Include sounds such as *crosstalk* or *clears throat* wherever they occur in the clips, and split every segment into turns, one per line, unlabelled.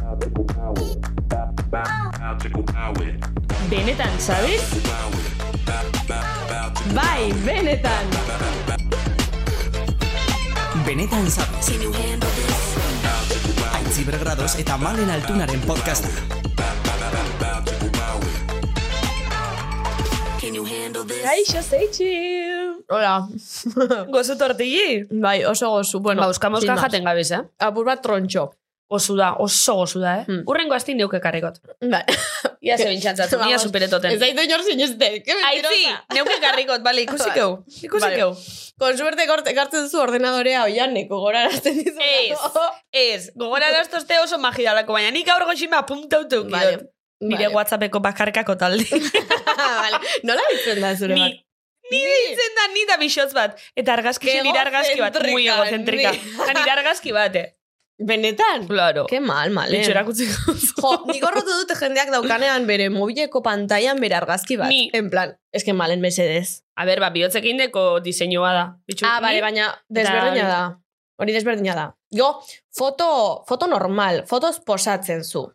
Magical power. Ba- ba- Magical power.
Benetan, sabes?
Power. Ba- ba- magical
Bai, benetan!
Benetan zabez. Aitzi bergradoz eta malen altunaren podcasta.
Kaixo zeitxin!
*laughs*
Hola.
Gozo tortilli?
bai, oso gozu. Bueno,
Ba, euska mozka
sin más.
jaten gabiz, eh?
Apur bat trontxo.
Gozu da, oso gozu da, eh?
Hmm.
Urrengo astin neuke karrikot.
*laughs* Bai.
Ia ze
*laughs*
bintxantzatu, ia
Vamos.
superetoten.
Ez daitu inor sinisten. Que
Aitzi,
mentirosa.
neuke karrikot, bale, ikusik
Vale.
eu. Ikusik
Vale.
eu.
Con suerte korte ekartzen zu ordenadorea oianeko gora arazten dizu.
Ez.
*laughs*
Ez, *laughs* gogora eraztozte oso magidalako, baina nik aurgo xime apuntautu
Vale.
eukidot. Nire
Vale.
whatsappeko bakarkako talde.
*laughs* vale. Nola ditzen da zure
*laughs* Ni,
bat?
nire ditzen da, ni da bixotz bat. Eta argazki
Ke
nire argazki bat, muy
egozentrika,
egozentrika.
ni.
Da, Nire argazki bat, eh?
Benetan?
Claro.
Ke mal, male.
Bitxo erakutzi
*laughs* Jo, nik horrotu dute jendeak daukanean bere mobileko pantailan bere argazki bat.
Ni.
En plan, es que malen mesedez.
A ber, ba, bihotzekin deko diseinua da. Bitxu,
Ah, bale, baina desberdina da. Hori desberdina da. Jo, foto, foto normal, fotoz posatzen zu.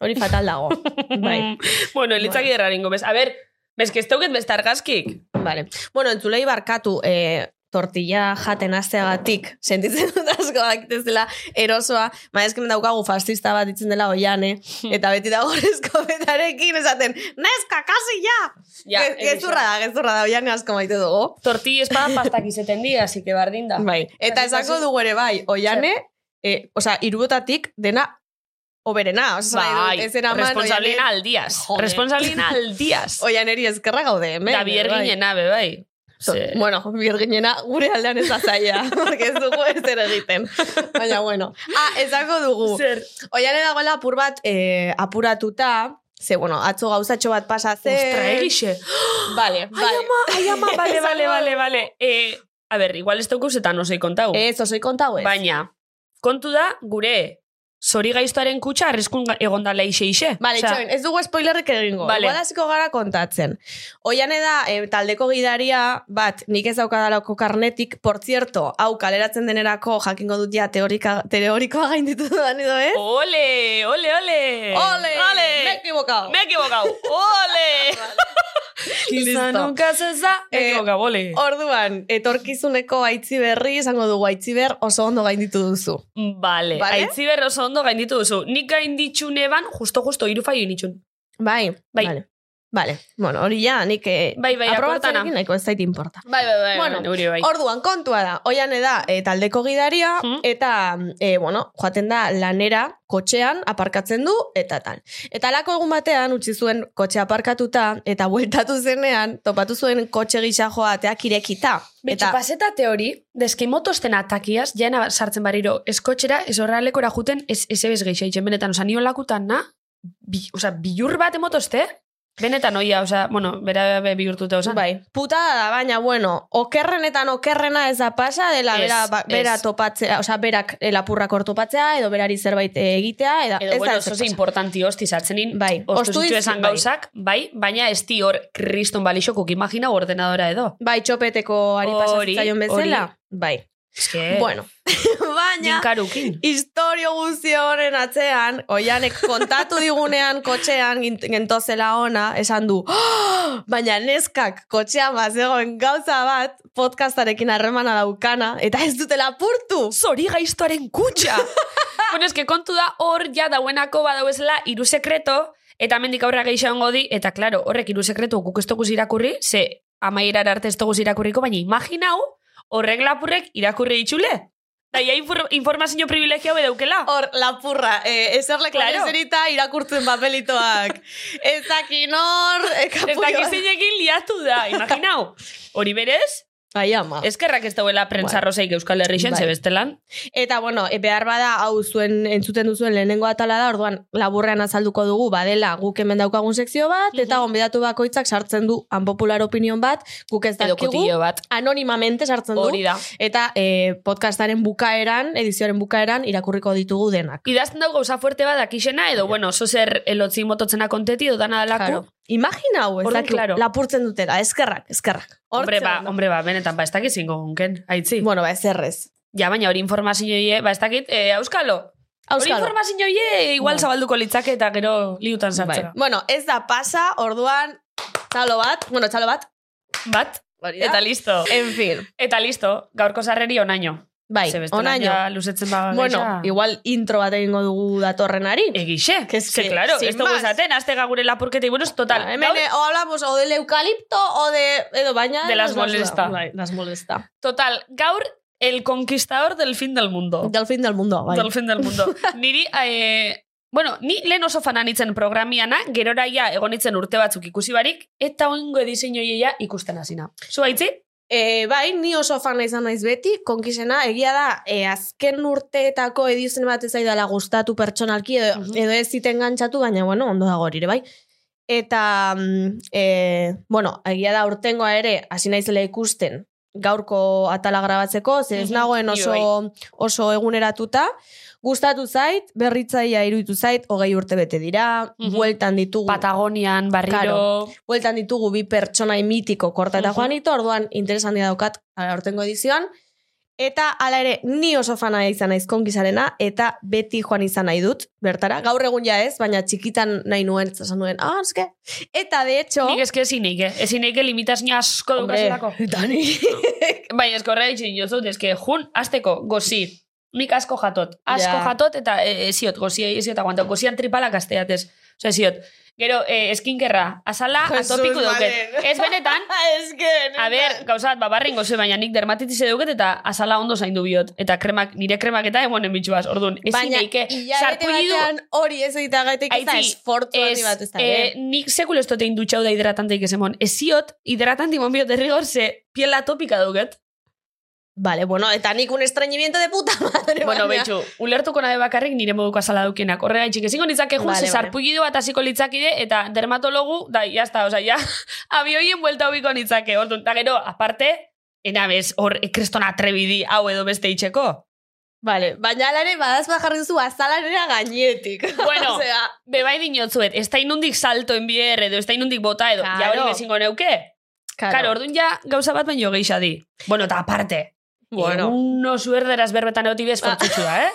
Hori fatal dago. bai,
Bai. bueno, elitzak bueno. erraringo bez. A ber, bez, que ez teuket beste argazkik.
bale. Bueno, entzulei barkatu, eh, tortilla jaten asteagatik sentitzen dut asko daktezela erosoa, baina eskemen daukagu fascista bat itzen dela oiane, eta beti dago eskobetarekin esaten, neska, kasi ja!
Ja,
Ge- gezurra da, gezurra da, oiane asko maite dugu.
Tortilla espada pastak izeten di, así que bardin da.
Bai, eta
Kasi,
esango
kasi.
dugu ere bai, oiane, eh, osea, irubotatik dena oberena, osea,
Bai,
esan nahi dut, ez eraman
responsabilina al días.
Joder. *laughs*
Responsabilina al días.
oianeri ezkerra gaude, hemen.
Da bierginen abe, bai.
To-
Ze-
Bueno, bierginena gure aldean ez da
*laughs*
zaila, porque ez dugu ez ere egiten. Baina, bueno. Ah, esango dugu.
Zer,
Oiane dagoela apur bat eh, apuratuta, ze, bueno, atzo gauzatxo bat pasa zen.
ostra,
*laughs*
egixe.
Vale,
Ai,
vale.
ama, ai, ama,
*laughs*
vale, vale,
Esango
vale, vale. Eh, a ber, igual ez daukuz eta no sei kontau.
Ez, osoi kontau ez.
Baina, kontu da, gure zori gaiztoaren kutsa arriskun ga- egon dala ixe ixe.
Bale,
Osea,
txoin, ez dugu spoilerrik egingo.
Vale.
Vale. Igual hasiko gara kontatzen. Oiane da, eh, taldeko gidaria, bat, nik ez daukadalako karnetik, por cierto, hau kaleratzen denerako jakingo dut ja teorika, teorikoa gainditu dudan edo, eh?
Ole, ole, ole.
Ole!
ole.
Me he equivocado.
Me he equivocado. Ole. Quizá
Listo.
nunca se sa. Me he
Eh,
equivocado, ole.
Orduan, etorkizuneko aitzi berri, izango dugu aitzi ber, oso ondo gainditu duzu.
Vale.
Vale.
Aitziber oso ondo gainditu duzu. Nik gainditxu neban, justo, justo, iru faio nitxun.
Bai,
Bai.
Vale. Vale, bueno, hori ja, nik eh,
Bai, bai,
aprobatzearekin
aportana.
nahiko ez zait importa.
Bai, bai, bai.
Bueno,
neuri bai.
Orduan, kontua da, oiane da eh, taldeko gidaria,
Mhm.
eta, eh, bueno, joaten da lanera, kotxean, aparkatzen du, eta tal. Eta lako egun batean, utzi zuen kotxe aparkatuta, eta bueltatu zenean, topatu zuen kotxe gisa joateak irekita.
Betxu,
Eta,
paseta teori, deskimotosten atakiaz, jaena sartzen barriro, eskotxera, ez horralekora juten, ez ezebez geixaitzen, benetan, oza, nion lakutan, na, bi, oza, bilur bat emotoste, benetan, oia, oza, bueno, bera be, bihurtuta, oza,
bai, putada da, baina, bueno, okerrenetan okerrena ez da pasa, dela
Ez,
bera, ba-
ez.
bera topatzea, osea, berak eh, lapurrak ortopatzea, edo berari zerbait eh, egitea, eta
Edo,
ez
bueno,
da
oso
ezer
ze
pasa.
importanti hosti sartzen nin,
Bai,
ostu
ostu
zitu
dizu-
esan
bai.
gauzak, bai, baina ez di hor kriston balixokuk imagina ordenadora edo.
Bai, txopeteko ari
Hori,
pasazitzaion bezala.
hori.
Bai.
Eske,
Bueno, *laughs* baina
jinkarukin.
historio guzti horren atzean, oianek kontatu digunean kotxean gint- gentozela ona, esan du, "Oh!" baina neskak kotxean bazegoen gauza bat podcastarekin harremana daukana, eta ez dutela purtu.
Zori gaiztoaren kutxa! *laughs* bueno, eske kontu da hor ja dauenako badauezela hiru sekreto, eta mendik aurra geixaongo di, eta claro, horrek hiru sekretu guk ez toguz irakurri, ze amaierar arte ez toguz irakurriko, baina imaginau, horrek lapurrek irakurri itxule. Da, ja infor- informazio privilegio edaukela.
Hor, lapurra, eh, eserlek
Claro.
ezerita irakurtzen papelitoak. Ez dakin hor, eh,
Ez
kapullo.
dakiz zinekin liatu da, imaginau. Hori berez,
Bai, ama.
eskerrak ez dauela prentza roseik Euskal Herrixen,
Bai.
ze bestelan.
Eta, bueno, e, behar bada, hau zuen entzuten duzuen lehenengo atala da, orduan laburrean azalduko dugu, badela guk hemen daukagun sekzio bat,
Mhm.
eta gonbidatu bakoitzak sartzen du unpopular opinion bat, guk ez
Edo
dakigu,
kotillo bat.
anonimamente sartzen du,
Hori da.
eta e, podcastaren bukaeran, edizioaren bukaeran, irakurriko ditugu denak.
Idazten dago gauza fuerte bat dakixena, edo, bueno, oso zer elotzi mototzena konteti, edo dana dalako.
Claro. Imagina hau, ez
Orduan,
dakigu,
claro.
lapurtzen dutela, eskerrak, eskerrak.
Hombre,
Hortxe
ba,
ondo.
hombre, ba, benetan, ba, ez dakit zingo gunken, aitzi.
Bueno, ba, ez errez.
Ja, baina hori informazio hie, ba, ez dakit, e, auskalo, Hori
Auskalo.
informazio hie, igual
Bai.
zabalduko litzake eta gero liutan sartzera.
Bueno, ez da pasa, orduan, txalo bat, bueno, txalo bat,
Bat,
hori da.
eta listo.
En fin,
Eta listo, gaurko sarreri onaino.
bai,
Ze bestela
onaino.
ja luzetzen ba
Bueno,
gaisa.
igual intro bat egingo dugu datorrenari.
Egixe,
Que
que,
es que,
claro,
sin
esto
más.
gustaten, azte gure lapurketa buruz, total.
Ba, Hemen,
gaur-
eh, o hablamos o del eucalipto o de... Edo baina...
De las
nos da-
molesta.
Bai, las molesta.
total, gaur, el conquistador del fin del mundo.
Del fin del mundo, bai.
Oh. Del fin del
*laughs*
mundo. Niri, eh, bueno, ni lehen oso fananitzen programiana, gerora ja egonitzen urte batzuk ikusi barik, eta oingo edizinoieia ikusten hasina. Zuaitzi?
Eh, bai, ni oso fan izan naiz beti, konkisena, egia da, eh, azken urteetako edizien bat ez zaidala gustatu pertsonalki, edo,
Mhm.
edo ez ziten gantxatu, baina, bueno, ondo dago hori ere, bai. Eta, mm, eh, bueno, egia da, urtengoa ere, hasi naizela ikusten, gaurko atala grabatzeko, ze ez
Mhm,
nagoen
ni
oso, oso eguneratuta, gustatu zait, berritzaia iruditu zait, hogei urte bete dira,
Mhm.
bueltan ditugu
Patagonian, barriro...
Claro. bueltan ditugu bi pertsonai mitiko korta eta
Mhm.
Juanito, orduan interesantia daukat aurtengo edizioan. Eta hala ere, ni oso fana izan naiz konkisarena, eta beti joan izan nahi dut, bertara. Gaur egun ja ez, baina txikitan nahi nuen, eta esan nuen, ah, eske. Eta de hecho...
Nik eske ezin eike, ezin eike limitazio asko
Hombre, *laughs*
dukazelako.
eta ni-
Baina eske horrela itxin jozut, eske jun, azteko, gozi. Nik asko jatot. Asko
Ja.
jatot eta e, eziot, gozi, eziot aguantau. Gozian tripalak asteatez. Osa, eziot. Gero, e, eskinkerra, azala,
Jesus,
atopiku dauket.
Malen.
Ez
*laughs*
benetan,
eske, benetan.
a ber, gauzat, babarren gozi, baina nik dermatitize dauket eta azala ondo zaindu biot. Eta kremak, nire kremak eta emonen bitxuaz. Orduan, ezin
baina
eike,
hilabete batean hori ez egita gaitik ez da
Aitzi,
esfortu hori
Ez,
bat ez da.
eh,
eh?
nik sekulo ez totein dutxau da hidratanteik ez emon. Ez ziot, hidratantik mon biot derrigor, ze piela topika duket.
Vale, bueno, eta nik un estreñimiento de puta *laughs* madre.
bueno,
baina-
beitxu, ulertuko nabe bakarrik nire moduko azala daukienak. Horrega itxik, ezingo nitzake jun,
Vale,
ze
vale.
sarpugidu bat hasiko litzakide, eta dermatologu, da, jazta, oza, *laughs* ja, abioien buelta hobiko nitzake. Orduan, eta gero, aparte, enabez, hor, krestona atrebidi, hau edo beste itxeko.
Vale, baina hala ere badaz bat jarri duzu azalanera gainetik. *laughs*
Bueno,
Osea,
Bebai dinotzuet, ez da inundik salto enbier, edo ez da inundik bota, edo, ja
Claro.
hori ezingo neuke. Claro, orduan ja gauza bat baino geisha di. Bueno, eta aparte. Bueno.
bueno.
Uno suerderaz berbetan egotibe esfortzutxu da, eh?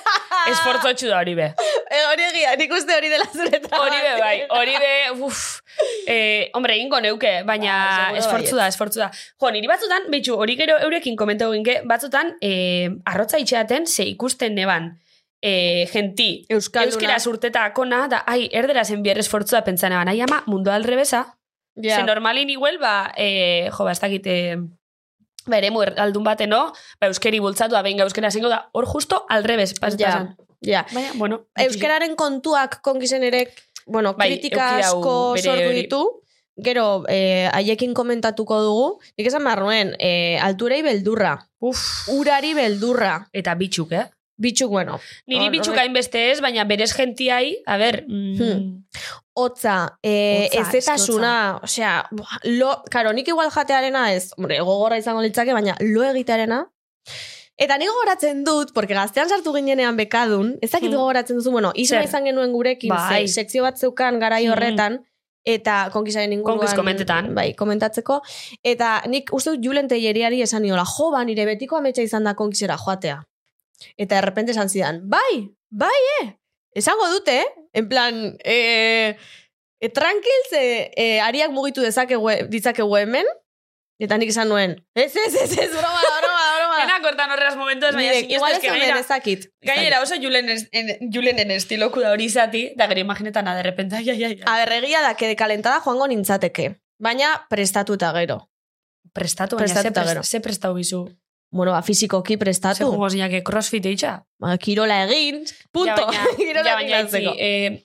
Esfortzutxu da hori be.
Eh, hori egia, nik uste hori dela zure traba.
Hori be, bai. Hori be, uff. Eh, hombre, ingo neuke,
Ba,
baina
seguro
esfortzu da, esfortzu da. Jo, niri batzutan, betxu, hori gero eurekin komento ginke, batzutan, eh, arrotza itxeaten, ze ikusten neban, eh, genti,
Euskalduna.
euskeraz urteta akona, da, ai, erderaz enbier esfortzu da pentsan eban, ai ba, ama, mundu alrebesa,
Ja.
Ze normalin igual, ba, e, jo, ba, ez dakit, e, ba, ere aldun baten, no? Ba, euskeri bultzatu, abein euskera zengo da, hor justo alrebes, pas,
Ja.
pasan.
Ja.
Baina, bueno.
Euskararen kontuak konkisen ere, bueno,
Bai,
kritika
euki dau
asko
bere
sortu
hori.
ditu. Gero, eh, haiekin komentatuko dugu. Nik esan behar nuen, eh, alturei beldurra,
Uf.
urari beldurra.
Eta bitxuk, eh?
Bitxuk, bueno,
Niri
Hor-
bitxuk
horrek-
hainbeste ez, baina berez gentiai, a ber, mm,
Hmm. hotza, eh,
Hotza,
ezetasuna, osea, buah, lo, karo, nik igual jatearena ez, hombre, gogorra izango litzake, baina lo egitearena. Eta nik gogoratzen dut, porque gaztean sartu ginenean bekadun, ez dakit
Hmm.
gogoratzen duzu, bueno, isma
Zer?
izan genuen gurekin,
Bai.
ze, sekzio bat zeukan garai
Hmm.
horretan, eta konkisaren inguruan...
Konkis komentetan.
Bai, komentatzeko. Eta nik uste dut Julen Teieriari esan niola, jo, ba, nire betiko ametsa izan da konkisera joatea. Eta errepente esan zidan, bai, bai, eh, esango dute, eh? En plan, eh, e, tranquil, ze eh, ariak mugitu dezakegu, ditzakegu hemen, eta nik esan nuen, ez, ez, ez, ez, broma, da, broma, da, broma.
*laughs* Enak hortan Ah. horrez momentu ez, baina
Nire,
sinestu
igual
ez
ez
que
hemen
gainera-
ezakit.
Gainera oso julenen, julenen estiloku da hori izati, da gero imaginetan aderrepenta, ai, ai, ai.
A ber, egia da, que kalentada joango nintzateke. Baina prestatuta gero.
Prestatu, baina ze,
Prestatu eta
prest,
gero.
ze prestau bizu.
Bueno, ba, fizikoki
Ze
prestatu.
jugo zinak crossfit eitxa.
Ba, kirola egin, punto.
Ja, baina-
*laughs* kirola
ja, baina
egin
itzi,
lantzeko.
eh,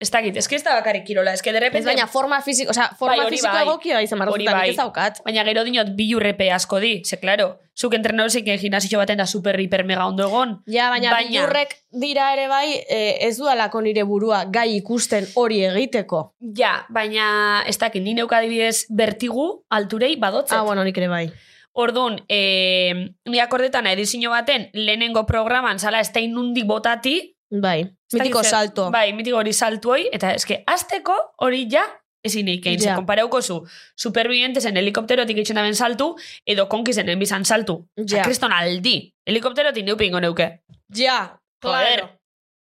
ez dakit, ez que ez da bakarrik kirola, ez que de repente...
Ez baina forma fisiko, o sea,
Bai,
forma
hori
fisiko
bai.
egokia izan behar
Hori
dut, eta
bai.
nik ez daukat.
Baina gero dinot bilurrepe asko di, ze, claro, zuk entrenadozik gimnasio baten da super hiper mega ondo egon.
Ja, baina,
Baina-
bilurrek dira ere bai, eh, ez dualako nire burua gai ikusten hori egiteko.
Ja, baina ez dakit, ni neuka adibidez bertigu alturei badotzet.
Ah, bueno, nik ere bai.
Orduan, eh, ni akordetan edizio baten lehenengo programan zala ez da inundik botati.
Bai,
ez dakit
mitiko
zer-
salto.
Bai, mitiko hori saltuoi, eta eske azteko hori ja ezin eikein. Ze
Ja.
kompareuko zu, supervivientesen helikopterotik itxen aben saltu, edo konkisen enbizan saltu.
Ja.
Ja. Kriston aldi. Helikopterotik neupe ingo neuke.
Ja,
Joder.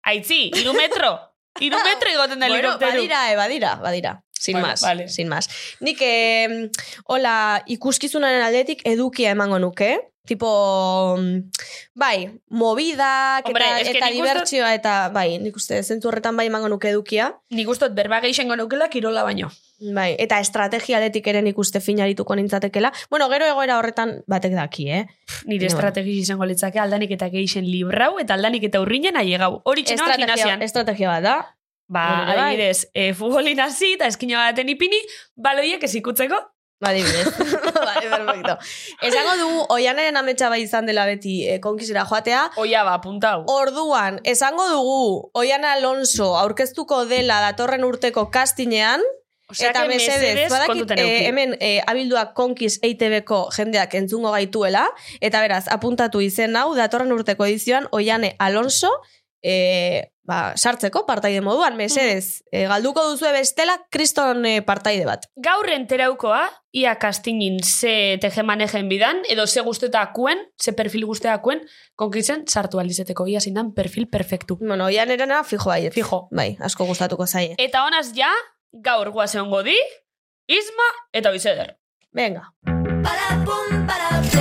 Aitzi, iru metro. Iru metro igoten da
*laughs* Bueno,
helikoptero.
badira, eh, badira, badira. Sin
Bueno,
más,
vale.
sin más. Nik, eh, hola, ikuskizunaren aldetik edukia emango nuke. Tipo, mm, bai, movidak
Hombre,
eta,
es que
eta
nik uste-
dibertsioa eta, bai, nik uste, zentzu horretan bai emango nuke edukia.
Nik ustot berba geixengo nukela kirola baino.
Bai, eta estrategia aldetik ere nik uste finarituko nintzatekela. Bueno, gero egoera horretan batek daki, eh?
Pff, Nire
Baina,
estrategia izango litzake aldanik eta geixen librau eta aldanik eta urrinen aiegau. Hori txinoa
Estrategia,
gimnasian.
estrategia bat da.
Ba,
Hori bai.
adibidez, e, futbolin hasi eta eskina baten ipini, baloiek esikutzeko.
Ba, dibidez. vale, perfecto. Esango dugu, oianaren ametsa bai izan dela beti eh, konkisera joatea,
Oia ba, puntau.
Orduan, esango dugu, Oian Alonso aurkeztuko dela datorren urteko castinean, eta mesedez, badakit
kontutan
eh,
euki.
hemen eh, E abilduak konkiz EITB-ko jendeak entzungo gaituela, eta beraz, apuntatu izen hau, datorren urteko edizioan Oiane Alonso, eh, ba, sartzeko partaide moduan, mesedez, eh, galduko duzue bestela kriston eh, partaide bat.
Gaur enteraukoa, ia kastinin ze tejemanegen bidan, edo ze guztetakuen, ze perfil guztetakuen, konkitzen sartu alizeteko ia zindan perfil perfektu.
Bueno, Oian erana fijo bai.
Fijo.
Bai, asko gustatuko zaie.
Eta honaz ja, gaur guazen godi, Isma eta Bizeder.
Venga.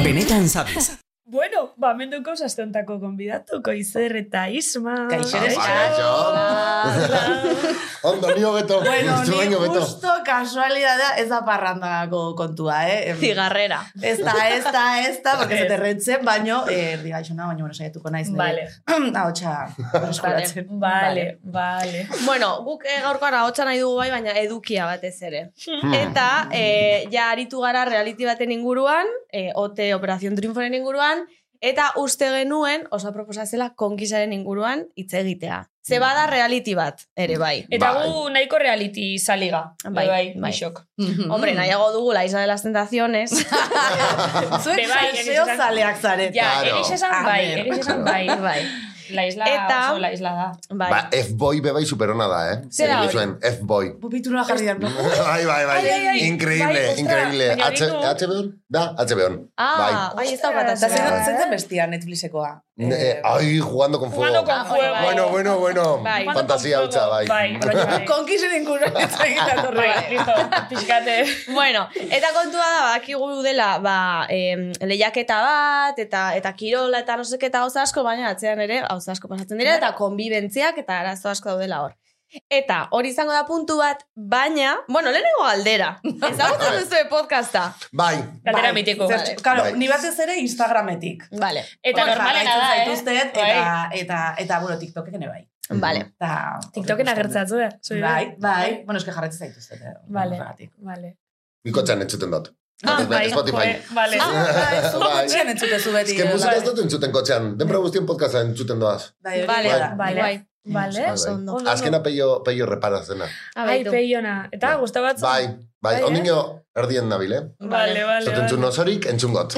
Benetan sabes.
Bueno, ba, menduko sastontako konbidatu, Koizer eta Isma.
Kaixo,
Ah,
kaixo.
kaixo.
Hola.
Ondo, ni hobeto.
Bueno,
Zu
ni
baino hobeto.
justo kasualidadea ez da parrandagako kontua, eh? Em,
Zigarrera.
Ez da, ez da, ez da, porque ez terretzen, baino, eh, erdi gaixona, baino, bueno, saiatuko naiz. nire. Mm,
Vale.
Ahotsa,
*laughs*
eskuratzen.
Vale, vale.
Bueno, guk eh, gaurkoan ahotsa nahi dugu bai, baina edukia batez ere. Eta, eh, ja aritu gara reality baten inguruan, eh, OT Operación Triunforen inguruan, eta uste genuen, oso proposazela, konkisaren inguruan hitz egitea. Ze bada reality bat, ere bai.
Eta
Bai.
gu nahiko reality saliga.
Bai,
Bai, bai,
bai.
bai.
Mm.
Hombre, nahiago dugu la Isla de las Tentaciones.
Be
*laughs*
bai,
Zuek salseo
egiz esan-
zaleak zarete.
Ja,
Claro.
egiz esan bai,
Amen.
egiz esan bai.
*laughs* bai,
La isla,
Eta-
oso la isla da.
bai.
Ba, F-boy bebai superona da, eh?
Zer da
Egin
hori?
zuen, F-boy.
Pupitura jarri dan.
*laughs* bai, bai, bai.
Ai, ai, ai.
Increíble,
Bai, ostra,
increíble.
baina hori
H-
du.
HBO? Da, HBO.
Ah,
Bai.
bai, ez daukat
Eta
azalera.
zen- zentzen bestia Netflixekoa.
Eh, Ai, jugando con fuego.
Jugando con
Ah,
fuego.
bai.
Bueno, bueno, bueno.
Jugando
Bai.
con
Fantasia
fuego.
hutsa, bai.
Bai, bai, bai.
*laughs* Konkisen inguruan ez egiten
Bai,
horrela.
listo, pixkate.
Bueno, eta kontua da, badakigu dela, ba, em, lehiaketa bat, eta eta kirola, eta no seke, eta gauza asko, baina atzean ere gauza asko pasatzen dira, eta konbibentziak, eta arazo asko daudela hor. Eta hori izango da puntu bat, baina, bueno, lehenengo galdera. Ezagutzen duzu podcasta.
Bai.
Galdera
Bai,
mitiko.
zer-
Vale.
Claro,
Bai.
ni batez ere Instagrametik.
Vale,
Eta
Hor
normalena
jarraitzen
da, eh?
zaituztet,
Bai.
Eta, eta, eta, bueno, TikToken ere bai.
vale.
Eta...
TikToken agertzatzu da. zure.
Bai, bai. Bueno, eske jarretzen zaituztet. Eh?
Vale.
Horregatik.
Vale.
Bikotxan entzuten dut.
Ah,
Spotify-
bai,
Ah, Spotify.
joe, Vale.
Ah, bai, zu
*laughs* Bai.
kotxean entzutezu
Ez
beti.
que musika
bai.
ez dut entzuten kotxean.
Mm.
Denbora guztien podcasta entzuten doaz.
Bai, hori
Vale,
da.
Vale.
Guai.
Vale.
Bai,
Oso
bai.
ondo.
Ondo,
Azkena
ondo.
peio, peio reparazena.
Ai,
Abeitu.
peiona. Eta, guztu batzu?
Bai, bai.
Bai, eh?
Ondino erdien nabil, eh?
Vale, vale.
Zaten zuen
vale.
osorik, entzungot.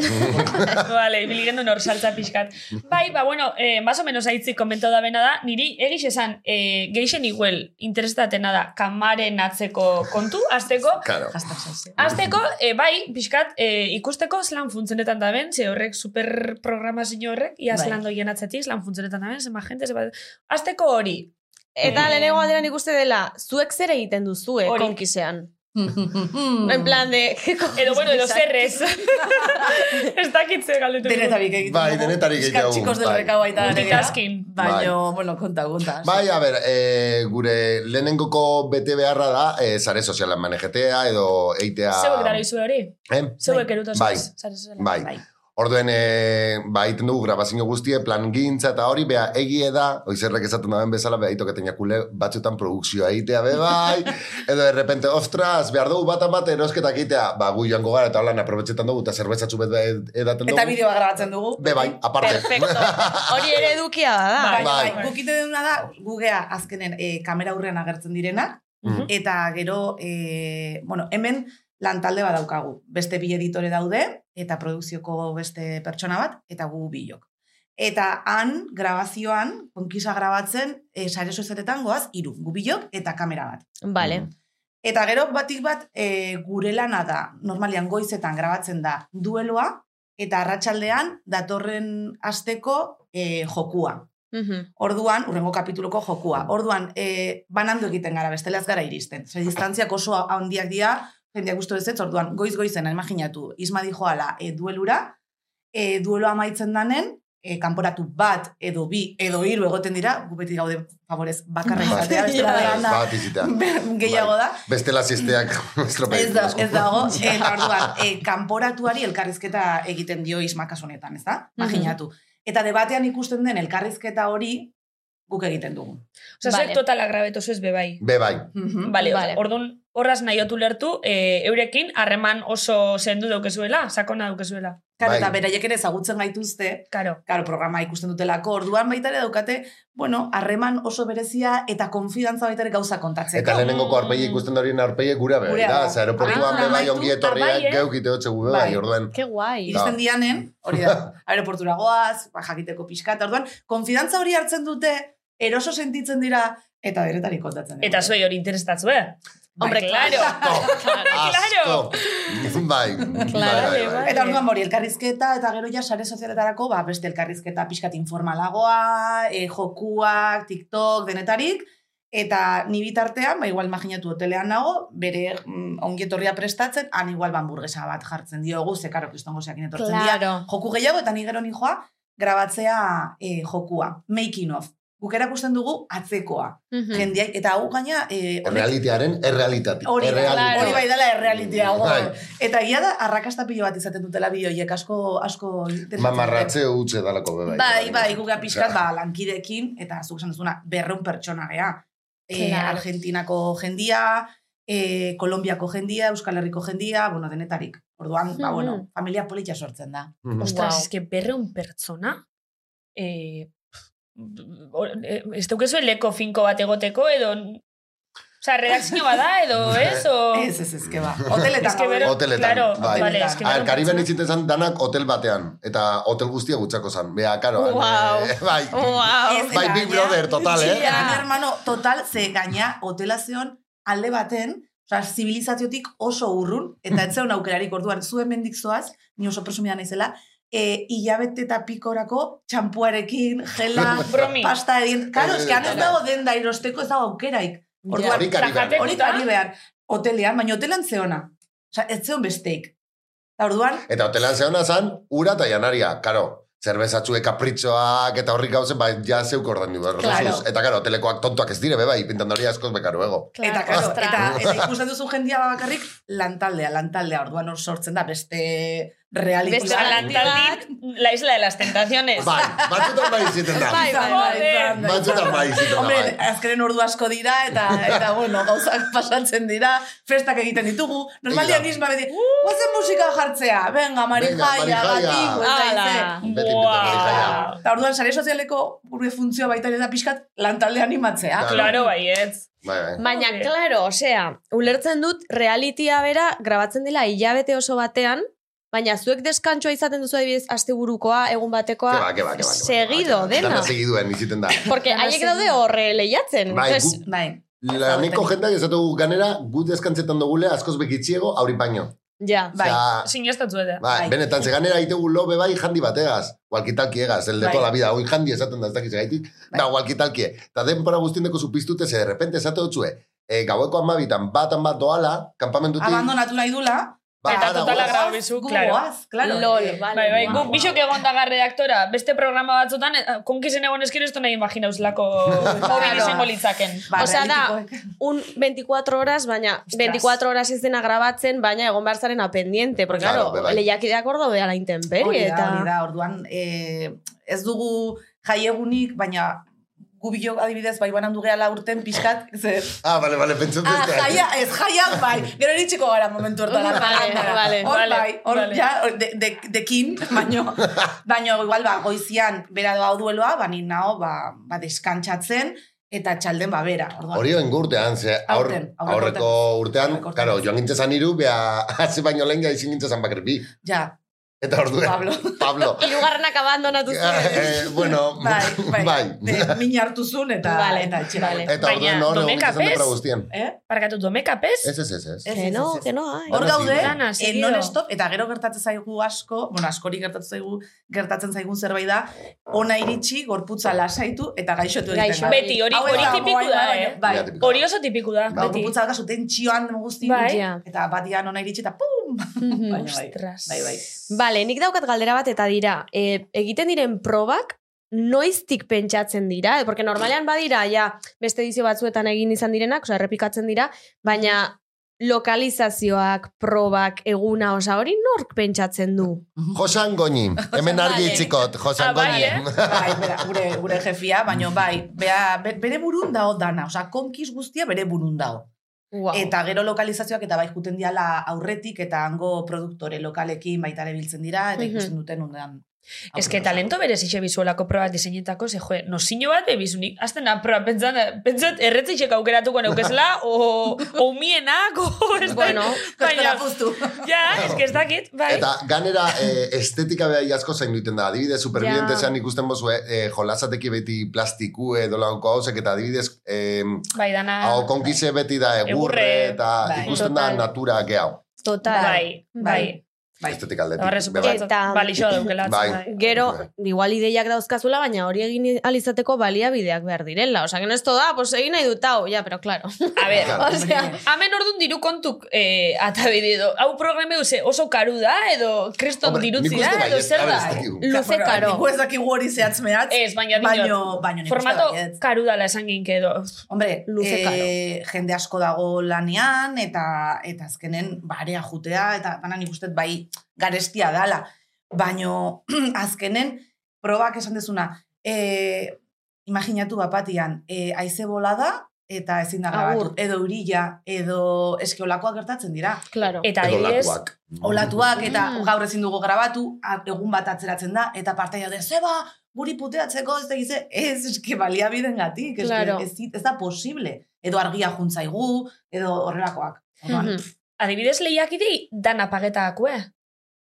Vale, ibili gendu nor saltza pixkat. Bai, ba, bueno, eh, más o menos aitzi komento da bena da, niri egiz esan, eh, geixen iguel interestatena da, kamaren atzeko kontu, azteko,
Claro.
Hashtag salseo.
Azteko, eh, bai, pixkat, eh, ikusteko zelan funtzenetan da ben, ze horrek superprogramazio horrek, ia
Bai.
zelan doien atzetik, zelan funtzenetan da ben, zema jente, zema... Azteko hori,
Eta lehenengo galdera nik uste dela, zuek zer egiten duzue
Hori.
konkisean? En plan de... *laughs*
edo bueno, edo zerrez. *laughs* Ez dakitze galdetu.
Denetarik egiten
Bai,
dugu.
denetarik
Pixkat
egiten dugu,
Txikos del
bai.
rekau baita. ari gara.
Multitasking.
Baino, bueno, konta gunta.
Bai, a ber, e, gure lehenengoko bete beharra da, e, zare sozialan manejetea edo eitea...
Zeuek dara izue hori?
Eh?
Zeuek erutu
Bai.
zaz, zare zuzenean.
Bai. Orduen, e, ba, egiten dugu grabazio guztie, plan gintza eta hori, bea, egie da, oizerrek esaten daben bezala, bea, itoketan jakule batzutan produkzioa egitea, be, bai, edo errepente, ostras, behar dugu batan bat erosketak egitea, ba, gu joango gara eta holan aprobetxetan dugu, eta zerbezatxu bet ed- edaten dugu.
Eta bideoa grabatzen dugu.
Be, bai, aparte.
Perfecto. Hori ere edukia da.
Bai,
Bai.
bai. Guk ite duguna da, gugea azkenen eh, kamera aurrean agertzen direnak,
Mhm.
eta gero, eh, bueno, hemen lan talde bat daukagu. Beste bi editore daude, eta produkzioko beste pertsona bat, eta gu bilok. Eta han, grabazioan, konkisa grabatzen, eh, sare sozialetan goaz, hiru, gu bilok eta kamera bat.
Vale.
Eta gero batik bat e, gure lana da, normalian goizetan grabatzen da dueloa, eta arratsaldean datorren asteko e, jokua.
Mhm.
Orduan, urrengo kapituluko jokua. Orduan, e, banandu egiten gara, bestela ez gara iristen. Zer, distantziak oso handiak dira, jendeak gustu ez orduan, goiz-goizena, imaginatu, Isma dijoala e, duelura, e, duelo amaitzen danen, e, kanporatu bat, edo bi, edo hiru egoten dira, gu beti gaude favorez bakarra
Bat.
izatea, bestela
Bai.
baranda,
Bat izita.
gehiago da.
Bestela zisteak *laughs* estropedik.
Bai.
Ez, da, ez dago, eta orduan, e, kanporatuari elkarrizketa egiten dio ismakas honetan, ez da? Imaginatu. Eta debatean ikusten den elkarrizketa hori guk egiten dugu.
Osa,
Vale.
zuek totala grabeto zuez bebai.
Be bai.
Mm-hmm.
Bale,
Vale.
vale. orduan horraz nahiotu lertu, e, eurekin harreman oso zendu daukezuela, sakona daukezuela.
Claro,
Bai.
eta beraiek ere ezagutzen gaituzte,
Karo.
claro, programa ikusten dutelako, orduan baita ere daukate, bueno, harreman oso berezia eta konfidantza baita ere gauza kontatzeko.
Eta lehenengoko arpegi ikusten da horien arpegi gura be,
Gurea
da?
da.
Ze aeroportuan
Ah,
be bai
amaitu,
ongi etorriak
eta bai, eh?
geuk ite hotxe gube bai,
Bai.
orduan.
Qué guay.
Da.
Iristen dianen, hori da,
*laughs*
aeroportura goaz, ba, jakiteko pixka, eta orduan, konfidantza hori hartzen dute, eroso sentitzen dira, eta beretari kontatzen. dira.
Eta zuei hori interestatzue.
Bai,
Hombre,
claro.
*laughs*
Asko. *laughs* Bai. bai, bai, bai.
Eta orduan hori elkarrizketa, eta gero ja sare sozialetarako, ba, beste elkarrizketa pixkat informalagoa, e, jokuak, TikTok, denetarik, eta ni bitartean, ba, igual imaginatu hotelean nago, bere mm, ongietorria prestatzen, han igual ba, hamburguesa bat jartzen diogu, ze karo kristongo zeakin etortzen dira.
Claro.
Joku gehiago, eta ni gero ni joa, grabatzea e, jokua, making of. Guk erakusten dugu atzekoa.
Mhm.
Jendeak, eta hau gaina... E, honek-
Realitearen errealitatik.
Hori, da,
Errealitatea.
hori bai dela errealitea. hor.
Bai.
Eta egia da, arrakasta pilo bat izaten dutela bi horiek asko, asko interesatzen
Mamarratze hutze dalako be
dute.
bai.
Bai, bai, guga pixkat, ba, lankidekin, eta zuk esan duzuna, berreun pertsona gea. E,
Claro.
Argentinako jendia, e, Kolombiako jendia, Euskal Herriko jendia, bueno, denetarik. Orduan, ba,
Mhm.
bueno, familia politia sortzen da.
Mhm.
Ostras,
Guau.
wow. eske berreun pertsona, e, eh, ez dukezu leko finko bat egoteko, edo... Osa, redakzio bada, edo, ez? O...
Ez, ez, ez, que ba. Hoteletan.
Es Oh. que
gaude.
bero-
Hoteletan,
Claro,
bai.
vale, es que
Ah,
bero-
Kariben itziten zan danak hotel batean. Eta hotel guztia gutxako zan. Bea, karo. han,
Wow.
eh, Bai.
Ez,
Wow.
eta
Bai, Big
gainera-
Brother, total,
Sí,
eh?
gaina, hermano, total, ze gaina, hotela zeon, alde baten, oza, zibilizaziotik oso urrun, eta ez zeon aukerarik orduan, zuen mendik zoaz, ni oso presumida naizela, e, hilabete eta pikorako txampuarekin, gela,
*laughs* Bromi.
pasta edin, karo, eske han ez dago denda irosteko ez dago aukeraik. Orduan,
Hori Kariben.
Tajate-
hori kari behar, hotelean, baina hotelean zeona, oza, ez zeon besteik. Eta orduan,
Eta hotelan zehona zan, ura eta janaria, karo. Zerbezatxue kapritxoak eta horrik gauzen, bai, ja zeuk ordan du.
Claro.
Eta karo, hotelekoak tontuak ez dire, be, bai, pintandori askoz bekaru ego.
Eta, claro,
Ostra.
eta, eta ikusten duzu jendia bakarrik lantaldea, lantaldea, orduan hor sortzen da beste real
Beste lantaldin, la isla de las tentaciones.
Bai, batzutan bai ziten da.
Bai, bai, bai.
Batzutan bai ziten da,
Hombre,
bai.
azkenen ordu asko dira, eta,
*laughs*
eta bueno, gauzak pasatzen dira, festak egiten ditugu, normalian
Hori da.
isma beti, guazen musika jartzea, venga, marijaia,
marijaia."
gatik,
Hala.
guazen
Beti pintandori jaia.
Eta orduan, sare sozialeko gure funtzioa baita ere da pixkat lantaldea animatzea.
Claro.
Claro, baietz.
Bai, bai.
Baina,
Joder.
claro, osea, ulertzen dut realitia bera grabatzen dela hilabete oso batean, baina zuek deskantsoa izaten duzu adibidez asteburukoa, egun batekoa,
Ke ba, ke ba, ke ba, ke ba, ke ba.
segido dena.
Dana segiduen iziten da.
Porque
Dana
haiek
segido.
daude horre lehiatzen.
Bai,
Entonces,
gu-
Bai.
Laneko jendak ez dugu ganera, gut deskantzetan dugule, askoz bekitxiego, auri baino.
ja.
Bai.
Osea,
Sinastatzuete.
Bai,
Bai.
benetan, ze ganera itegu lobe bai jandi bategaz, walkitalki egaz, el de
Bai.
toda la vida, hoi jandi esaten da ez dakiz gaitik, da walkitalki. Eta denpora guztiendeko zupiztute, ze de repente esate hotzue, e, gaueko amabitan, batan bat doala, kampamentutik,
Abandonatu nahi dula,
ba,
Eta
ara
totala
goaz.
grau bizu,
Gu
claro.
goaz, claro.
Lol,
Eh,
vale.
Bai, bai,
Wow.
guk bisok egon da gar redaktora, beste programa batzutan, eh, konkizen egon eskero ez du nahi imaginauzlako hobin
Claro.
izango litzaken.
Ba,
Osea, da,
realitikoek.
un 24 horas, baina
Ostras.
24 horas ez dena grabatzen, baina egon behar zaren apendiente, porque claro,
Claro,
claro
bai.
lehiakideak hor daudea la intemperie,
Hori da,
eta...
hori da, orduan, eh, ez dugu jaiegunik, baina gu bilok adibidez, bai banan dugeala urten pixkat, *laughs* ze,
Ah, bale, bale, pentsu
ah, jaia, ez jaia, bai, gero eritxeko gara momentu hortara.
Vale, vale,
hor
vale,
bai, hor
vale.
ja, hor de, de, dekin, baino, baino, igual, ba, goizian, bera doa dueloa, ba, ni nao, ba, ba, deskantxatzen, eta txalden, ba, bera, orduan.
Hori oen gurtean, ze aur,
Aurten, aurreko
aurreko urtean,
Aurreko urtean.
karo, joan gintzezan iru, bea, haze baino lehen gaizin gintzezan bakar bi.
Ja,
Eta ordu
Pablo. *laughs*
Pablo.
Hirugarrenak abandonatu zuen.
Eh, bueno,
Bai, bai.
*laughs* bai.
De- Min hartu zun eta,
Vale,
eta etxera.
vale.
Eta
Baina,
orduen hor, egon
domeka
gizan
bez?
depra guztien.
Eh?
Barkatu, domeka, pez?
Ez, ez, ez, ez.
Ez,
Que
ez,
no,
ez,
que
ez.
no, ay.
Hor
Lana
gaude,
seguido.
Lana
eh,
seguido.
non-stop, eta gero gertatzen zaigu asko, bueno, askori gertatzen zaigu, gertatzen zaigun zerbait da, ona iritsi, gorputza lasaitu, eta gaixotu egiten
Gaixo.
gara.
Beti, hori,
Bai. Hau ez
hori
dago,
tipiku da,
bai,
eh?
Bai,
Ja,
bai.
tipiko.
Hori oso tipiku da,
Ba,
beti.
gorputza daukazu tentsioan guzti.
Bai.
Ja.
Eta batian ona iritsi eta pum!
Mhm.
Baina bai,
Ostras.
bai, bai.
Bale, nik daukat galdera bat eta dira, e, egiten diren probak noiztik pentsatzen dira, e, porque normalean badira, ja, beste edizio batzuetan egin izan direnak, osea, errepikatzen dira, baina lokalizazioak, probak, eguna, osa, hori nork pentsatzen du?
Josan Goñi, hemen argi
Vale.
itzikot,
Ah,
Josan
bai,
Goñi.
eh?
bai, bera, gure, gure jefia, baina bai, bea, be- bere burun dao dana, oza, konkiz guztia bere burun dao.
Wow.
Eta gero lokalizazioak eta bai juten diala aurretik eta hango produktore lokalekin baita ere biltzen dira eta
Mhm.
ikusten duten undan.
Ez que
*laughs*
talento berez itxe bizuelako proba diseinetako, ze joe, nozino bat bebizunik. Azten da, proba, pentsat, pentsat erretze itxek aukeratuko
*laughs*
neukezela, o, o umienak, o ez da.
Bueno,
baina,
Kostela *laughs* puztu.
ja, ez que ez dakit, bai.
Eta ganera eh, estetika behar asko zain duiten da. Adibidez, supervivientesean ikusten bozue, eh, jolazateki beti plastiku edo lanko hausek, eta adibidez, eh,
bai, dana.
hau konkize beti da egurre,
bai. Egurre,
eta
bai.
ikusten
Total.
da natura gehiago.
total.
Bai, bai. eh,
Bai.
Estetika
Eta horre
aldetik.
supo
be bai.
batzuk,
Eta-
balixoa daukela.
Bai.
Gero,
Bai.
igual ideiak dauzkazula, baina hori egin alizateko baliabideak behar direla. Osa, que no esto da, pues egin nahi dut hau, ja, pero claro. *laughs*
A ber,
Claro.
Hombre.
Hemen orduan diru kontuk eh, atabide edo. Hau programe duze oso karu da edo kriston
Hombre, nik
dirutzi da
uste
edo
baietz,
zer
a ber,
da.
ez dakigu.
Luze
Bueno,
karo.
Nik ez dakigu hori zehatz mehatz.
Eh,
Ez, baina
Baino,
dinot.
baino nik uste
Formato
baietz.
karu dala esan ginke edo.
Hombre,
Luze karo.
eh, jende asko dago lanean, eta eta azkenen barea jutea, eta banan ikustet bai garestia dala. Baino, *clears throat* azkenen, probak esan dezuna, eh, imaginatu bapatian, eh, aize bolada, eta ezin da grabatu.
Agur.
Edo urila, edo eskiolakoak gertatzen dira.
Claro.
Eta
Edo
adibidez,
olatuak.
Olatuak eta
Mm.
gaur ezin dugu grabatu, a- egun bat atzeratzen da, eta partea de, zeba, guri puteatzeko ez dakize, ez, eske baliabiden gatik, eske,
Claro.
ez, dit- ez da posible. Edo argia juntzaigu, edo horrelakoak. Orduan,
Mhm.
adibidez lehiakidei dana eh? pagetakue.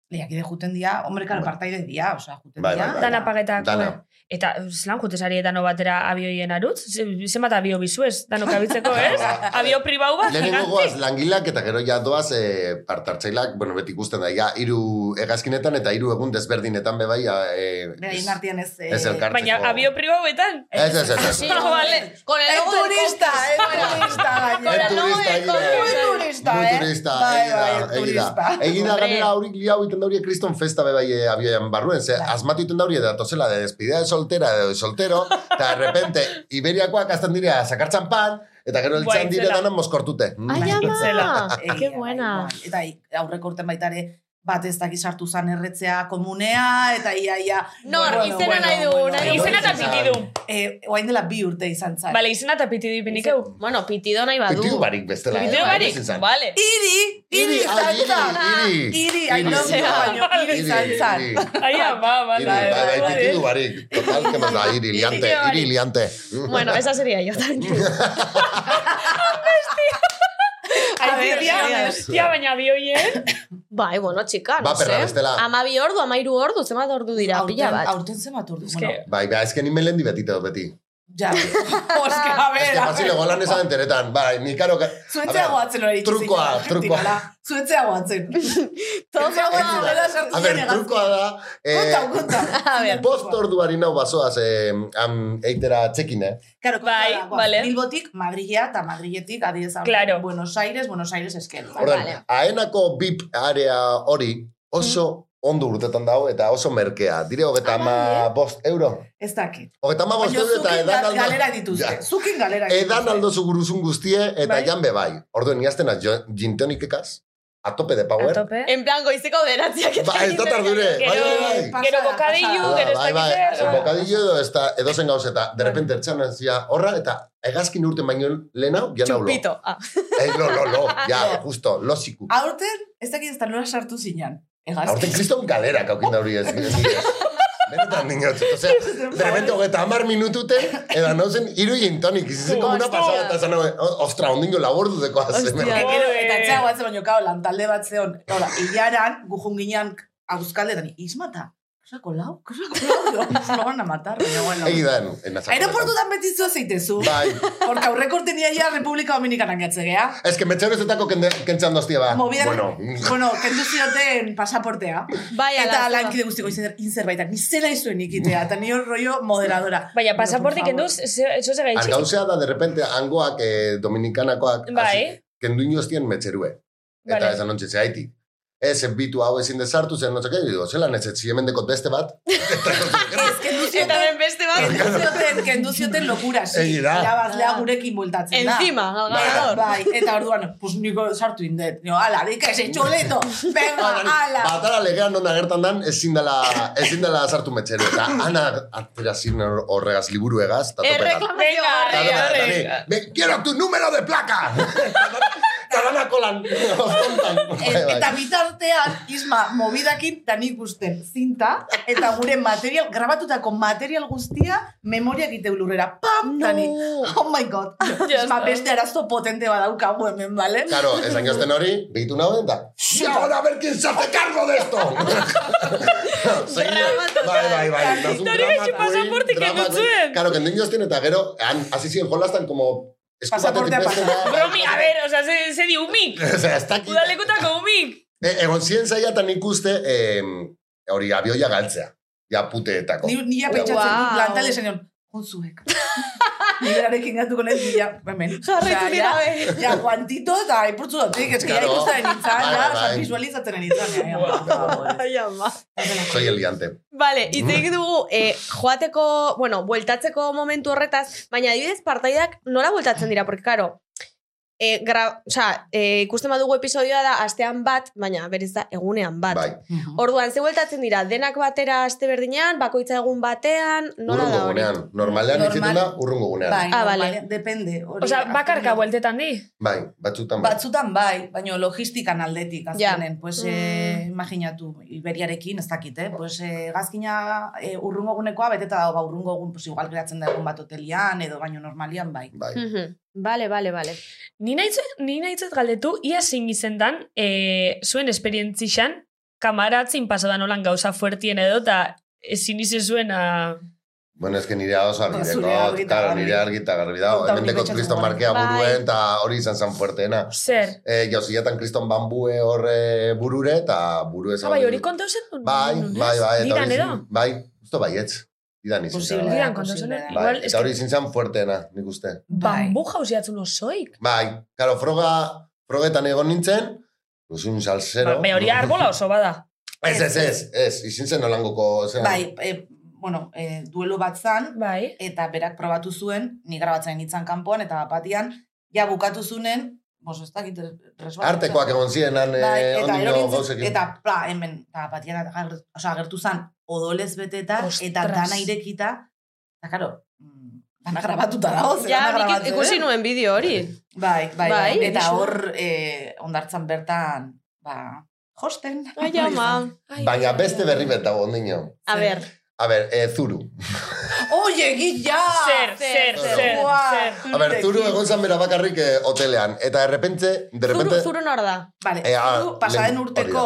lehiakide juten dira, hombre, karo, partaide dira, osea, juten
Bai,
dira.
bai, bai.
Dana pagetakue.
Dana.
Eta zelan jute zarietano batera abioien arutz? Ze- Zenbat abio bizuez, danok abitzeko,
*laughs*
ez?
Ba.
Abio pribau bat,
Lehenengo goaz
gigantik.
langilak eta gero ja doaz eh, partartzailak, bueno, beti ikusten da, ja, hiru hegazkinetan eta hiru egun desberdinetan bebai. Eh,
Beraien artean ez... eh,
ez elkartzeko.
Baina abio pribauetan.
Ez, ez, ez,
*laughs*
ez.
Sí,
*laughs* Ah, vale.
Con el
Ez
logo del
turista,
Cox.
ez turista,
Ez
gainera.
del
turista, egida.
Cox.
Muy turista,
Muy
eh?
turista, eh,
Bai,
egida,
bai,
egida.
turista.
Egida
Hombre.
ganera hori liau iten dauri kriston festa bebai eh, abioian barruen, ze
Bai.
asmatu iten dauri eta tozela de despidea de soltera edo de soltero, eta de repente iberiakoak azten dira sakartzan pan, eta gero
Buain
eltzan dira
zela.
danan moskortute. Mm.
Ai,
*laughs*
ama!
Egia,
Ah, Qué
bai,
buena.
bai. Eta i- aurreko urten baita ere bat ez dakiz sartu zan erretzea komunea, eta ia, ia...
Nor, izena nahi du, nahi du.
Izena eta pitidu.
Eh, oain dela bi urte izan zara.
Bale, izena eta pitidu ipinik eu.
Bueno, pitido nahi badu.
Pitidu barik bestela. eh,
Pitidu
bai,
barik,
ezin zan.
Vale.
Iri, iri
Iri, ah,
izan zan.
iri, iri.
Iri, haino
Iri,
baino, iri izan zan.
iri.
Aia, ba,
Iri,
bala.
bai, bai, pitidu barik. Total, que más da, iri, liante,
Pitidu barik.
iri, liante.
Bueno, esa sería yo,
*laughs*
tranquilo.
A ver,
tia,
tia,
tia, baina bioien.
Bai, bueno, txika, no
Ba, perra,
sé.
bestela.
Ama bi ordu, ama iru ordu, zema ordu dira, pila
Aurten,
bat.
aurten zenbat urdu.
Ez que-
Bueno,
Bai, bai, ezken imen lehen dibetito, beti.
*laughs* ja. Oske, a ver,
Ez que
a
fácil
ver.
egolan esan enteretan, bai, ni karo... ka-
Zuetzea
A ver,
goatzen hori itxi
trukoa,
zinen
trukoa.
Argentinara. Zuetzea
*laughs*
goatzen. Zuetzea goatzen dela sartu
A ver,
zinen
trukoa da... Eh,
Konta, konta.
A ver.
Bost orduari nau bazoaz eh, am, eitera txekin, eh?
Claro, kontua
Bai,
da, guaz,
vale.
Bilbotik, Madrilea eta Madriletik, adidez, hau,
Claro.
Buenos Aires, Buenos Aires esker.
Ordan,
Vale.
aenako bip area hori oso ondo urtetan dago eta oso merkea. Dire, hogeta
Ah, bai,
ama bost euro.
Ez dakit.
Hogeta ama bost
Baina
euro eta
zukin
edan
ga-
aldo...
galera dituzte.
Ja.
Zukin galera dituzte.
Edan aldo zuguruzun guztie eta
Bai.
jan bebai. Orduen, iazten az, jintonik ekaz, atope de
A
power.
tope.
En plan, goizeko bederatziak
Ba, ez da tardure. Bai,
Gero,
bai, bai.
gero
Pasada,
bokadillu,
pasada.
gero ez
Bai, bai,
dakit zer. Bai.
bokadillo edo ez da, edozen gauz eta de repente ertsan hazia horra eta egazkin urten baino lehen hau, jan hau lo.
Chupito. Ah.
Ei, lo, lo,
*laughs*
lo, ja, justo, loziku.
Ah,
Aurten, ez dakit ez da nola sartu zinan. Egazki.
Aurten
*laughs*
kriston galera kaukin da hori ez. ni ez. Benetan dinot, osea, de repente hogeita hamar minututen, edo nauzen hiru jintonik, izizen como una
Hostia.
pasada, eta zan, ostra, ondingo labordu deko hazen.
Hostia.
Gero, eta etxea guatzen baino, kao, lantalde bat zeon. Hora, hilaran, gujun ginean Auskaldetan, izmata, kasako lau, kasako lau, *laughs* nos lo van a matar, baina bueno.
Egi da, en, en
Aeroportutan beti zua zeitezu,
Bai.
porque aurreko urtenia ja Republika Dominikanan gatzegea.
Ez que metxerozetako kende- kentzan doztia ba.
Movida,
Bueno,
bueno, kendu zioten pasaportea.
Bai,
Eta
ala,
lankide guztiko izen- inzerbaitak, ni zela izuen ikitea, eta ni hor rollo moderadora.
Baina
Bueno, por
pasaportik
favor.
enduz, eso ze gaitxik.
argauzea da, de repente, hangoak, eh, dominikanakoak,
Bai.
hasi- kendu inoztien metxerue. Eta
Vale.
esan ontsi zehaitik. Ez, bitu hau ezin desartu, zen notzak, digo, zelan ez, ez, hemen dekot beste bat.
Ez, kendu
Eta
zioten,
ben beste
Bai.
bat.
*laughs* kendu zioten, kendu zioten lokuras.
Egi da.
Irabazlea gurekin bueltatzen da.
Encima, al
Bai.
ganador.
Bai, eta orduan, pues niko sartu indet. Nio, ala, dika ese
*laughs*
txoleto,
ah,
venga, Ah, ala.
Batara legean non agertan dan, ezin dela, ezin dela sartu metxero. Eta ana atera zin hor- horregaz liburu egaz, eta topetan.
Erreklamazio
Venga,
Eta
horri,
dana,
arre,
dani,
horri.
"Me- quiero tu número de *laughs* placa! Eh, Eta dana kolan. Tontan. Bai,
Et-
bai.
Eta bitartean, Isma, mobidakin dan ikusten zinta, eta gure material, grabatutako material guztia, memoria egite lurrera. Pam, dani. Oh my god.
Ya
Isma,
está.
beste arazo potente badaukagu hemen, bale?
Claro, este, esan jozten hori, begitu nagoen da. ¡Sí, ahora a ver quién se hace cargo de *laughs* esto! Seguida. Bai, bai, bai. Nazu
Hori
drama
gaitxi
queen,
pasaportik
drama
kendu
queen.
zuen.
Claro, kendu inoztien eta gero, han, hasi ziren jolastan como... eskupatetik
Pasaportea
bestera.
pasa.
Bromi, a ver, oza, ze, ze di umik.
*laughs* O sea, ez dakit.
Udalekutako umik.
E, egon ziren zaiatan ikuste, em, hori abioia galtzea. Ja puteetako.
Ni, ni ja pentsatzen,
Wow.
wow. lantalde zenion, jozuek. Niberarekin gatuko nahi, ja, hemen.
Jarraitu ni
Ja, ja,
gabe.
Ja, guantito eta ipurtzu dotik, eski ja
Claro.
ikusten nintzen,
Bai,
ja,
bai.
oza, visualizatzen nintzen, Bai, ja, ja, por favor.
Ai, ama.
Soy el liante.
Vale, hitz egin dugu eh, joateko, bueno, bueltatzeko momentu horretaz, baina adibidez partaidak nola bueltatzen dira, porque claro, eh, gra, o sea, eh, ikusten badugu episodioa da astean bat, baina berez da egunean bat.
Bai.
Orduan, ze bueltatzen dira, denak batera aste berdinean, bakoitza egun batean, nola da
Urrungo
hori?
gunean. Normalean
Normal.
itzituna, urrungo gunean.
Bai,
Ah,
ah,
vale.
vale. depende. Hori,
Oza,
azkenean.
bakarka bueltetan di.
Bai, batzutan bai.
Batzutan bai, baina logistikan aldetik, azkenen, pues, eh,
Mm.
imaginatu, iberiarekin, ez dakit, eh? Pues, eh, gazkina eh, urrungo gunekoa, beteta dago, ba, urrungo gun, pues, igual geratzen da egun bat hotelian, edo baino normalian, bai.
Bai.
Mhm. Vale, vale, vale.
Ni nahitzet, ni nahitzet galdetu, ia zein izen dan, e, zuen esperientzixan, kamaratzin pasadan olan gauza fuertien edo, eta ezin izen zuen, ah, a...
Bueno, ez que nire oso argi
Ba,
dekot,
zure argi eta
claro,
garbi.
nire argi eta garbi dago.
Eta
Hemen
hori
dekot
pentsatzen
kriston
dugu.
markea
Bai.
buruen, eta hori izan zan fuerteena.
zer.
Eh, Jauzietan kriston bambue horre burure, eta buru
Ah,
ezan.
bai, hori kontau zen duen.
Bai, bai, bai. eta hori
Diran edo?
izin- Bai, usto baietz. Didan izin.
Posible.
zela.
Diran kontau zen.
Bai,
Bai,
Igual,
eta hori izin zan fuerteena, nik uste.
bambu jauziatzen osoik.
Bai, karo, froga, frogetan egon nintzen, duzun salsero.
Bai, hori arbola oso bada.
Ez, ez, ez, ez, izin zen olangoko, zen.
Bai, eh, bueno, eh, duelo bat zan,
Bai.
eta berak probatu zuen, ni grabatzen nintzen kanpoan, eta bapatian, ja bukatu zunen, bos, ez dakit, resbatu.
Artekoak egon ziren, han,
Bai,
eh,
eta
ondino
gero nintzen,
gauzekin.
eta pla, hemen, eta batian, ager- osea, agertu zan, odolez beteta, eta
Ostras.
dana irekita, eta karo, mm, dana grabatuta dago, zer
Ja,
dana
nik
grabatzen,
ik- ikusi
eh?
nuen bideo hori.
Bai, bai, bai,
Bai,
eta
ikusi.
hor, eh, ondartzan bertan, ba, josten.
Bai.
Ai,
*laughs* Bai.
ama.
Baina beste berri bet dago ondino.
A ber,
A ber, eh, zuru.
Oie, gila!
Zer, Ah, zer,
zer,
zer,
Ua,
zer.
A ber, zuru
zurekin.
egon zan bera bakarrik eh, hotelean. Eta errepentze, de
zuru,
repente...
zuru nor da.
Vale,
Eh, ah,
zu pasaden
lehen-
urteko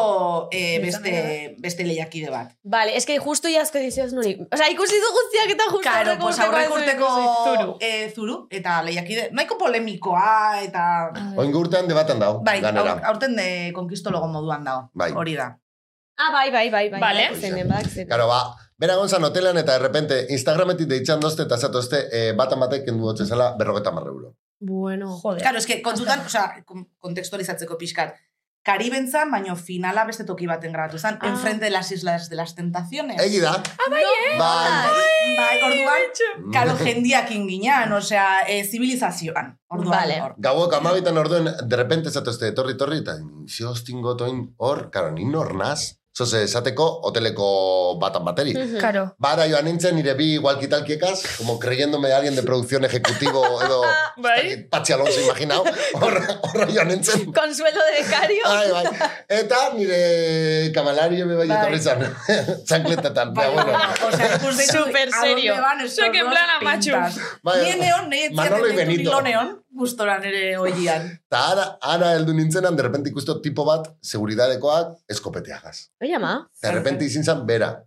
eh, beste,
Bezala.
beste lehiakide bat.
Vale, eske justu jazko dizioz nuri. Osa, ikusi du guztiak eta justu
Claro,
aurreko
pues
urtekoa
aurreko
ez
urteko
ikusi.
zuru. Eh, zuru, eta lehiakide, nahiko polemikoa, eta...
Oingo urtean debatan dau,
Bai,
ganera.
aur- aurten de konkistologo moduan dago,
Bai.
hori da.
Ah, bai, bai, bai, bai.
Vale.
Zenen, badak zenen.
Claro, ba, bera egon zan hotelean eta errepente Instagrametik deitzan dozte eta zatozte eh, batan batek kendu gotxe zela berrogeta marre euro.
Bueno.
Joder.
Claro, es que kontutan, osea, kon- kontekstualizatzeko pixkat, Karibentzan, baino finala beste toki baten grabatu zen,
Ah.
enfrente de las Islas de las Tentaciones.
Egi da.
*laughs*
Bai,
Bai, orduan, karo jendiak inginan, osea, eh, zibilizazioan. Orduan,
Vale.
hor.
Gauek amabitan orduen, de repente zatozte etorri torri, eta ze hostin gotoin hor, karo, ni nor naz, zoze esateko hoteleko batan bateri.
Karo.
Bara joan nintzen, nire bi walkitalkiekaz, como creyéndome alguien de producción ejecutivo edo
Bai.
Patxi Alonso imaginau, horra horra joan nintzen.
Consuelo de becario.
Bai, bai. Eta nire kamalario me bai
Bai.
etorri zan. *laughs* Txankletatan,
Bai,
pero bueno.
o sea, pues de
Súper serio.
¿A dónde van estos
Soy que en
dos
plan amachu.
pintas?
Bai,
Ni en neón, ni en
Manolo y
ni en
Benito.
Turilo neón. gustora nere oian.
Eta ara, ara heldu nintzenan, derrepente ikustu tipo bat, seguridadekoak, eskopeteagaz.
*laughs* Oye, ama.
Derrepente izin zan, bera.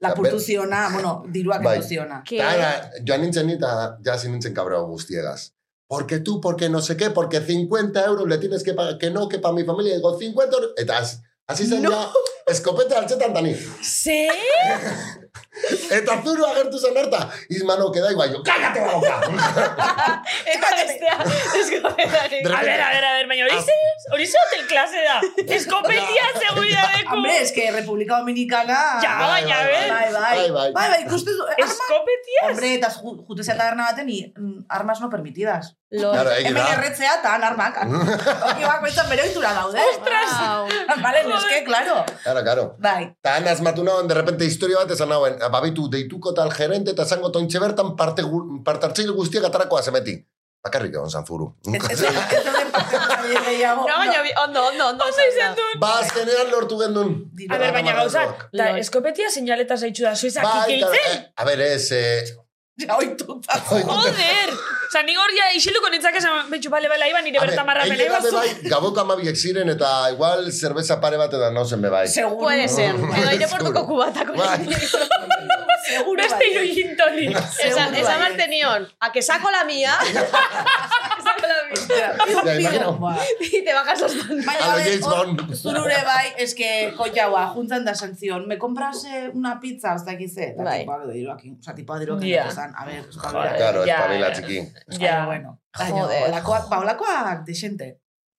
Lapurtu ziona, bueno, diruak
Bai.
bai. ziona.
Que...
Eta ara, joan nintzen ni, eta jazin nintzen kabrao guztiegaz. Porque tú, porque no sé qué, porque 50 euros le tienes que pagar, que no, que para mi familia, digo, 50 euros, eta az- hasi zen ja, eskopeta altzetan dani.
Ze?
Eta zuru agertu zen harta, izmano, queda igual, yo, cágate la boca!
Eta bestea, eskopetarik.
A ber, a ber, a ber, baina
Ah.
hori ze, hori ze hotel klase *laughs* da. Eskopetia seguridadeko.
Hombre, es que República Dominicana...
Ja,
Bai,
baina,
bai,
ber.
Bai, bai.
Bai, bai.
Bai, bai, ikustu zu... Arma,
Eskopetia?
hombre, eta ju- jutezea taberna baten y mm, armas no permitidas.
Lo...
Claro, egi
Hemen
Bai, da.
erretzea eta han
*laughs*
armak. Ibak betzen bere oitura daude.
eh.
Ah,
Wow.
Vale, no es que, claro.
Claro, claro.
Bai,
Eta han asmatu nagoen, de repente, historia bat esan nagoen, babitu, deituko tal gerente eta zango tontxe bertan parte, gu- parte hartzaile guztiak atarako azemeti. Bakarrik egon zanzuru.
ez ez- ez dauden parte gehiago.
No, baina, bi- ondo, ondo, ondo.
Ondo izan
du.
duen.
ba, azkenean lortu gendun.
Diru-
A ber, baina gauzak,
Bai,
da,
Lol.
eskopetia seinaleta zaitxu da, zuizak
claro,
ikiltzen.
eh, a ver, ez, eh,
Ja, oituta.
Bai.
Joder! Osa, nik hor ja isiluko nintzak esan, betxu, bale, bale, iba nire
a
bertan marra
ber,
bene,
egia da be
bazu.
bai, gaboko amabiek ziren eta igual zerbeza pare bat edan nauzen be bai. *laughs*
Seguro.
Puede ser. Edo
Seguro.
aireportuko kubatako.
Bai.
Seguro.
Beste iru gintonik.
Esan,
Seguro
esan
baietz.
mantenion, a que saco la
*laughs*
mía
Ja, imagina.
Ba.
y te bajas los pantalones.
Baina,
A lo
a ver,
James
hor,
Bond.
Zurure bai, eske, koiaua, juntzan da santzion, me compras eh, una pizza, hasta aquí ze, eta
Bai.
tipoak diroakin, oza, tipoak diroakin,
Ja.
yeah. a ver, espabila.
Joder.
Claro,
Ja,
espabila
ja.
txiki.
Ja,
Ja,
bueno. Baina,
Joder.
olakoak, ba, olakoak desente.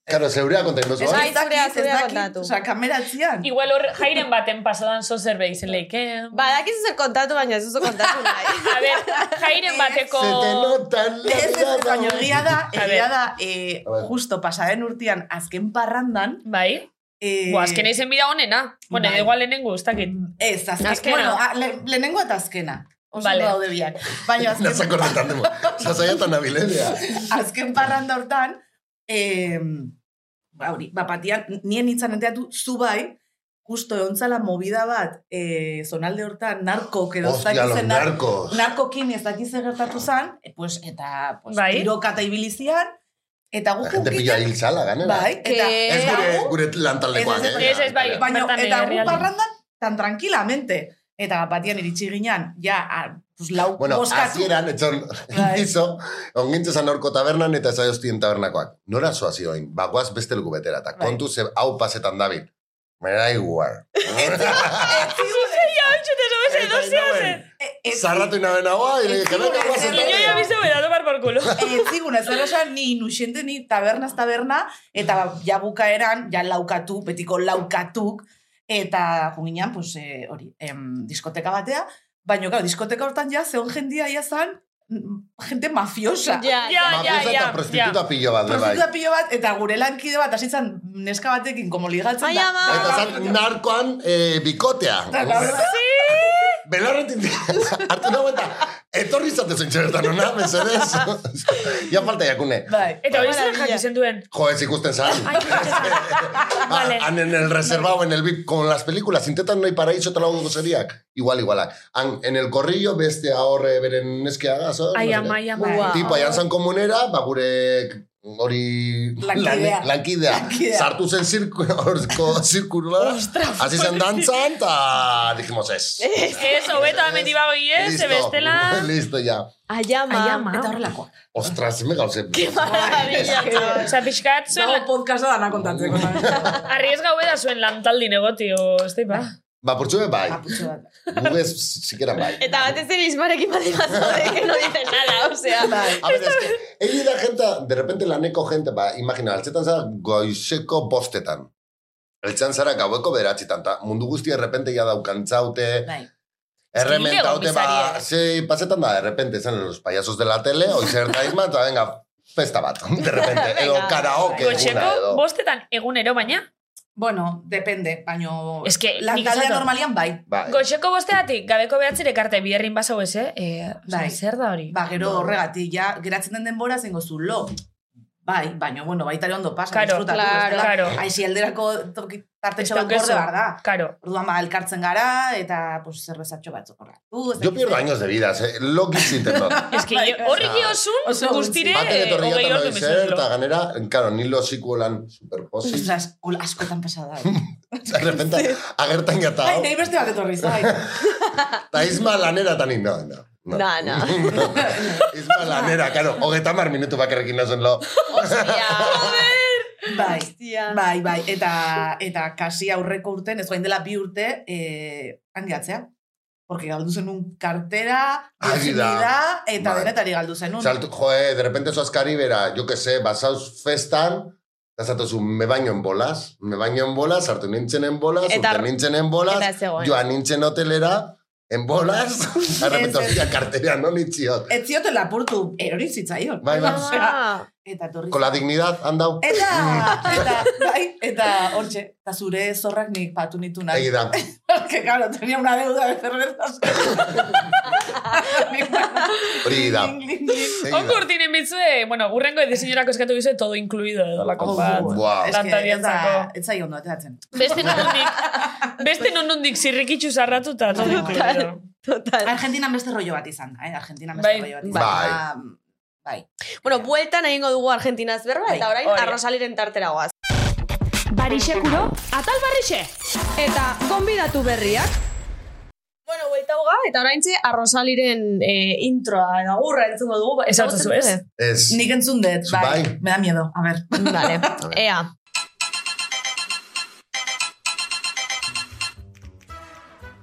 Claro, zeurea konten gozo,
Ez
Bai,
bai?
dakit,
zurea-
ez
zurea
dakit,
kontatu.
oza, kameratzean.
Igual hor jairen baten pasadan zo zerbait izen leike.
Badakizu zer kontatu, baina ez duzu kontatu *laughs* nahi.
A ber, jairen bateko...
Se te nota en la
Ez, ez, ez,
cara.
baina egia
*laughs*
da,
A
egia
ver.
da, eh,
A ver.
justo pasaden urtean, azken parrandan,
Bai?
eh,
Bo, azkena izen bida honena. Bueno,
Bai.
igual lehenengo, ez dakit.
Ez, azken,
Azkena.
bueno, a, le, lehenengo eta azkena. Oso
Vale.
vale. daude biak. Baina azken,
Nasa
*laughs*
korretan demo. Zazaiatan abilezia.
azken parranda hortan, eh, ba, hori, ba, patian, nien nintzen enteatu, zu bai, justo egontzala movida bat, eh, zonalde hortan, narko, edo ez
Hostia,
dakit
los
zen, nar-
narcos.
narkokin ez dakit zer gertatu zan, eh, pues, eta, pues,
Bai.
tiroka eta ibilizian, eta gu
La gente pilla hil zala, ganera.
Bai, eta,
Ke-
Ez
eta
gure,
gu-
gure lantaldekoak,
Ez, ez,
eh?
ez, ez, bai.
Baina,
Bertan,
eta
eh,
gu
herrialdean.
parrandan, tan tranquilamente. Eta batian iritsi ginean, ja, a, pues, lau
Bueno,
boskatu.
azieran, etxon, *laughs*
Bai.
izo, ongintze zan horko tabernan eta zaioztien tabernakoak. Nora zoazi oin, bagoaz Ba, beste lugu betera, eta
Bai.
kontu ze hau pasetan dabil. Mera
*laughs*
igual.
Bai. Ja, hau te sobe ze dozea ze.
E- ez-
Zarratu inaben haua,
Ez
y que venga
zigun ezer
guazen.
Niño ya bizo bera, tomar por culo.
Ez zigun, ez dara esan, ni inusiente, ni tabernaz taberna, eta ja bukaeran, ja laukatu, betiko laukatuk, eta junginan, pues, eh, hori, em, diskoteka batea, baina, claro, diskoteka hortan ja, zeon jendia ia zan, mm, gente mafiosa.
Ja,
Ja, ja.
ja,
Mafiosa
ja.
eta prostituta pillo bat, be bai.
Prostituta pilo bat, eta gure lankide bat, hasitzen neska batekin, como ligatzen
Ai, ama.
Eta zan, narkoan eh,
*laughs*
bikotea. *laughs* Belarretik *laughs* hartu nago eta etorri zatezen txertan, ona,
*laughs*
mesedez. *laughs* Ja falta jakune.
Bai.
Eta hori zer
Maravilla.
jaki zen duen.
Jo, ez ikusten zan.
Ai, Vale.
Han Ah, en el reservado, en el VIP, con las películas, intentan no hay paraíso, te lo hago gozeriak. Igual, igualak. Han, en el corrillo, beste ahorre beren neskeaga, zo?
Ai,
no sé
ama,
qué. pues,
ai, ama.
Ua.
Tipo, aian zan komunera, ba, gure hori...
Lankidea.
lan- Lankidea.
Lankidea.
Sartu zen *laughs* zirku- horko zirkulua. Hasi zen dantzan, ta dijimos ez.
Eh, Ez, hobeto amendibago iez, ze
Listo.
bestela...
*laughs* Listo, ya.
Aiama.
Aiama.
Eta horrelako.
Ostras, me gauze.
Maravilla. chaval.
Osa, pixkat
Dago
zuen,
podcasta dana kontatzeko.
Bai.
*laughs*
arriesga gaue da zuen lantaldi negoti, o, ez teipa.
Ah,
Ba, portxue bai.
Aputxo bat.
Gugez, sikera bai.
Eta batez ere izmarekin bat de que no dice nada, *laughs* osea.
A ver, es que, egi da jenta, de repente laneko jente, ba, imagina, altzetan zara goizeko bostetan. Eltzean zara gaueko beratzitan, ta mundu guztia de repente ja daukantzaute,
Bai.
errementaute, ba,
komisariak.
ze, pasetan da, de repente, zan, los payasos de la tele, oizer daizma, eta venga, festa bat, *laughs* de repente, edo
Venga.
karaoke, eguna,
Kotxeko,
edo.
bostetan egunero, baina,
Bueno, depende, baino...
Es que,
Lan
nik
taldea
esaten-
normalian bai.
Bai.
Goxeko bosteatik, gabeko behatzire karte biherrin bazau ez, eh? E,
Bai.
zer da hori?
Ba, gero
Bai.
horregatik, ja, geratzen den denbora zengo zu lo. Bai, baina, bueno, baita ere ondo pasa,
Claro,
disfrutatu.
claro,
bestela,
claro.
Aixi alderako toki-
Ez
tartetxo bat gorde
daukazu.
behar da.
Claro.
Orduan ba, elkartzen gara, eta pues, zerbezatxo bat zokorratu.
Yo pierdo años de vida, eh? lo que hiciste, no.
Ez que
Bai,
horri
oso-
giosun
oso gutxi.
guztire
Baten etorri
hogei
eta
ordu
noiz
bezazlo.
eta ganera, karo, nilo zikuelan
*laughs*
superposi.
Ostras, ol- askotan pasada.
*laughs* De repente, agertan gata,
Ai, nahi beste Bai, bat etorri
*laughs*
zait.
eta izma lanera tan inda. No, no.
Na,
*laughs*
na.
izma lanera, karo, hogeita mar minutu bakarrekin nazen lo.
Ostia.
Bai,
Ostia.
bai, bai. Eta, eta kasi aurreko urten, ez guain dela bi urte, eh, handiatzea. Porque galdu zenun kartera,
Hagi da.
virginidad, eta
Bai.
denetari galdu zenun.
Saltu, joe, de repente zoaz karibera, yo que se, basauz festan, eta zatozu, me baño en bolas, me baño en bolas, hartu nintzen en bolas,
Eta-
urte nintzen en bolas,
eta ez eh. zegoen.
joan nintzen hotelera, en bolas, *laughs* de
Ez,
repente,
ez.
hostia, kartera, no nitziot.
Ez zioten lapurtu, erori zitzaion.
Bai, bai.
Ah.
Eta torri
Con la dignidad, han dau.
Eta,
*laughs*
eta, bai, eta, hortxe, eta zure zorrak nik patu nitu nahi. *laughs*
Egi da.
Porque, claro, tenía una deuda de cervezas.
*laughs* Hori
*laughs*
da. Egi da.
Ongo urtinen mitzue, bueno, urrengo edizionerako eskatu bizue todo incluido eh, edo lako bat.
Ez
Wow.
que, ez da,
Lantarientzako.
ez zai ondo ateratzen.
Beste *laughs* nonundik, beste nonundik zirrikitzu zarratuta todo incluido.
Total.
Argentinan beste rollo bat izan da, eh? Argentinan beste
Bai,
rollo bat
bai.
izan da. Bai.
Bueno, bueltan egingo dugu Argentinaz berba, eta orain
Hori.
arrozaliren tartera goaz.
Barixekuro, atal barrixe!
Eta gonbidatu berriak. Bueno, buelta hoga, eta orain txe, arrozaliren eh, introa edo agurra entzungo dugu. Ba-
Ez hau duzu, ez?
ezagutzen
Ez.
Nik entzun dut, bai.
Bai.
Me da miedo, a ver.
duzue? *laughs* Vale, ea.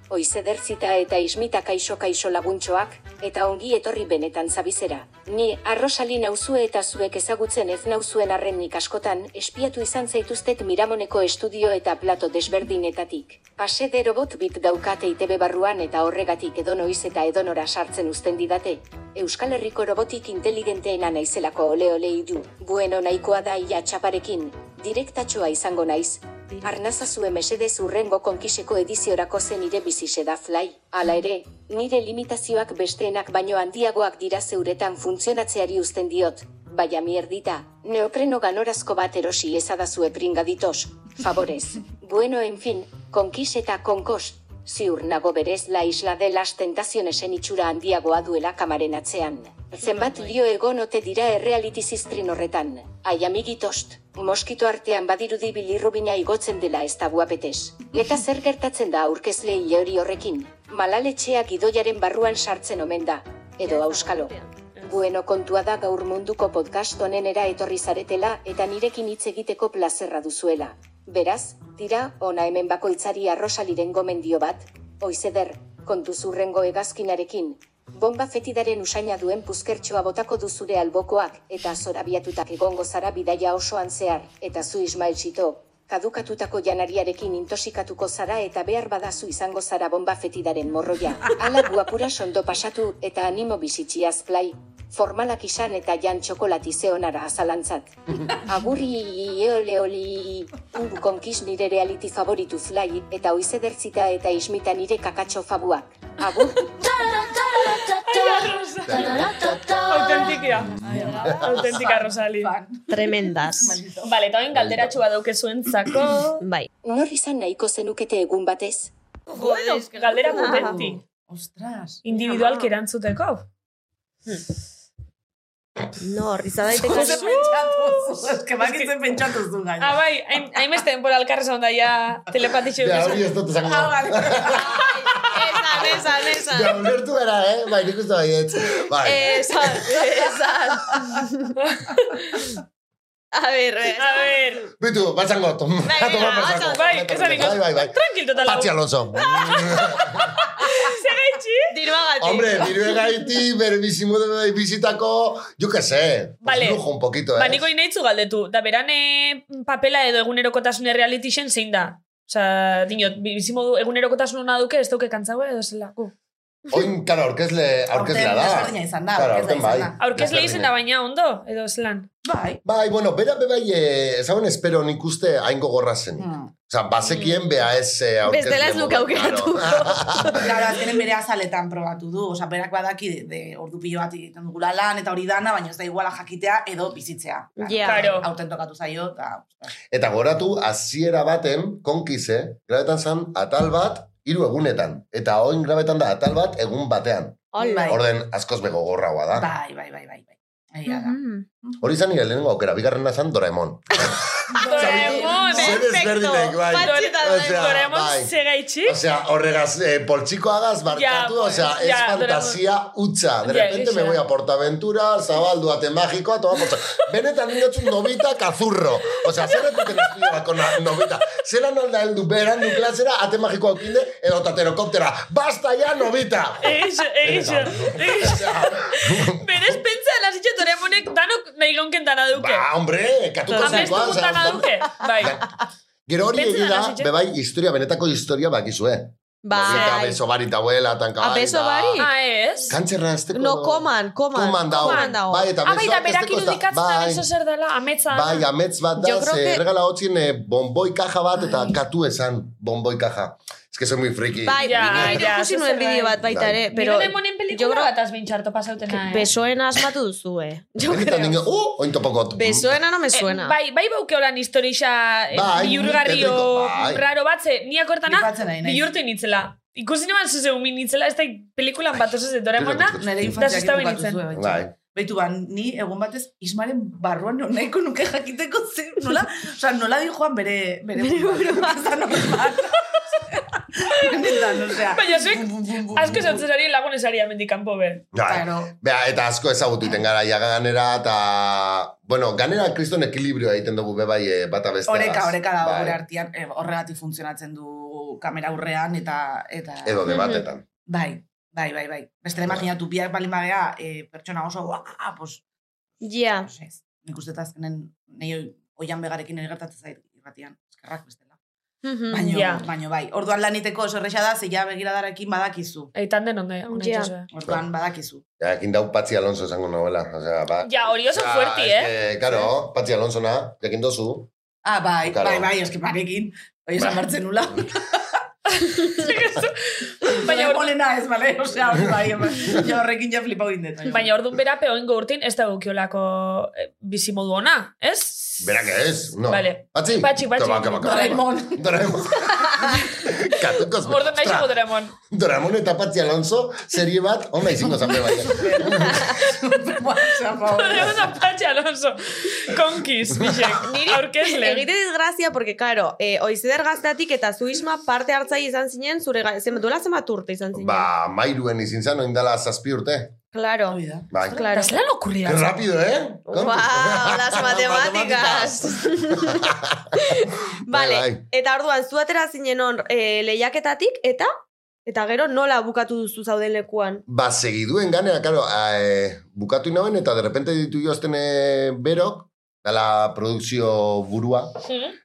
Oizederzita eta ismita kaixo kaixo laguntxoak, eta ongi etorri benetan zabizera. Ni, arrosali nauzue eta zuek ezagutzen ez nauzuen arren nik askotan, espiatu izan zaituztet miramoneko estudio eta plato desberdinetatik. Pase de robot bit daukate ITB barruan eta horregatik edonoiz eta edonora sartzen uzten didate. Euskal Herriko robotik inteligenteena naizelako ole ole idu. Bueno nahikoa da ia txaparekin, direktatxoa izango naiz, Arnazazue mesedez urrengo konkiseko ediziorako zen nire bizise da fly. Hala ere, nire limitazioak besteenak baino handiagoak dira zeuretan funtzionatzeari uzten diot. Baia mierdita, neopreno ganorazko bat erosi ezadazue pringaditos. Favorez. Bueno, en fin, konkis eta konkos. Ziur nago berez la isla de las tentacionesen itxura handiagoa duela kamaren atzean. Zenbat lio egon ote dira erreality ziztrin horretan. Ai amigitost, moskito artean badirudi bilirrubina igotzen dela ez da guapetez. Eta zer gertatzen da aurkezle hori horrekin? Malaletxea gidoiaren barruan sartzen omen da, edo auskalo. Bueno kontua da gaur munduko podcast honenera etorri zaretela eta nirekin hitz egiteko plazerra duzuela. Beraz, tira, ona hemen bakoitzari arrosaliren gomendio bat, oizeder, kontuz urrengo egazkinarekin, bomba fetidaren usaina duen puzkertxoa botako du zure albokoak eta zorabiatutak egongo zara bidaia osoan zehar, eta zu Ismael Sito, kadukatutako janariarekin intosikatuko zara eta behar badazu izango zara bomba fetidaren morroia. Ala guapura sondo pasatu eta animo bizitxiaz play, formalak izan eta jan txokolatize onara azalantzat. Agurri eole oli ungu konkiz nire reality favoritu fly eta oizedertzita eta ismita nire kakatxo fabuak. Agur!
Autentikia. Autentika, Rosali.
Tremendas.
Vale, eta oin galderatxu bat daukezuen zako.
Bai.
Nor izan nahiko zenukete egun batez?
Bueno, galdera potenti.
Ostras.
Individualki erantzuteko.
Nor, izan daiteke...
Jose pentsatu zu, ez que bakitzen pentsatu zu gaina.
Ah, bai, hain- hainbeste denbora alkarrez onda ja *laughs* telepatixo.
Ja, hori ez dut esango.
Ah, vale.
Esan, esan,
Ja,
esan.
ulertu gara, eh? Bai, nik uste baietz. Bai.
Esan, esan. A ber,
A ver,
Bitu, batzango. Tom,
Bai, venga,
*laughs* toma por
batzango.
saco.
Bai,
Toma por
esan
saco.
ikut.
Bai, bai, bai.
tranquil total.
Patxi Alonso.
Zagaitxi?
diruagatik.
Hombre, dirue gaiti, bere bizimu de bizitako, yo que sé, pues
Vale.
lujo un poquito, eh?
Ba, niko inaitzu galdetu. Da, beran eh, papela edo egunerokotasun realitixen zein da? Osa, dinot, bizimodu egunerokotasun hona duke, ez duke kantzaue edo zelako.
Oin, karo, aurkezle, aurkezlea
Aurten
da.
desberdina izan da,
Claro,
aurkezlea
aurten
izan
bai.
da.
Aurkezle
Desberdina.
izen da baina ondo, edo zelan.
Bai.
Bai, bueno, bera bebai, eh, ezagun espero nik uste hain gogorra zen.
Hmm.
Osa, bazekien bea ez eh, aurkezle.
Bestela ez luke
modu,
aukeratuko.
claro.
Claro, azkenen bere azaletan probatu du. Osa, berak badaki de, de ordu pilo bat egiten dugula lan eta hori dana, baina ez da iguala jakitea edo bizitzea.
Ja.
Claro.
Aurten tokatu zaio, eta...
Eta goratu, hasiera baten, konkize, grabetan zan, atal bat, hiru egunetan. Eta oin grabetan da, atal bat, egun batean.
Hola.
Bai.
Orden, askoz bego gorraua da.
Bai, bai, bai, bai, bai. Egia da.
Mhm.
Hori izan nire lehenengo aukera, bigarrena zan Doraemon.
Doraemon,
Ah, Zer
Perfecto.
ezberdinak, bai.
Patxi eta
O sea, bai.
Bai, Doraemon segaitxik.
Osea, horregaz, eh, poltsikoagaz barkatu,
Ya, pues,
osea, es
ya,
fantasía hutsa. De
Ya,
repente me
ya.
voy a Portaventura, zabaldu ate magikoa, toma portza. Benetan nindatzu novita kazurro. Osea, zer ekuten espilabako novita. Zeran alda heldu berandu klasera, ate magikoa ukinde, edo taterokoptera. Basta ya, novita!
Eixo, eixo, eixo. Berez pentsa, lasitxo Doraemonek danok nahi gaunken dana duke.
Ba, hombre, katuko
Amestu
zekoan.
dana duke. Bai.
Ba, Gero hori
Pentsa
egida,
lasitxe.
bebai, historia, benetako historia bakizue. Novita,
Bai.
beso bari, tabuela, tanka
A beso bari?
Ah, ez?
Kantzerra azteko...
No, koman, koman.
Koman dao.
Koman dao.
Bai, eta
Ah, bai, da
besoak
berak
besteko ez da-
irudikatzen
bai,
beso zer dela, ametsa. da.
Bai, amets bat da,
Yo creo
ze
que-
regala hotzin eh, bomboi kaja bat eta katu esan bomboi kaja. Ez que soy muy friki.
Bai,
Ja,
nik nire
ja,
ikusi
zuzen
nuen bideo
bai.
bat baita ere,
Pero
pero
demonen
yo
pelikula
creo
bat azbin txarto pasautena, eh?
besoen asmatu eh. duzue. Yo
Benetan
creo.
dingo, uh, oin topokot.
Besoena no me
Eh,
suena.
bai, bai bauke holan historixa eh,
Bai,
biurgarrio
petriko, bai.
raro bat, ze niak hortana
Flipatzen ari naiz.
bihurtu initzela. Ikusi neban zuzeu min nitzela, ez da pelikulan bat osez de Doraemona.
Bai.
Nere
Da,
infantzia
sustau
bukatu
nintzen.
zuen.
Bai.
Beitu ba, ni egun batez Ismaren barruan nahiko nuke jakiteko zer, nola, osea, nola di joan bere, bere, bere burua. Ez da normal. Benetan, osea.
Baina zuek,
Bum, bum, bum, bum,
Asko
bum.
zautzen ari lagunes ari amendikanpo be.
Bai.
Claro.
Bea, eta asko ezagutu iten gara, ja ganera, eta... Bueno, ganera kriston ekilibrioa egiten dugu, bebai, eh, bata Bai. beste.
Oreka, oreka dago gure artean, eh, horregatik funtzionatzen du kamera aurrean eta... eta
Edo debatetan.
Bai, bai, bai, bai. Bestela imaginatu biak balin bagea, eh, pertsona oso, ah, pues,
Ja.
pues ez. Nik uste eta azkenen, nahi oian begarekin nire gertatzen zait irratian, eskerrak bestela.
Mhm.
Baina,
Mm, ja.
baino, bai. Orduan laniteko oso erresa da, zeia begiradarekin badakizu.
Eitan den onde, ona
Ja.
itxasua.
Orduan badakizu.
Ja, ekin dau Patzi Alonso esango novela. Osea, ba,
Ja, hori oso fuerti, eh.
es que, Karo, Patzi Alonso na, jakin dozu.
Ah, bai,
Claro. Bai.
bai, bai, eski parekin. Oi, esan bertzen nula.
*laughs*
Baina *laughs*
Baina,
hor-
polena ez, bale? Osea, hori bai, bai. Ja, horrekin ja flipau indet. *laughs*
Baina orduan bera peoen urtin ez da gukiolako eh, bizimodu ona, ez?
Berak ez, no. Ah,
Vale.
Patzi?
Patxi, patxi.
Kaba, kaba, kaba.
Doraemon.
Doraemon. *laughs* Katukoz.
Orduan nahi
Ostra,
xego Doraemon.
Doraemon eta Patzi Alonso serie bat, onda izingo zanbe baina.
Doraemon da Patxi Alonso. Konkiz,
*laughs*
bixek.
Niri
Aurkezle.
Egite desgrazia, porque, claro, eh, oizeder gazteatik eta zuisma parte hartzaile izan zinen, zure ga- zenbat, duela zenbat urte izan zinen.
ba, mairuen izin zan, oindala zazpi urte.
Claro.
Bai.
Claro.
Da zelan okurri
Qué
da.
rápido, eh?
Wow,
*laughs*
las matemáticas. vale,
Bai, bai.
eta orduan, zu atera zinen hon eh, lehiaketatik, eta? Eta gero nola bukatu duzu zauden lekuan?
Ba, segiduen ganea, karo, a, e, bukatu inauen eta de repente ditu jozten e, berok, dala produkzio burua,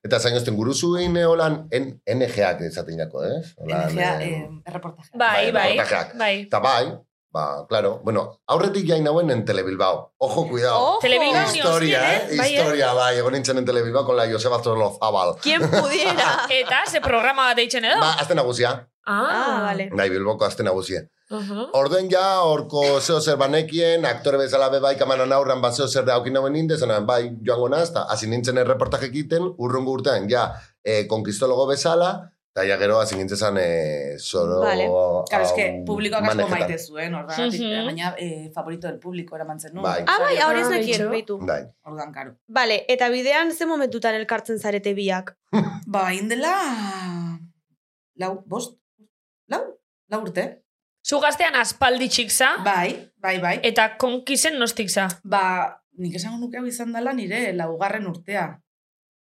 Eta zain guztien, guruzu egin eh, holan en, NGak izaten jako, eh? Holan,
Energia,
eh,
eh, erreportaje.
Bai,
Bai,
bai.
reportajeak.
Bai.
Eta bai, ba, claro. Bueno, aurretik jain hauen en Telebilbao. Ojo, cuidado.
Ojo.
*laughs* Telebilbao ni
Historia,
hostien,
eh? Historia, bai, egon nintzen en Telebilbao con la Joseba Zorlozabal.
Quien pudiera.
Eta, ze programa bat eitzen edo?
Ba, azte nagusia.
ah, vale.
Bai, Bilboko azte nagusia.
Aha.
Orden ja, horko zeo zer banekien, aktore bezala be bai kamaran aurran bat zeo zer da aukin hauen indezan, bai, joango naz, eta hasi nintzen erreportajek egiten, urrungo urtean, ja, eh, konkistologo bezala, eta ja gero hasi nintzen zan, eh, zoro...
Vale.
Claro, es que
hau
publikoak asko
manejetan.
maite zuen, ordan,
Mhm.
baina eh, favorito del publiko eraman zen nuen.
Bai.
Ah, bai,
Saria-
hori ez
Ah,
nekien,
bitxo.
beitu.
Bai.
Orduan, karo.
Vale, eta bidean ze momentutan elkartzen zarete biak?
Ba, indela... Lau, bost? Lau? Lau urte?
Zu gaztean aspalditxik za,
Ah.
Bai, bai, bai.
Eh.
eta konkizen nostik za.
Ba, nik esango nuke hau izan dela nire laugarren urtea.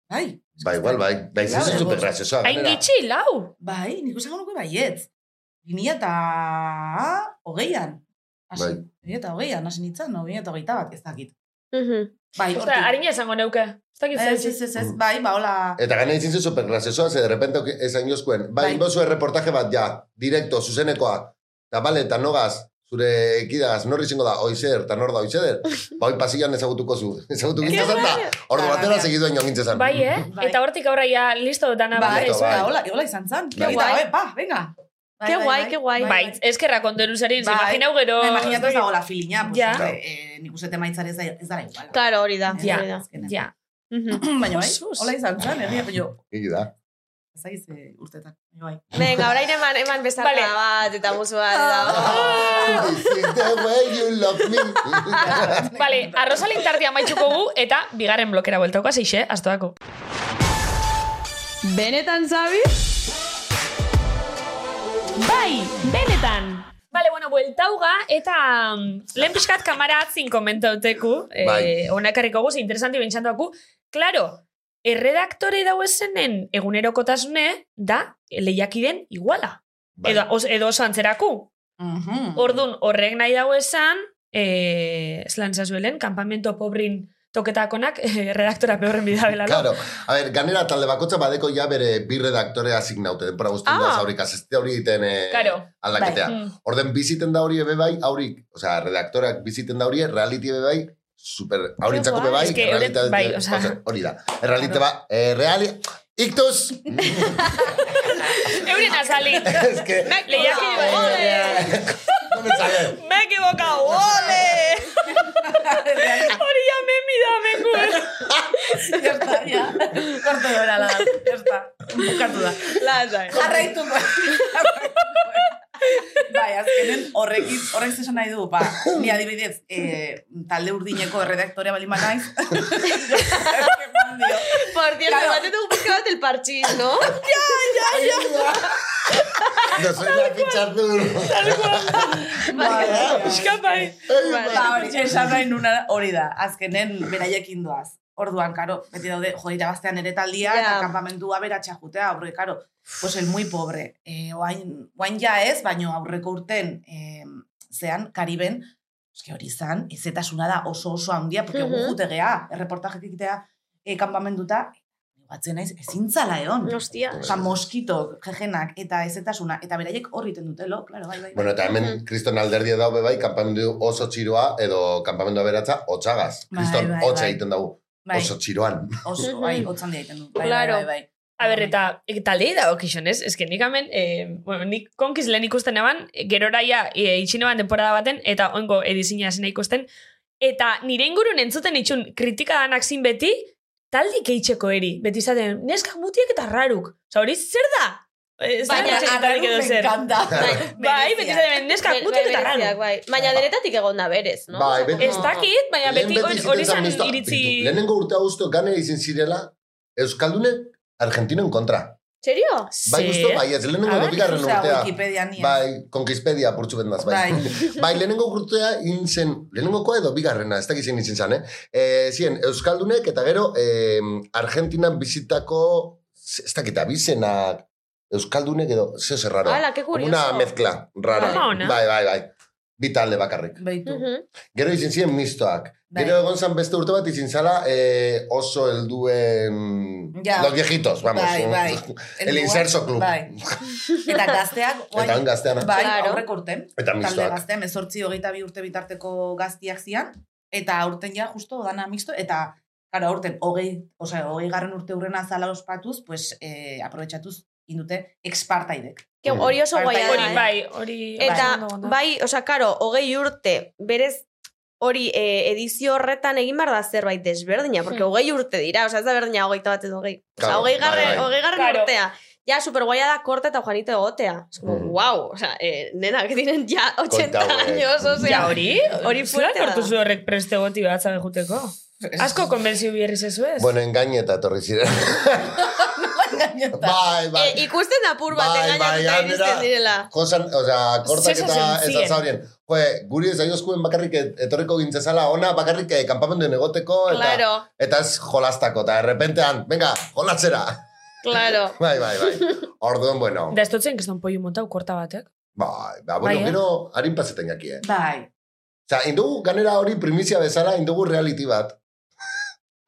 Bai.
Ba, igual, bai. Ba, izan zen
Claro,
super
bost.
graciosoa.
Hain
gainera.
gitxi, lau.
Bai, nik esango nuke baietz. Gini eta hogeian. Hasi,
Bai.
Gini eta hogeian, hasi nintzen, no, gini eta hogeita bat, ez dakit.
Mhm.
Bai,
Ostra, harina esango neuke. Ez dakit
Eh,
Ez,
zer.
ez, ez, ez, bai, ba, hola...
Eta gana izin zen super graciosoa, ze de repente ok- esan jozkuen. Bai,
Bai.
ingo zuen reportaje bat, ja, direkto, zuzenekoa. Eta bale, eta nogaz, zure ekidaz, norri izango da, oizer, eta nor da oizeder.
*laughs*
Ba, hoi pasillan ezagutuko zu. *laughs* Ezagutu gintzazan da, ordu batera
Bai.
segiduen joan
Bai, eh?
Bai.
Eta hortik aurra ja listo dana
Bai,
bai.
Bai,
ez
bai.
da, hola, hola izan zan.
Bai.
Eta,
Guai.
oe, pa, venga.
Ke guai, ke guai.
Bai, eskerrak ondoru zerin,
Bai.
imaginau gero...
Me imaginatu ez dagoela filiña, pues,
Ja.
hombre, eh, nik uste temaitzare ez da, ez dara igual. Eh,
Claro, hori da.
Ja.
hori da.
Ja.
Mhm.
Baina, bai,
Jesus.
hola izan zan, egia, baina,
Egi
*laughs*
da.
ez da, ez urtetan. Baina, Bai.
Venga, orain eman, eman bezarka
Vale.
bat, eta musu bat,
Ah.
eta...
*laughs* This is the way you love me.
Bale, arrozalin tartia maitxuko gu, eta bigarren blokera bueltauko zeixe, astoako.
Benetan, Zabi?
Bai, benetan! Bale, bueno, bueltauga, eta mm, lehen pixkat kamara atzin komentauteku,
Bai.
eh, ona ekarriko guz, interesanti bentsantuaku. Claro, erredaktore dauezenen egunerokotasune da lehiakiden iguala. *laughs*
Bai.
Edo, os, edo oso antzeraku.
Mhm.
Ordun horrek nahi dago esan, eh, eslan zazuelen, kampamento pobrin toketakonak eh, redaktora peorren bidabela.
Claro, a ver, ganera talde bakotza badeko ja bere bi redaktore asignaute, denpora guztien
Ah.
da zaurrik, azeste hori iten eh,
Claro.
aldaketea.
Mm.
Orden biziten da hori ebe bai, haurik, osea, redaktorak biziten da hori, reality ebe bai, super, haurintzako
Qué
ebe
guay.
bai,
Es que hori-
realita-
bai, osea.
osea, hori da. Realite ba, eh, reali, iktus!
Euren azali.
*laughs* es que...
Lehiakide bat. Ole!
*laughs* No me sale.
Me he equivocado, ole!
Mhm. *laughs*
Hori ja memi da, mengu.
Ya está, ya. Korto joera la, ya está. Bukatu da.
Lazai.
Jarraituko. bai, azkenen horrekin, horrek zesan nahi du, ba, ni adibidez, eh, talde urdineko erredaktorea bali naiz.
Por cierto,
Claro.
bate un poco del parchís,
*laughs*
¿no?
No soy la ficha duro. *laughs*
Bai,
Bai,
Eskapai.
Ba, hori esan nahi nuna hori da, azkenen beraiekin doaz. Orduan, karo, beti daude, jo, irabaztean ere taldia,
Ja.
eta kampamentua beratxa jutea, aurre, karo, pues el muy pobre. Eh, oain, oain ja ez, baino aurreko urten, eh, zean, Kariben, eske hori izan, ezetasuna da oso oso handia, porque mm
Mhm.
-hmm. gutegea, erreportajek ikitea, eh, kampamentuta, batzen naiz, ezintzala egon.
Hostia.
Osa, moskitok, jejenak, eta ezetasuna, eta beraiek horri iten dutelo, klaro, bai, bai.
Bueno, eta hemen kriston alderdi daude bai, kampamendu oso txiroa edo kampamendu aberatza otsagaz.
Bai,
Kriston
bai,
hotza
bai.
egiten dugu,
bai.
oso txiroan.
Oso,
Mhm.
bai, hotzan dia egiten du. Bai,
Claro.
bai, bai, bai.
A ber, eta e, taldei da okixonez, ez? Eske nik hemen, eh, bueno, nik konkiz lehen ikusten eban, gerora ja e, itxin eban denporada baten, eta oingo edizina zena ikusten, eta nire ingurun entzuten itxun kritika danak zin beti, taldik eitzeko eri. Beti izaten, neska mutiek eta raruk. Osa, hori zer da? Eh, Ez
Bai,
da
Baina,
erratzen taldik edo zer. Bai, beti izaten, neska
Bai,
mutiek eta
bereziak,
raruk.
bai. Baina deretatik egon da berez, no?
Bai, beti.
Ez dakit, baina
Lehen
beti hori- hori
zituzten
zan
mistoa-
iritzi...
Bitu, Lehenengo urte guztu gane izin zirela, Euskaldunen Argentinen kontra.
Serio?
Bai,
Ze-
guztu, bai, ez lehenengo
Ah,
edo bigarren urtea.
Wikipedia ni.
Bai, konkizpedia purtsu bendaz, bai.
Bai.
*laughs* bai, lehenengo urtea inzen, lehenengokoa edo bigarrena, ez dakizien izin zan, eh? E, zien, Euskaldunek eta gero eh, Argentinan bizitako, ez dakita, bizenak, Euskaldunek edo, zeo zer raro.
Hala, qué
Como
curioso.
Una mezcla, rara.
Ama ona.
Bai, bai, bai. Bi talde bakarrik.
Bai, Baitu.
Mhm.
Gero izin ziren mistoak.
Bai.
Gero egon zan beste urte bat izin zala eh, oso helduen...
Ja.
Los viejitos, vamos.
Bai,
*laughs*
bai.
El inserso club.
Bai. Eta gazteak,
Eta
guain,
han gazteana.
bai,
Claro.
aurreko urten.
Eta
Talde
mistoak.
gaztean, ezortzi hogeita bi urte bitarteko gaztiak zian, eta aurten ja, justo, dana mixto, eta, karo, aurten, hogei, osea, hogei garren urte urren azala ospatuz, pues, eh, aprobetsatuz, indute, expartaidek.
Que hori oso guai da.
Bai,
Hori,
eh?
bai, hori...
Eta,
ondo, ondo.
bai, osea, karo, hogei urte, berez, hori eh, edizio horretan egin behar da zerbait desberdina, porque
Hmm.
hogei urte dira, osea, ez da berdina hogeita bat edo hogei. Osea,
Claro,
hogei garren,
bai, bai.
hogei garren
Claro.
urtea. Ja, superguaia da korta eta joanito egotea. Es como,
Mhm.
wow, osea, eh, nena, que tienen ya 80
Konta hauek.
años, e, osea.
Ja, Bai, hori?
Hori
Zela
fuertea da.
tortu zu horrek preste goti bat zabe juteko? Asko konbentzio biherri zezu ez?
Bueno, engaineta etorri ziren. bai, bai.
Eh, ikusten apur bat,
Bai,
engainatuta
bai,
iristen
Andrea.
direla.
Josan, oza, kortak
Zer
eta
esaten zien?
ez zaurien. Joe, guri ez aiozkuen bakarrik et- etorriko gintzazala, ona bakarrik eh, kanpamenduen egoteko, eta,
Claro,
eta ez jolastako, eta errepentean, venga, jolatzera. *laughs*
claro.
Bai, bai, bai. Orduan, bueno.
Da ez dutzen keston pollo montau korta batek.
Bai, ba, bueno,
Bai, eh?
gero harin paseten jaki, eh?
Bai.
Osa, indugu ganera hori primizia bezala, indugu reality bat.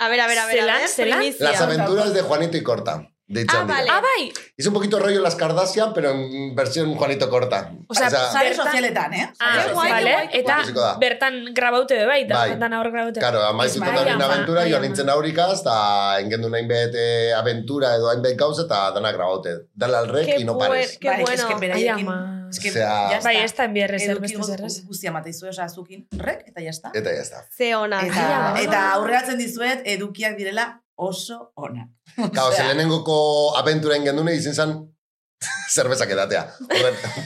A ver, a ver, a ver, a
Zelan,
ver,
zelan?
primizia.
Las aventuras de Juanito y Corta. de
Ah,
Chandigarh.
vale.
Ah, bai!
Es un poquito rollo las Kardashian, pero en versión Juanito Corta.
O sea,
Zare
Bertan-
sozialetan, eh?
Ah,
Bai,
bai,
vale.
bai, bai.
Eta
Ikusiko da.
bertan grabaute be bai, da,
Bai.
dana hor grabaute.
Claro, amaitu
Bai,
dut horren
ama,
aventura,
bai,
joan
ama.
nintzen aurikaz, eta engendu nahin bet eh, aventura edo hainbet gauza, eta dana grabaute. Dale al rec
Qué
y no
buen-
pares.
qué bueno.
Es que
Ai,
beraiekin...
ama.
Es que,
Osea,
ya
Bai,
está.
ez da enbier ezer,
Eduki
beste ezer, ez.
gu- guztia mateizu, oza, azukin rek, eta jazta.
Eta ya está.
Ze ona.
Eta,
*laughs*
Ah, ja,
eta
bai.
aurreratzen dizuet, edukiak direla oso ona.
Kao, zelenengoko aventura engendu nahi izin zan, *laughs* zerbezak edatea.
*laughs*
Horren-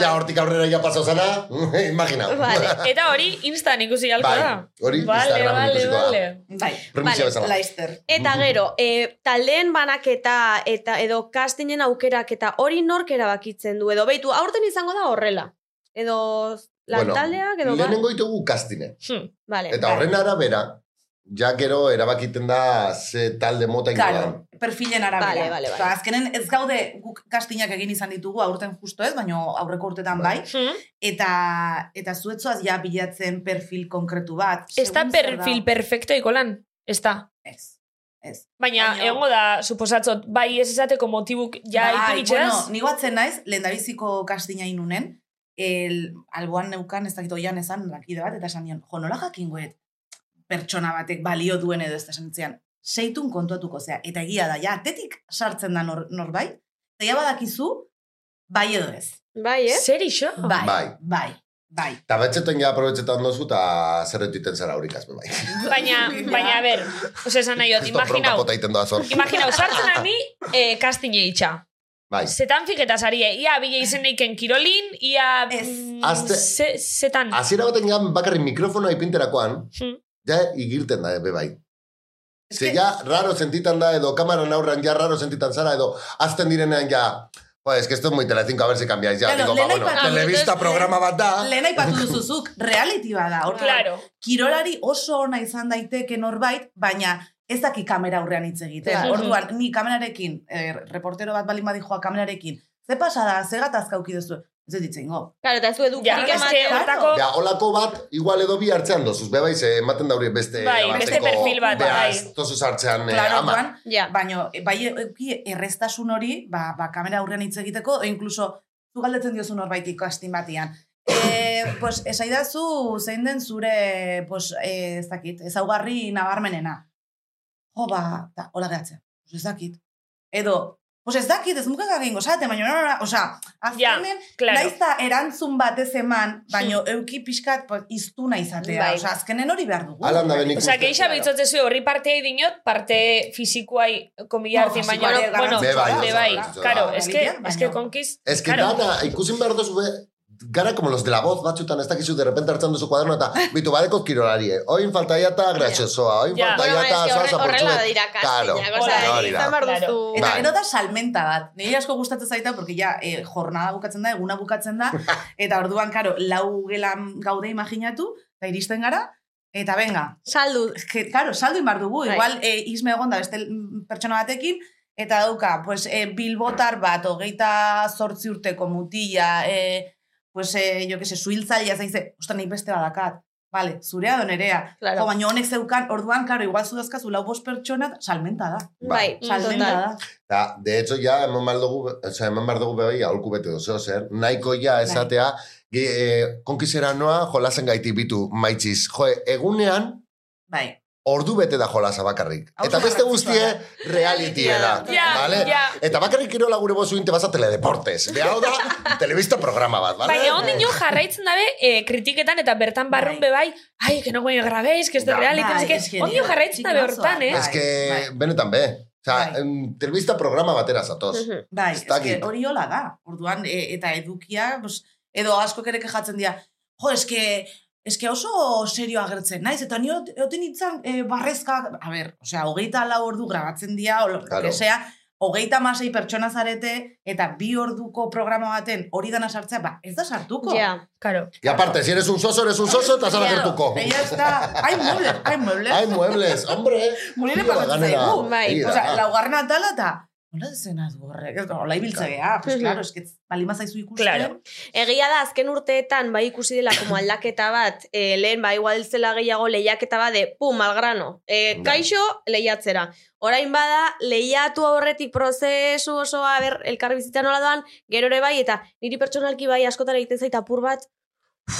Ja, hortik aurrera ja pasau zana, *laughs* imagina. *laughs*
Vale.
Eta hori instan ikusi halko
Bai,
da.
hori
Vale,
Instagramen
vale,
ikusiko da.
vale.
Bai,
Premisa bezala.
laister.
Eta gero, e, taldeen banaketa eta edo castingen aukerak eta hori nork erabakitzen du edo beitu aurten izango da horrela. Edo
Bueno,
lantaldeak edo ba-
Lehenengo ditugu kastine.
Eh,
Hm.
Vale.
Eta horren arabera, ja gero erabakiten da ze talde mota ingo
Claro,
da.
perfilen arabera.
Vale, vale, vale.
Osa, azkenen ez gaude guk kastinak egin izan ditugu aurten justo ez, baino aurreko urtetan bai.
Hm.
Eta eta zuetzoaz ja bilatzen perfil konkretu bat.
Ez da
Segun zer
perfil perfecto ikolan. Ez da.
Ez. Ez.
Baina,
Baina-
egongo da, suposatzot, bai ez esateko motibuk ja bai,
bueno, ni batzen naiz, lehendabiziko kastina inunen, el, alboan neukan, ez dakit oian esan, lakide bat, eta esan nion, jo, nola jakingoet pertsona batek balio duen edo ez da esan nitzian, seitun kontuatuko zea, eta egia da, ja, atetik sartzen da nor, norbait, eta ja badakizu, bai edo ez.
Bai, eh?
Zer iso?
Bai, bai,
Bai.
bai. bai.
Eta betxetan ja aprobetxetan dozu eta zerretu iten zara aurikaz, be bai. *laughs*
Baina, baina, a ber, ose esan nahi dut,
Kristo bronka
imaginau,
pota iten doa zor.
imaginau, sartzen ani eh, castinge itxa.
Bai.
Zetan fiketa zarie, ia bile izen eiken kirolin, ia...
Ez.
mm,
Azte-
ze, zetan.
Hasiera baten gan bakarrik mikrofonoa ipinterakoan,
Hm.
ja igirten da, be bai.
Ez
Ze
Hmm. que-
ja raro sentitan da, edo kamaran aurran ja raro sentitan zara, edo azten direnean ja... Joder, es que esto es muy telecinco, a ver si cambiáis ya.
Claro,
Digo, ba,
lehen
bueno,
aipatu-
telebista
entonces,
programa bat da.
Lehen aipatu duzuzuk, reality bada. Hor,
Claro.
kirolari oso ona izan daiteke norbait, baina ez daki kamera aurrean hitz egiten.
Claro.
Orduan, ni kamerarekin, eh, reportero bat balin badijoa kamerarekin, ze pasada, ze gatazka uki duzu? Ez dut itzengo.
Claro, eta ez du edukirik
Ja,
Nik
ez que
ematen.
hortako...
Ja, holako bat, igual edo bi hartzean dozuz, be bai, ze ematen da hori beste
Bai,
abateko,
beste perfil bat,
beraz,
bai.
dozuz hartzean eh,
Claro,
ama.
orduan,
Ja.
baino, e, bai eduki erreztasun hori, ba, ba kamera aurrean hitz egiteko, e inkluso, zu galdetzen diozu norbait ikastin batian. E, pues, esaidazu zein den zure, pues, e, ez dakit, ezaugarri nabarmenena. Jo, ba, da, hola gehatzen. Pues, ez dakit. Edo, pues ez dakit, ez mukak agingo, zate, baina, no, no, no, oza, azkenen,
claro.
naiz da erantzun batez eman, baino, euki pixkat, pues, iztuna izatea.
Bai.
Osa, azkenen hori behar dugu.
Alan da benik
Osa, geixa
Claro.
bitzotzen zu horri partea dinot, parte fisikuai komila
No,
hartzen baina.
fisikoa ere
Bueno,
Be
be
bai, oso
bai,
garrantzitsua da.
karo, eske,
Baina-
eske konkiz...
Ez que
Claro.
dana, ikusin behar duzu be, gara como los de la voz batzutan ez dakizu de repente hartzen duzu
*laughs*
kuaderno eta bitu badeko kirolarie. eh. Oin faltaia eta gratxosoa, oin
Ja.
faltaia
Bueno,
eta
es que horre-
salsa
horrela
portxuet.
dira
Claro,
castiñak,
osea,
hori da.
izan behar
Claro.
duzu.
Eta
Bai.
gero da salmenta bat. Nire asko gustatzen zaita, porque ja, eh, jornada bukatzen da, eguna
*laughs*
bukatzen da, eta orduan, karo, lau gelan gaude imaginatu, eta iristen gara, eta venga,
Saldu.
que, karo, saldu inbar dugu,
Bai.
igual, eh, izme egon da beste mm, pertsona batekin, eta dauka, pues, eh, bilbotar bat, hogeita zortzi urteko mutila, eh, pues, eh, jo que se, suhiltzailea zaize, ostra, nik beste badakat, vale, zurea do nerea,
Claro.
jo, baina honek zeukan, orduan, karo, igual zu dazkazu lau bost pertsona, salmenta da,
Bai,
salmenta
total.
da.
Ta, de hecho, ja, eman behar dugu, oza, eman behar dugu bebai, aholku bete duzu, zer, nahiko ja
Bai.
esatea, ge, eh, konkizera noa, jolasen gaiti bitu, maitziz. Jo, egunean,
Bai.
ordu bete da jolasa bakarrik.
Hau
Eta beste
garrantzitsua
guztie,
da.
realitie da.
Ja,
vale?
ja.
Eta bakarrik kirola gure bozu inte baza teledeportes. Behau
*laughs*
da, telebista programa bat, vale?
Baina ondin jo Bai, jarraitzen dabe eh, kritiketan eta bertan barrun
Bai.
be bai, ai, que no guain grabéis, que esto
Ja.
es real,
Bai,
que
es que
ondin jo
ni-
jarraitzen dabe
txikinazoa.
hortan, eh?
Ez que,
Bai.
benetan be. Osa,
Bai.
em, telebista programa batera zatoz.
Mhm.
Bai,
Ez dakit.
eske hori hola da. Orduan, e, eta edukia, pues, edo askok ere kejatzen dira, jo, eske, eske oso serio agertzen, naiz, eta ni ot- oten nintzen e, barrezka, a ber, osea, hogeita lau ordu grabatzen dira, o,
Claro.
claro. sea, hogeita masei pertsona zarete, eta bi orduko programa baten hori dana sartzea, ba, ez da sartuko.
Ja.
Claro.
Y aparte, si eres un soso, eres un soso, eta zara
Claro,
gertuko.
Ella está, hay muebles, hay muebles.
Hay muebles, hombre.
Mulire
Tío,
pasatzen
ganera.
zaigu.
Bai.
Egi da.
Osea, laugarren atala eta Nola dezenaz gorrek, ez da, hola ibiltze geha, pues,
Mhm.
claro, esketz, balima zaizu ikusten.
Claro.
Egia da, azken urteetan, bai ikusi dela como aldaketa bat, eh, lehen, bai igual zela gehiago lehiaketa bat de, pum, al grano. Eh,
Bai.
kaixo, lehiatzera. Orain bada, lehiatu aurretik prozesu osoa, ber, elkarri bizitza nola doan, gero ere bai, eta niri pertsonalki bai askotan egiten zait apur bat,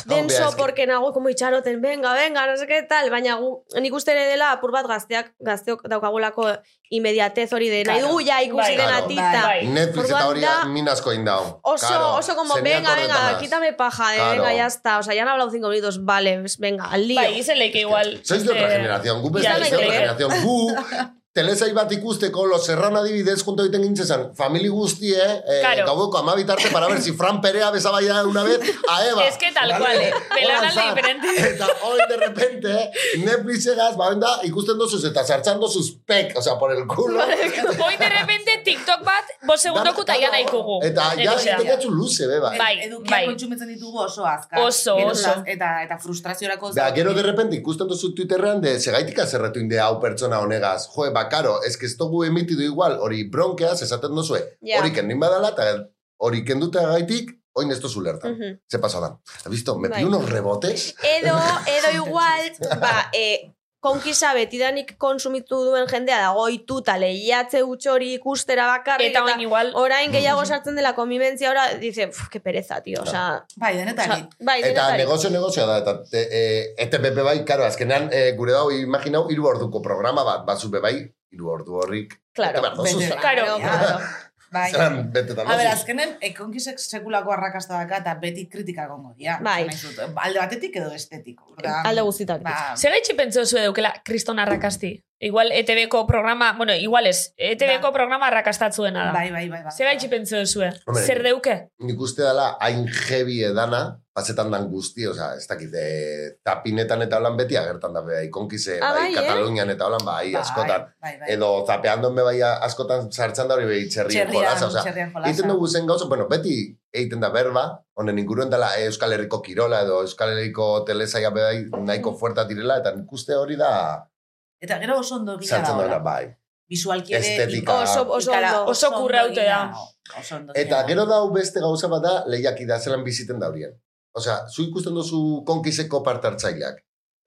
denso,
bea, eske-
porque nago, como itxaroten, venga, venga, no seke, tal, baina gu, nik uste ere dela apur bat gazteak, gazteok daukagolako inmediatez hori de, nahi
Claro.
dugu ja ikusi
Bai.
dena
Claro.
tita.
Bai.
Netflix eta
Orduan
hori
da-
minazko indau.
Oso, oso como, venga, venga, quítame paja, eh,
Claro.
venga, ya está. O sea, ya han hablado cinco minutos, vale, pues, venga, al lío.
Bai, izen leike igual.
Sois de otra
eh,
generación, gu beste
Ya,
sois de otra
eh.
generación. Gu, telesai bat ikusteko, Los Serrano adibidez, junto egiten gintzezan, famili guztie, eh,
Claro.
gaueko amabitarte para ver si Fran Perea besaba ya una vez a Eva.
Es que tal cual, eh. Belaunaldi
Hola, Fran.
diferente.
Eta hoy de repente, eh, Netflix egaz, ba, oenda, ikusten dozuz eta zartzando sus pec, o sea, por el culo.
Hoy de repente TikTok bat, bos segundoku eta
Dana-
ja daikugu.
Eta ja,
Egotea.
zitekatzu luze, beba.
Bai,
Edukiak
bai.
kontsumitzen ditugu oso azkar.
Oso,
Gero
oso.
laz- Eta, eta frustraziorako...
Da, gero de repente ikusten duzu Twitterrean de segaitik azerratu inde hau pertsona honegaz. Jo, ba, karo, ez que ez dugu emitidu igual, hori bronkeaz esaten duzue.
Ja.
Hori kendin badala, eta hori kenduta gaitik, oin ez duzu lertan.
Ujú.
Ze pasadan. ¿Has visto? Me
Bai.
pillo unos rebotes.
Edo,
*laughs*
edo igual, ba, eh, konkisa betidanik konsumitu duen jendea dago ituta lehiatze utxori ikustera bakarrik.
Eta oin igual,
orain
Mm.
gehiago sartzen dela konbimentzia ora, dice, "Pf, que pereza, tío, o sea...
Bai, denetari.
osa, bai,
Eta
denetari.
negozio negozioa da, eta te, e, ETPP bai, karo, azkenean e, gure dago imaginau hiru orduko programa bat, batzu be bai, hiru ordu horrik.
Claro.
Bete behar duzu,
Bete.
zelan-
Claro.
Claro.
Bai.
zelan bete
A ber, azkenen, ekonkisek sekulako arrakasta daka eta beti kritika gongo dira.
Bai.
Esan nahi zut, Alde batetik edo estetiko. Orduan,
Alde guztitatik.
Ba,
Zer gaitxe pentsatu zuen deukela kriston arrakasti? Igual ETB-ko programa, bueno, igual ez, ETB-ko
Da.
programa arrakastatzuena da.
bai, bai, bai. bai.
Zer gaitxe pentsatu zuen?
Hombre.
Zer deuke?
nik uste dela hain jebi edana, pasetan dan guzti, oza, ez dakit, e, tapinetan eta holan beti agertan da, bai, konkize,
Ah,
bai,
bai, eh?
Katalunian eta holan, bai, askotan.
Bai, bai.
Edo zapeandon be bai askotan sartzen da hori behi txerrien
Txerrian,
jolaza, oza,
txerrian bai. jolaza.
egiten dugu zen gauza, bueno, beti egiten da berba, honen inguruen dela e, Euskal Herriko Kirola edo Euskal Herriko telesaia be bai nahiko fuerta direla, eta nik uste hori da
Eta gero oso ondo gila
sartzen
da.
da, bai.
Visualki ere...
Estetika.
Oso, oso
ikara-
ondo.
Oso
ondo
kurraute
egina
da.
dago, Oso ondo
Eta
egina
gero dau beste gauza bat da lehiakida zelan biziten da horien. Osea, zu ikusten duzu konkiseko parte hartzaileak.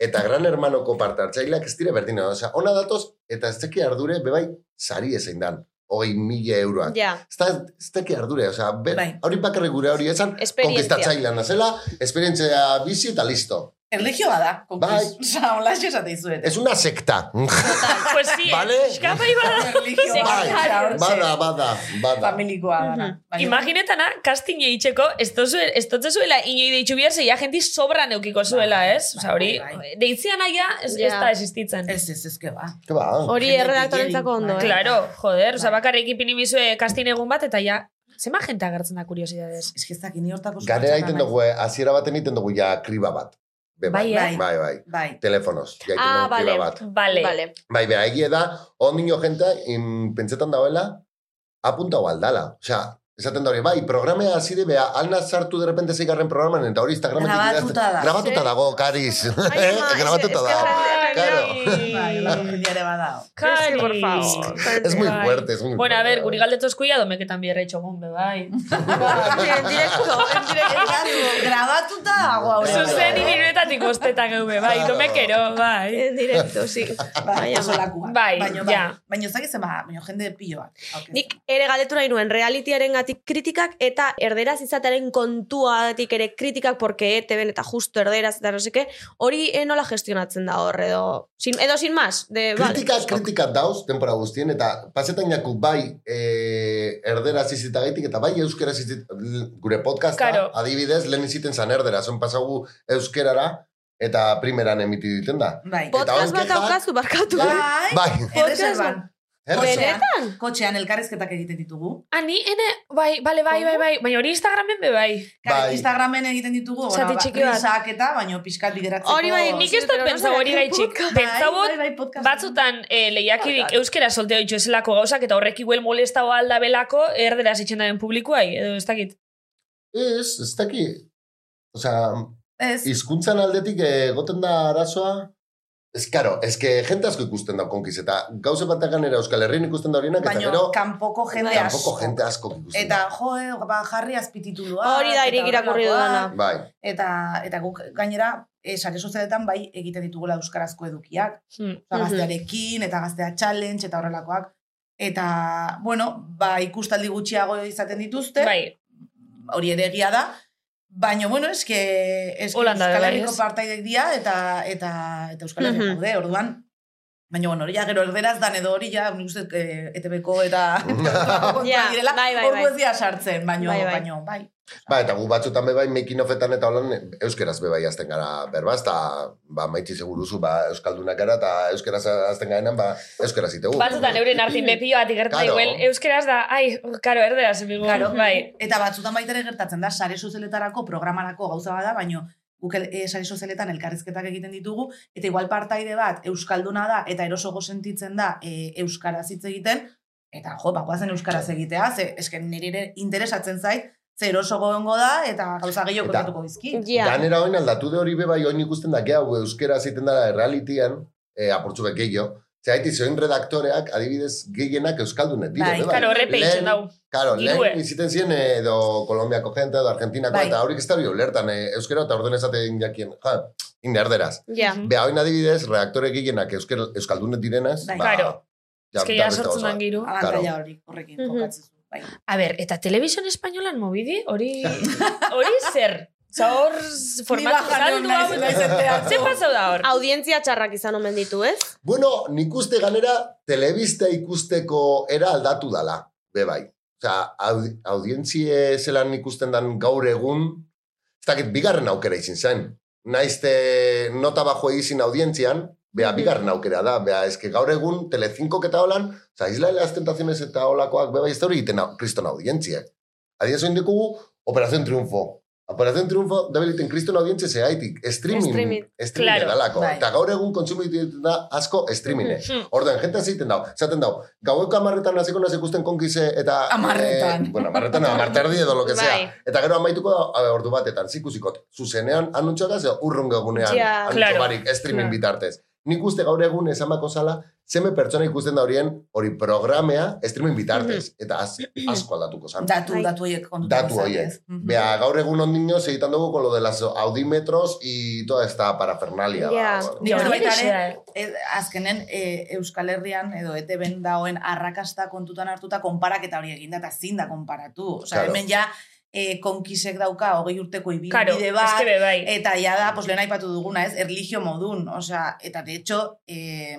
Eta gran hermanoko parte hartzaileak ez dira berdina. Osea, ona datoz, eta ez teki ardure, bebai, sari ezein dan. Hogei mila euroak.
Ja,
Ez da, ez teki ardure, osea, be,
Bai.
hori bakarrik gure hori esan,
Esperientzia.
konkistatzailean nazela, esperientzia bizi eta listo.
Erlijio bada, *laughs* konkiz.
Bai.
Osa, hola esate izuet.
Ez una sekta.
Pues sí,
Vale.
eskapai bada.
Erlijio
Bai.
bada.
bada, bada, bada.
Familikoa dara.
Mhm.
Baina-
Imaginetana, casting eitzeko, ez dozue- ez dotze zuela inoi deitxu bihar, zeia jenti sobran eukiko zuela, ez? Osa, hori,
Bai, bai.
deitzia naia ez, ez
Ja.
da existitzen.
Ez, ez, ez, que ba.
Ke ba,
hori erredaktorentzako ondo, eh?
Claro, joder, osa,
Bai.
bakarrik ipinimizue casting egun bat, eta ja, zema jente agertzen da kuriosidades.
Ez que ez dakit, ni hortako...
Garera
sufritzen
egiten
naiz.
dugu, eh, hasiera baten egiten dugu ja kriba bat. Be,
Bai, eh?
bai, bai, bai.
Bai.
Telefonos. Ja, egiten
Ah,
dugu kriba
vale.
bat.
Vale.
Vale.
Bai, bera, egia da, ondino jenta, in, pentsetan dagoela, apunta aldala. Osea, esaten da hori, bai, programea hasi de bea, alna sartu de repente zeigarren programan, eta hori Instagrametik
Grabatuta
idazten-
da.
Grabatuta
Sí.
dago, Kariz.
Ai, ama,
*laughs* Eh, Grabatuta
es- es que
da.
Bai, olako jendeare badao.
Cari.
por favor.
Es muy
Bai.
fuerte, es muy
Bueno, a
fuerte,
ver,
bai.
guri galdetu eskuia domeketan bierra itxogun, be, bai.
en directo,
*laughs*
en directo.
Grabatuta dago aurre.
Zuzen ibilbetatik ostetan geube, bai, domekero, bai.
En directo, sí.
Bai,
Bai,
oso lakua.
Bai,
baina,
ja.
Baina zaki zen, ba, baina jende pilo bat. aurkezten.
Nik ere galetu nahi nuen realitiaren gatik kritikak eta erderaz izatearen kontuatik ere kritikak porque ETB eta justo erderaz eta no seke, hori eh, nola gestionatzen da hor edo sin, edo sin más de vale.
Kritika, kritika dauz, tenpora guztien, eta pasetan jaku bai e, erderaz izitagaitik, eta bai euskeraz izit, l- gure podcasta,
Claro.
adibidez, lehen iziten zan erderaz, on pasagu euskerara, eta primeran emiti diten da.
Bai.
Pot-
Podcast
Eta
bat
onketa-
daukazu barkatu.
Bai.
Bai,
Erreserban.
erreserba.
*laughs* Benetan?
Kotxean elkarrezketak egiten ditugu.
Ani, ene, bai, bale, bai, bai, bai, baina hori Instagramen be, bai.
Kare,
Bai.
Instagramen egiten ditugu, bueno,
Zati
ba,
txiki bat.
risak eta, baino pixkat bideratzeko.
Hori bai,
Nik ez
Pero
dut
no
pentsau hori
será que
gaitxik.
podcast.
Pentsau
Bai,
hot,
bai, podcast.
batzutan eh, lehiakidik euskera solteo itxo eselako gauzak eta horrek iguel molestao alda belako erderaz itxen daren publikuai, edo ez dakit.
Ez, ez daki. Osea,
Ez,
hizkuntzan aldetik eh, egoten da arazoa, Ez, karo, eske jente asko ikusten da konkiz, eta gauze bat ganera Euskal Herrien ikusten da horienak, eta
Baina
gero,
kanpoko jende asko.
kanpoko jente asko ikusten
Eta jo, eh, ba, jarri azpititulua.
Hori da, irik irakurri dudana.
da. Bai, *laughs*
Eta, eta guk gainera, eh, sare sozialetan bai egiten ditugula euskarazko edukiak.
Hmm.
Osa,
Mhm.
gaztearekin, eta gaztea challenge, eta horrelakoak. Eta, bueno, ba, ikustaldi gutxiago izaten dituzte.
Bai,
Hori ere egia da. Baina, bueno, eske, eske
Holanda
Euskal
bai,
Herriko
ez?
partaidek dira, eta, eta, eta Euskal Herriko
Mhm.
daude, orduan. Baina, bueno, hori ja gero erderaz dan edo hori ja, nik uste, eh, ETB-ko eta... *laughs*
Ja,
direla,
bai, bai,
ordu
bai.
ez dira sartzen, baina,
Bai,
bai,
bai.
baina, bai.
ba, eta gu batzutan bebai making offetan eta holan euskeraz bebai azten gara berbaz, eta ba, maiti seguruzu, ba, euskaldunak gara, eta euskeraz azten garenan, ba, euskeraz itegu.
batzutan euren hartin bepio bat ikertu
Claro.
igual euskeraz da, ai, karo, erderaz, bigu.
Claro.
bai.
Eta batzutan baita ere gertatzen da, sare sozialetarako programarako gauza bada, baino guk el- e, sare sozialetan elkarrizketak egiten ditugu, eta igual partaide bat euskalduna da, eta erosogo sentitzen da e, euskaraz hitz egiten, eta jo, bakoazen euskaraz egitea, ze esken niri ere interesatzen zait, ze erosogo ongo da, eta gauza gehiago
Eta-
kontatuko dizki.
Ja.
Ganera oin aldatu de hori bebai, oin ikusten da, gehiago euskera zeiten dara errealitian, e, apurtzu bet gehiago, Zeraiti, zoin redaktoreak, adibidez, gehienak euskaldunet dira.
Bai,
bebai.
Karo, horre
Lehen-
peitzen dau.
Claro,
Dirue.
lehen biziten ziren eh, edo Kolombiako jente, edo Argentinako,
Bai.
eta haurik ez da hori ulertan eh, euskera, eta orden ezaten jakien, ja, inerderaz.
Ja.
Mm.
Beha, oin adibidez, reaktore gehienak euskera, euskaldunet direnez,
Bai.
Claro.
ba, ja,
Ez que
da
ya
beste
sortzen
gauza
dan
bat.
giru.
Abantaila hori, horrekin,
Mhm.
jokatzen zu. Bai.
A ber, eta televisión espainolan movidi, *laughs* hori hori zer? Osa, hor formatu
Ni baja
saldu
non naiz, naiz
hau.
enteatu.
Ze pasau da hor?
Audientzia txarrak izan omen ditu, ez?
Bueno, nik uste ganera, telebista ikusteko era aldatu dala, bebai. Osa, audi, audientzie zelan ikusten dan gaur egun, ez dakit, bigarren aukera izin zen. Naizte nota bajo izin audientzian, Bea, bigarren aukera da, bea, eske gaur egun Telecinco eta holan, oza, Isla de las Tentaciones eta holakoak beba izte hori egiten au- kriston audientziek. Adiez oin dikugu, Operación Triunfo. Operación Triunfo, da beliten kriston audientzia zehaitik, streaming,
Streaming.
streaming, streaming
Claro,
edalako.
bai.
Eta gaur egun kontsumitu egiten da asko streamine.
Hmm,
Orduan, jente zeiten dau, zaten dau, gaueko amarretan hasiko naz ikusten konkize eta...
Hamarretan.
Eh, bueno, amarretan, amarterdi edo lo que sea.
Bai.
Eta gero amaituko da, eh, ordu batetan, zikusikot, zuzenean, anuntxoak ze urrun gagunean,
Ja, Hmm.
anutxo
claro.
barik, streaming
Claro.
bitartez. Nik uste gaur egun esamako zala, zeme pertsona ikusten da horien hori programea streaming bitartez.
Hmm.
Eta az, asko aldatuko zan.
Datu,
Bai.
datu horiek kontutan
Datu
izan,
horiek.
ez? Mhm.
Bea, gaur egun ondino segitan dugu con lo de las audimetros y toda esta parafernalia.
Ja.
ba, bueno.
Nik
Ja,
uste
hori
baita
horixe
ere,
da, eh.
ez- azkenen e, Euskal Herrian edo ETB-en dagoen arrakasta kontutan hartuta konparaketa hori eginda eta zin da konparatu. Osa,
Claro.
hemen ja e, konkisek dauka hogei urteko
Karo,
ibilbide bat,
eske be bai.
eta ja da, pues, lehen aipatu duguna, ez, erlijio modun. Osa, eta de hecho, e,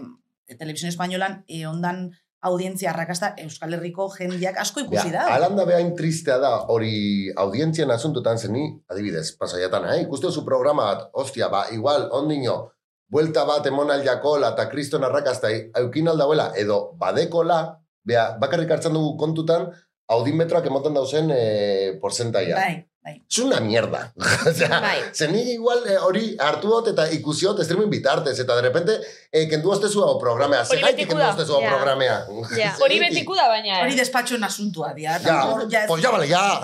Televisión Espainolan e, ondan audientzia arrakasta Euskal Herriko jendeak asko ikusi da.
Bea, alanda behain tristea da hori audientzien asuntotan zeni, adibidez, pasaiatan, eh? ikuste zu programa bat, ostia, ba, igual, ondino, buelta bat emon aljakola eta kriston arrakazta eukin aldauela, edo badekola, bea, bakarrik hartzen dugu kontutan, audimetroak emoten dauzen eh, porzentaia.
Bai, bai.
Es una mierda. *laughs* o sea,
Bai.
zeni igual eh, hori hartu dut eta ikusiot streaming bitartez, eta de repente, eh, kendu hostezua o programea,
Hori
zegaitik
betiko
kendu
da.
hostezua
Ja.
programea.
Ja.
Hori
*laughs* Zergatik?
betiku da baina.
Hori
eh.
despatxon asuntua, dia.
Ja,
Hor ja ez-
pues ya vale, ya.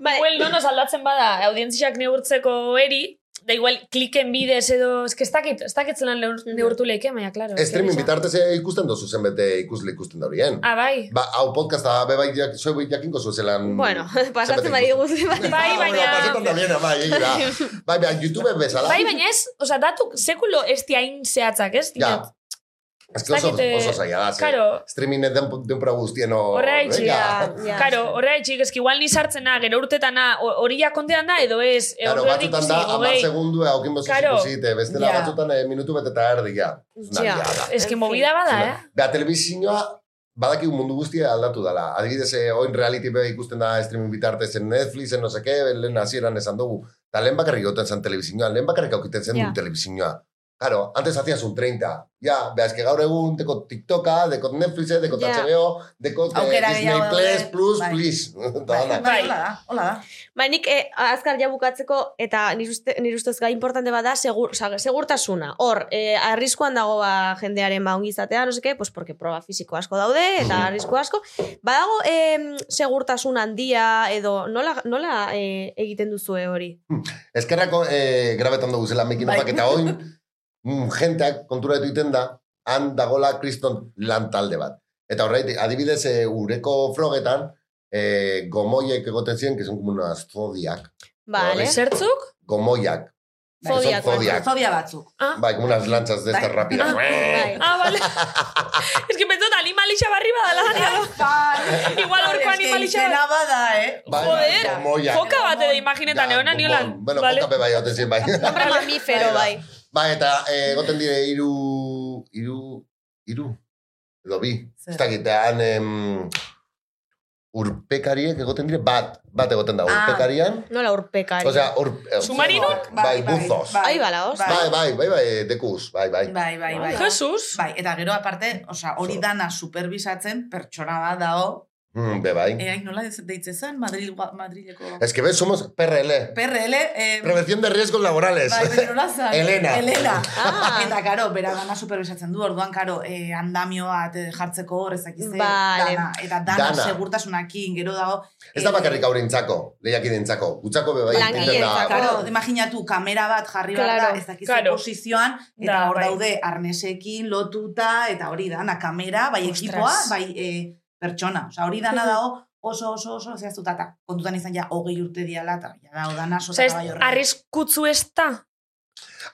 Bai,
Igual nonos aldatzen bada audientziak neurtzeko eri, da igual kliken bidez edo, eske ez dakit, ez dakit zelan leur- neurtu leike, baina, klaro. eske
Streaming
bizar-
bitartez eh, ikusten dozu zenbete ikusle ikusten da horien.
Ah, bai.
Ba, hau podcasta bebait jak, zoe jakinko zu zelan...
bueno, *laughs* pasatzen
zenbait
badigu *laughs*
ikusten.
zenbait.
Bai,
Ah, bueno,
baina-
Pasatzen da biena, bai,
*laughs*
egia da. Bai, bai, YouTube bezala.
Bai, baina ez, oza, datu sekulo ez diain zehatzak, ez?
Ja.
Dinat.
Ez que oso,
Dakite-
oso zaila da, ze.
Claro.
Streaming den, denpora guztien hor...
Horra itxi,
venga.
ja, ja.
Karo, horre etxik, eski igual nizartzena, gero urtetana, ho- hori jakontean da, edo ez, bai. e,
Claro,
horre
batzutan
ikusi,
da, amar
hogei.
segundu haukin bozuz
Claro.
ikusite, bestela
Ja.
batzutan eh, minutu bet eta erdi, ja. Una
Ja.
mierda.
Eski
En
movida bada, eh?
Ba, telebizioa badakigu mundu guztia aldatu dela. Adibidez, eh, oin reality beba ikusten da streaming bitartez en Netflix, en no seke, lehen hasieran esan dugu. Ta lehen bakarrik goten zen telebizioa, lehen bakarrik aukiten zen
Ja.
du telebizioa. Claro, antes hacías un 30. Ja, beha, eske gaur egun, deko TikToka, deko Netflix, deko
Ja.
HBO, deko eh,
Aukera
Disney
gehiago
Plus,
daude.
Plus,
Bai.
Please. *laughs* Eta
Bai,
dana.
bai, hola da, hola da.
Ba, nik eh, azkar ja bukatzeko, eta nire uste, nire ustez gai importante bat da, segur, oza, segurtasuna. Hor, eh, arriskuan dago ba, jendearen ba ongizatea, no seke, pues porque proba fisiko asko daude, eta arrisku asko. Badago eh, segurtasun handia, edo nola, nola eh, egiten duzue hori?
Eskerrako eh, grabetan dugu zela mekin
Bai.
eta oin, mm, jenteak konturatu egiten da, han dagola kriston lan talde bat. Eta horreit, adibidez, e, ureko frogetan, e, gomoiek egoten ziren, que son como unas zodiak,
Vale.
Horre.
Zertzuk?
gomoiak,
Bai,
Fodiak.
Son fodiak.
zodia batzuk.
bai, como unas lanchas de estas
Bai.
rápidas.
Bai.
Ah,
*laughs*
vale. *laughs* es que pentsot animalixa barri badala dania. *laughs*
Bai.
Igual horko
Eske
animalixa
izena bada, eh?
Bai,
Joder,
gomoiak.
Foka bat edo
Ja,
imaginetan egon
bonbon.
niolan.
Bueno,
Vale.
jokape bai, egoten ziren,
*laughs*
bai.
Hombre mamífero, bai.
Bai, eta eh, egoten dire hiru hiru hiru edo bi.
Zer?
Ez dakit, da, han em, urpekariek egoten dire bat, bat egoten da
Ah.
urpekarian.
Nola urpekari.
Osea, urp, eh,
Submarinon?
Bai, buzos.
Ahí va la hoz.
Bai, bai, bai, bai, dekuz, bai, bai.
Bai, bai, bai.
Jesus.
Bai, eta gero aparte, osea, hori
So.
dana supervisatzen pertsona bat dao.
Mm, be, bai.
Eh, hain nola ez- deitzen zen Madril, Madrileko
Es que ves, somos PRL.
PRL, eh,
Prevención de riesgos laborales.
Bai, baina nola zen?
Elena.
Elena.
Ah.
Eta, karo, bera dana superbisatzen du, orduan, karo, eh, andamio bat eh, jartzeko hor, ez dakize,
Vale.
dana. Eta dana,
Dana.
segurtasunakin, gero dago...
*laughs* Ez
eh,
da bakarrik haurentzako, lehiakideentzako. Gutzako be bai.
Langileentzako.
egiten da-
Karo, imaginatu, kamera bat jarri
Claro,
behar da, ez dakize
claro.
posizioan, eta
Da,
hor
bai.
daude arnesekin, lotuta, eta hori dana, kamera, bai
Ostras.
ekipoa, bai eh, pertsona. Osea, hori dana dago oso, oso, oso, zehaztuta, eta kontutan izan ja, hogei urte diala, eta ja dago dana,
Osea,
sota
ez
bai horrela.
arriskutzu ez da.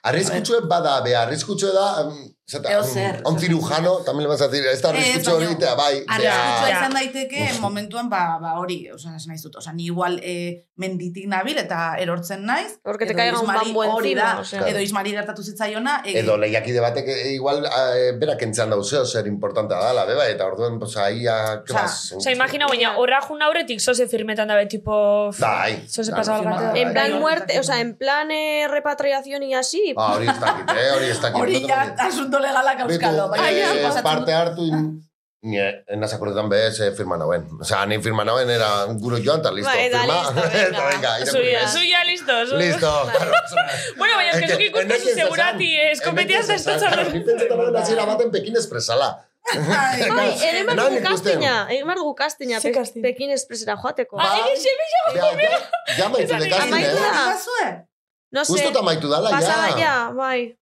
Arriskutsue bada, be, arriskutsue da, mm, zeta,
Eo
mm,
zer.
a un cirujano, también le vas a decir, ez
Eh,
da
Ez,
arriskutsue
baina-
hori, eta bai,
Arriskutsua
bea-
Ja.
izan daiteke momentuan ba, ba hori, osea, esan nahi dut, osea, ni igual eh, menditik nabil eta erortzen naiz.
Porque te
edo
caiga un
Ismari
bambu
hori
encima,
da,
osea.
Edo Ismari gertatu zitzaiona, e,
edo lehiakide batek e, igual eh, berak entzan dauzeo zer importanta dala, beba, eta orduan, pues, aia,
Osea,
kebaz.
Osea, imagina, baina horra jun aurretik zoze firmetan dabe, tipo...
Bai.
Zoze
Claro,
pasabal
encima,
bat.
En
Bai.
plan muerte, o sea, en plan eh, repatriación y así.
Ah, hori ez dakit, eh, hori ez dakit.
hori
no te
ja
dakit.
asunto legalak bai. auskalo.
Betu,
baina
eh,
hori pasatzen
parte
du.
hartu, in, ni eh, enaz akordetan behez eh, firma nauen. Osea, ni firma nauen, era un guro joan, eta listo,
Bai, eta
firma.
listo,
*laughs* Eta
venga.
venga, irakurri,
Zuia,
ez?
zuia, listo. zu-
Listo, claro. osea.
*laughs* Bueno, baina ez que
Es
zuk ikusten
hemen ez da
segurati, eh,
zan.
eskopetiaz
Hemen
da
ez da zan. *laughs* Ni
estotzarra.
pentsetan nuen hasiera baten Pekin espresala.
*laughs* Ai,
Bai,
Claro.
ere behar dugu
Enan ikusten.
kastina, egin behar dugu kastina,
Ze
pe,
casting?
Pekin Expressera joateko.
Ba-
Ah, egin semilla!
Ja, ja, ja maitu
Esan
dekaztin,
egin.
eh?
Amaitu da.
Badakizue?
No sé,
Justo amaitu dala, ja.
pasada ya, bai.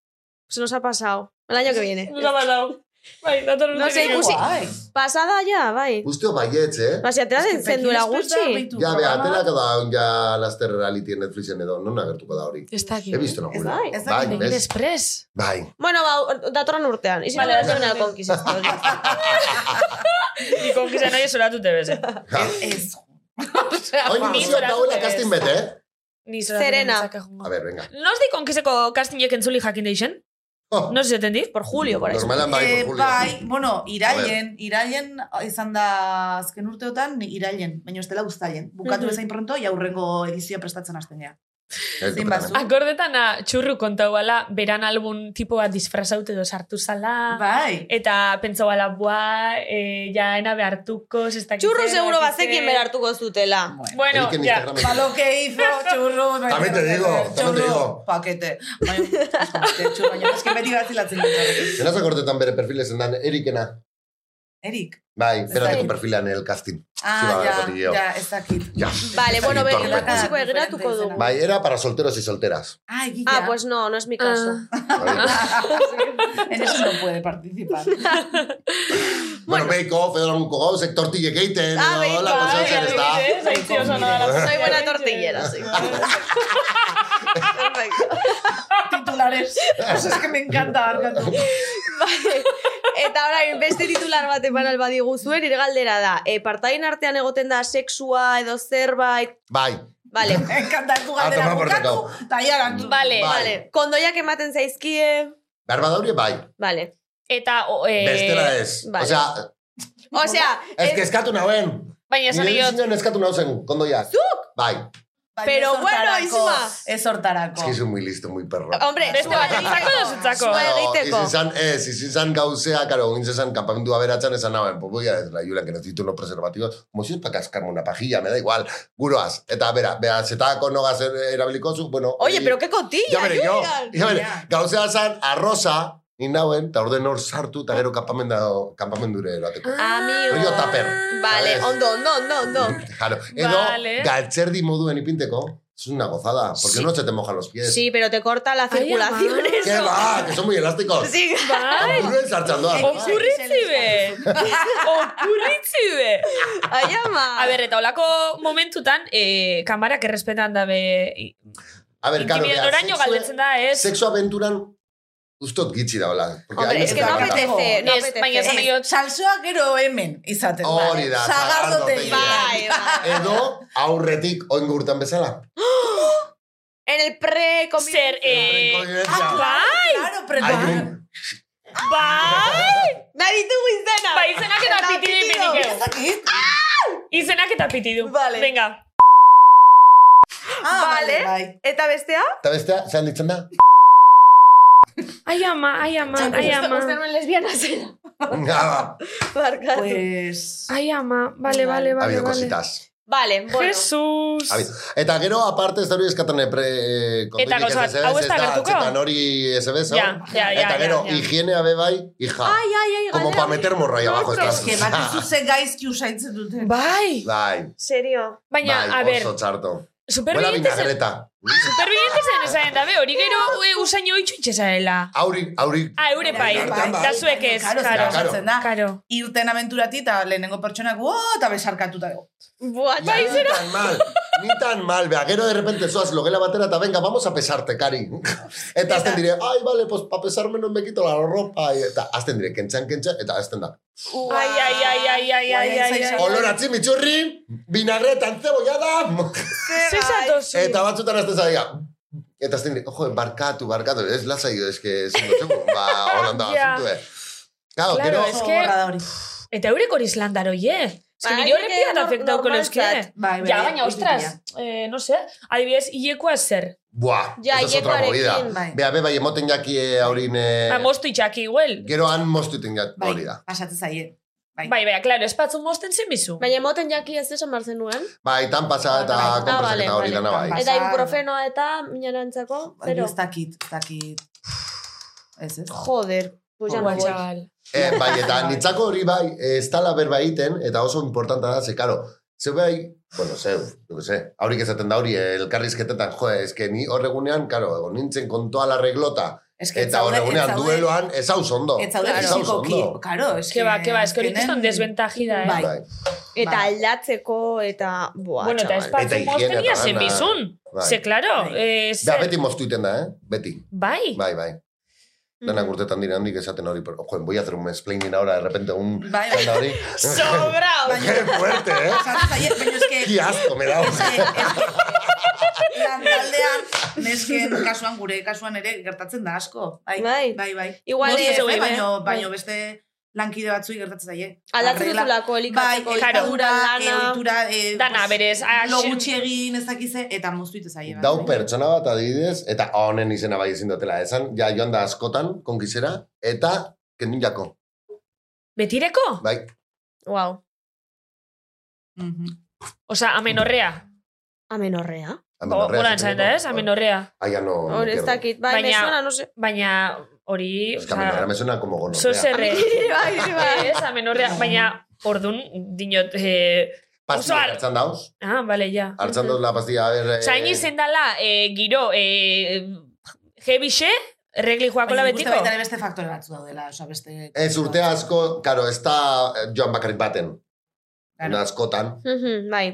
Se nos ha pasado. El año que viene.
Nos ha pasado. Bai, dator
No sé, ikusi.
Guai.
Pasada ya, bai.
Justo baietz, eh?
Ba, si atera
Eske
den zendura
Pekin Expressa
gutxi.
beitu
Ja, bea,
programa bat.
atelak da un ja laster reality Netflixen edo, non agertuko da hori.
Ez dakit.
He visto nokuna.
bai,
ez
Bai,
dakit.
Egin
bez?
espres.
Bai.
*laughs*
Bueno, ba, datorren urtean. Izi
Vale,
vale,
datorren
nahi
urtean.
konkiz ez da.
Ni konkizan nahi zoratute beze.
Ja.
Ez. Osea,
Oin
ba,
eh. ni-
ilusio dagoela
ez.
kastin bete, eh?
Ni zoratute
Serena.
bezak egongo.
A ver, venga.
Nos di konkizeko castingek entzuli jakin deixen?
Oh,
No sé si entendí. Por Julio, por ahí.
Normalan bai,
Eh,
por Julio.
bai, bueno, irailen, irailen izan da azken urteotan irailen, baina ez dela uztailen. Bukatu
Mhm.
bezain pronto, ja hurrengo edizioa prestatzen hasten ja.
Ez
zein
topetan,
bazu.
eh?
Akordetan ah, txurru kontau ala, beran album tipo bat disfrazaute edo sartu zala.
Bai.
Eta pentsau ala, bua, eh, ja ena behartuko, zestak...
Churro Ba, seguro bazekin berartuko zutela.
Bueno.
Bueno,
Eriken
ja.
Instagramen.
Pa lo que hizo, *laughs* churro.
También te digo, también te digo.
Paquete. Baina, joder, churro, baina eske beti batzilatzen *laughs* dut.
Nena zakortetan bere perfilezen dan, erikena.
Erik.
Bai, beratuko
dakit.
perfilean el casting. Sí,
Ah,
ba,
ja,
botilleo.
ja, ez dakit.
Ja.
Bai, Ah,
Vale, bueno,
Sí,
beri,
torpe.
ikusiko egeratuko
Diferente
dugu.
izena.
Bai, era para solteros y solteras.
Ah, egia.
Ah,
*laughs*
pues no, no es mi caso.
Ah.
*laughs*
Bai.
En eso no puede participar.
bueno, beiko, fedora munko gauzek, tortillek eiten,
Ah,
edo,
beiko,
hola,
ah,
gozau zer ez da.
adibidez, haitzi oso nadala.
Soy buena
*laughs*
tortillera, sí. Perfecto.
Titulares. Eso es que me encanta, barkatu.
*laughs*
Vale. Eta orain, beste titular bat eman alba diguzuen, irgaldera da. E, partain artean egoten da sexua edo zerbait...
Bai,
Vale,
Me encanta tu
Ah,
galdera
toma por
bukatu.
dekau.
Eta ia erantzun.
Vale.
Bai.
vale. Kondoiak ematen zaizkie...
behar badauri, bai.
Vale.
Eta, o, eh,
Bestela ez.
vale.
Osea,
Osea,
ez que eskatu nauen.
Baina esan
Nire
diot,
bizinen eskatu nauzen, kondoiak.
Zuk?
Bai,
Baina
Pero
ez
bueno,
hortarako,
Isma.
Ez hortarako.
es que soy muy listo, muy perro.
hombre,
beste
zua
bat
egiteko.
entzako edo zutzako.
Zua egiteko.
Izin zan, ez, izin zan gauzea, karo, egin zezan kampamendu aberatzen esan nauen, pues voy a decir a Julian que necesito unos preservativos, como si es para cascarme una pajilla, me da igual, guroaz. Eta, bera, bera, zetako nogaz er- erabiliko zu, bueno...
Oye,
hori-
pero qué cotilla,
Ja bere, jo,
Julian.
ja bere,
Ja.
gauzea zan, arroza, inauen, eta orden hor sartu, eta gero kampamendure kampamendure erateko.
Amigo.
Rollo taper.
Vale,
¿sabes?
ondo, ondo, ondo, ondo.
Claro. Edo,
Vale.
galtzerdi moduen ipinteko, Es una gozada, porque
Sí.
no se te mojan los pies.
Sí, pero te corta la
Ay,
circulación.
ama.
¿Qué
eso.
va? Que son muy elásticos.
*laughs* Sí,
Bai,
Buruen sartxando da.
okurritzibe! Okurritzibe!
ai ama.
A ber, eta olako momentutan, eh, kamarak errespetan dabe i-
A ver, claro,
intimidadoraino
sexua-
galdetzen da, ez?
Sexu aventuran ustot gitzi daola. Porque
Hombre,
ahí
es que no
está canta.
apetece, no
Ez,
apetece.
baina esan nahi dut-
Salsoa gero hemen izaten.
Hori
bai.
da,
Sagardotegi.
Bai,
sagardotegi. *laughs*
bai.
Edo aurretik oingo urtan bezala.
En el pre
Zer, eh,
Konbibentzia.
bai,
Claro, pero
Aiun.
bai,
Nahi ditugu izena.
Ba, izenak eta
Eta
pitidu
pitidu.
imenik ez.
Ezakit?
izenak eta pitidu.
Vale.
Venga.
Ah,
Vale.
vale, bai.
Eta bestea?
Eta bestea, zean ditzen da?
Ai ama, ai ama, ai ama.
nuen lesbiana zela.
Nada.
Barkatu.
Pues...
Ai ama, vale, vale,
Ha
vale.
habido
vale.
cositas.
Vale, bueno.
Jesus.
Ha habido. Eta gero, aparte, ez da hori eskaten pre... eh, konturik
Eta gauza
ez
bat,
ez ez,
hau ez da
eta
gertuko?
atzetan hori ez ez, hau.
Ja, ja, ja,
Eta gero,
ja, ja.
higienea be bai, hija.
Ai, ai, ai,
Como
galera.
pa meter morrai abajo ez da.
Es que
*laughs*
bakizu ze gaizki usaintzen duten.
Bai.
Bai,
Serio.
Baina,
bai,
a e- ber,
oso txarto. Buena
supervivientesen,
vinagreta.
supervivientesen esaten dabe, hori gero e, usaino itxu itxezarela.
Auri, auri,
Ah, eure bai,
Bai, bai.
da zuek ez,
Karo, zer
karo.
claro.
pasatzen da.
Karo.
Irten aventurati eta lehenengo pertsonak, oh, eta besarkatuta dago.
Buah,
Ya, ni tan mal, ni tan mal. Vea, que no de repente soas logela batera, ta venga, vamos a pesarte, Cari. Eta azten dire, ay, vale, pues para pesarme no me quito la ropa. y Eta azten dire, kentxan, kentxan, eta azten da.
Ai, ai, ai, ai, ai, ai, ai, ai.
Olor a chimichurri, vinagreta, encebollada.
Zer zatozu?
Eta batzutan azten zaia. Eta azten dire, ojo, barkatu, barkatu. Ez lasai, es que es un gotxeko. Ba, holanda,
Ya.
asuntu, eh. Claro,
Claro,
gero,
es
Oso
que-
gorra da hori.
Eta eurek hori islandaro, ye. Ez que
Bai,
nire horre
que
piat
nor-
afektauko leuzke. eh.
normaltzat.
Bai,
Ja,
bai,
baina,
hori
ostras,
dira.
eh, no sé, adibidez, hilekoa zer.
Eh. buah,
Ja,
eso es otra
hilekoarekin.
movida.
Bai.
Bea, be, bai, emoten jaki eh, haurin... eh,
Ba, mostu itxaki, igual.
Gero han mostu jat,
Bai,
hori da.
pasatzen zaie. Bai.
Bai, bai, klaro, espatzu mosten zen bizu.
Baina moten jaki ez esan behar zenuen.
Bai, tan pasa eta
Ah,
konpresak
vale,
eta hori
vale.
dana bai.
Pasa-
Eta ibuprofenoa eta minarantzako.
Hori
Zero.
Bai, Ez dakit, ez dakit. Ez ez.
Joder. Pues ya no
Ua,
voy.
chaval.
*laughs*
Eh, bai, eta nitzako hori bai, ez tala berba egiten, eta oso importanta da, ze, karo, zeu bai, bueno, zeu, jo que se, haurik ezaten da hori, eh, elkarrizketetan, jo, ez que ni horregunean, karo, egon nintzen kontoa la reglota,
Ez que ez
eta
zaude-
horregunean
ez zaude-
dueloan, ez hau zondo.
Ez zaude
Ez hau
fizikoki.
zondo.
Karo, ez
Que ba, que ba, ez que hori
azkenen-
kriston desventajida, eh.
Bai.
Bai,
Eta
Bai.
aldatzeko eta... Buah,
Bueno, eta
chaval.
Eta
espatzu
higiene
mosten ia
eta
zen
lana.
bizun.
Bai.
Ze, klaro, eh,
Da,
zer.
beti moztu iten da, eh? Beti.
*laughs*
Bai,
Bai, bai. Denak urtetan dira handik esaten hori, pero, joen, voy a hacer un explaining ahora, de repente, un... *laughs*
Bai, bai.
tanda hori.
Sobrao.
Qué fuerte, eh?
Pasatzen zaie, baina ez que
Qué asco me da.
*laughs* Lantaldean, nesken kasuan, gure kasuan ere gertatzen da asko. Bai,
Bai.
bai, bai. bai.
Igual
Guri
ez,
ez,
eh,
eh, baino,
bai.
baino beste lankide batzui gertatzen zaie.
Aldatzen
Arregla-
duzulako
Bai,
elikatzeko
Claro.
elikadura,
lana.
eh, ohitura, eh,
Dana,
pues,
berez, ah,
Lo
sin-
gutxi egin ez dakize, eta moztu ite zaie. bai.
Dau pertsona bat adibidez, eta honen izena bai ezin dutela esan, ja joan da askotan, konkizera, eta kendun jako,
betireko?
bai.
Wow.
Mhm.
Osa, amenorrea.
Amen horrea.
Amenorrea
Gora
esaten
entzaren
dugu.
da, ez? Amenorrea.
Aia no... no
Hor, ez
quiero.
dakit. Bai,
Baina-
me suena, no
*laughs*
sé.
Baina, hori...
Es que
osea,
amenorrea me suena como gonorrea.
Zozerre.
Bai, bai.
Ez, amenorrea. Baina, ordun dinot... Eh,
Pastilla,
Oso ar-
hartzan dauz,
ah, bale, ja.
hartzan dauz la pastilla, a ver... eh,
Zain izen dala, eh, giro, eh, jebixe, regli joakola
Baina ikusten
betiko.
baita ere beste faktore batzu daudela, oza, beste...
Ez urte asko, karo, ez da eh, joan bakarrik baten.
Claro.
Una askotan.
Mhm, Bai.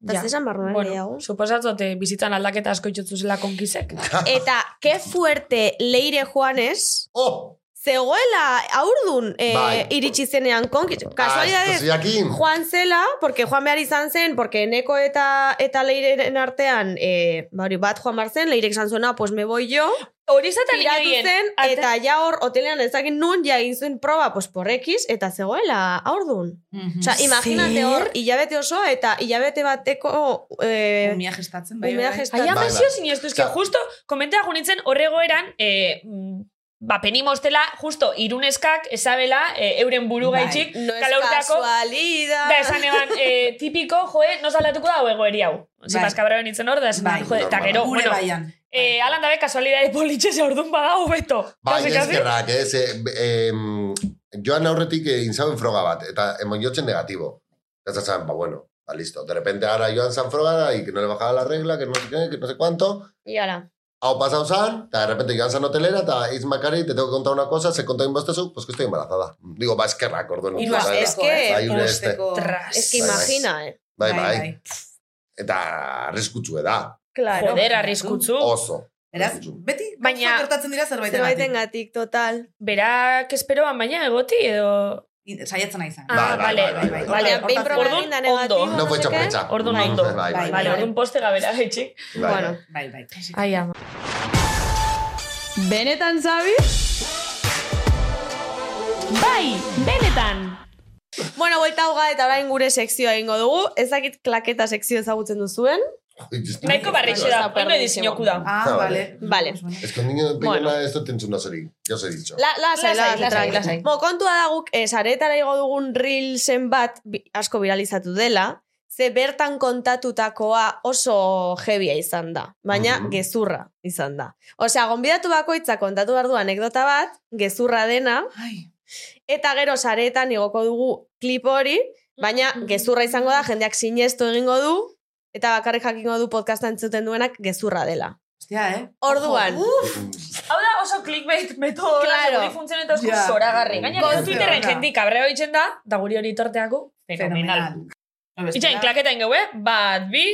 Eta
Ja.
ez esan behar nuen
Bueno,
gehiago?
suposatzote, bizitzan aldaketa asko itxutzu zela konkizek.
Eta, ke fuerte leire Juanes,
Oh!
zegoela aurdun eh,
Bai.
iritsi zenean konki.
Ah,
Kasualidadez,
estoy aquí.
Juan zela, porque Juan behar izan zen, porque Neko eta eta Leiren artean, eh, ba hori, bat Juan behar zen, Leirek esan zuena, pues me voy yo,
Hori zaten
piratu zen, eta ja hor, hotelean ezakin nun, ja egin zuen proba, pues porrekiz, eta zegoela aurdun.
Mhm.
Osa, imaginate
Zer?
hor, hilabete osoa, eta hilabete bateko... Eh,
Umea gestatzen, bai,
Umea
bai.
gestatzen.
Aia
Bai, bai.
mesio sinestu, eski,
Osea-
justo, komentea gunitzen horregoeran, eh, mm, ba, penimostela, justo, iruneskak, esabela, eh, euren buru
Bai.
gaitxik,
No es
kalaurteako,
casualidad.
da esan eban, eh, tipiko, joe, noz aldatuko da egoeri hau. Bai.
Bai.
Zipaskabra benitzen hor, da esan,
Bai.
joe, eta
Normal.
gero,
Gure
bueno,
baian.
eh, alan dabe, kasualidade politxe ze orduan bada hobeto.
Bai,
Kasi, kasi.
eskerrak, ez. Eh, eh, joan aurretik eh, intzauen froga bat, eta emojotzen negatibo. Eta zan, ba, bueno, Ah, listo. De repente ahora Joan Sanfrogara y que no le bajaba la regla, que no sé qué, que no sé cuánto.
Y ahora.
Ha pasado San, ta de repente Joan San hotelera, ta Is Macari, te tengo que contar una cosa, se contó en bostezu, pues que estoy embarazada. Digo, ba, eskerrak, orduan.
Hiru
Ba,
es que-
Bai, gure este.
Tras.
Es que
Bai, bai.
imagina, eh.
Bai, bai. Eta arriskutsue da,
Claro.
Joder, arriskutzu.
oso.
Beraz,
Arriskutsu.
beti,
Baina-
baina... Gertatzen dira
Zerbaiten
zerbaiten
gatik, total.
Berak esperoan baina egoti edo...
Saiatzen nahi zan.
Ah,
Bai, bai,
vale,
bai, bai, bai.
vale.
Behin proba
Orduan,
egin da
ondo.
negatibo,
No fue
sé
hecha
qué.
prensa.
Orduan
Mm,
ondo.
Bai, bai,
Vale,
bai.
orduan poste gabera, eh, etxik.
bai.
Bueno.
Bai, bai.
Ai, ama.
Benetan, Zabi?
Bai, benetan!
Bueno, buelta hoga eta orain gure sekzioa egingo dugu. Ez dakit klaketa sekzio ezagutzen duzuen.
Nahiko barrexe da, ondo edizinioku da.
Ah,
Ah,
vale.
vale.
Pues bueno.
Es que un niño de
Bueno.
pequeña esto tiene una serie, ya os he dicho.
La, lasai,
Lasai,
lasai,
lasai,
tranqui.
lasai.
Bo, kontua da guk eh, sareetara igo dugun reelsen bat bi- asko viralizatu dela, ze bertan kontatutakoa oso jebia izan da, baina
Mhm.
gezurra izan da. Osea, gonbidatu bakoitza kontatu behar du anekdota bat, gezurra dena,
Ai,
eta gero sareetan igoko dugu klip hori, baina
Mm-hmm.
gezurra izango da, jendeak sinestu egingo du, eta bakarrik jakingo du podcasta entzuten duenak gezurra dela.
hostia, eh?
Orduan.
Ojo,
Mm.
Hau da oso clickbait metodo
Claro.
hori funtzioneta oso
Ja.
zoragarri. Gaina,
Kontu
Twitterren
ona.
jendik abreo itxen da, da guri hori torteako,
uf,
fenomenal.
No, bestela-
Itxain, klaketain geue, bat, bi,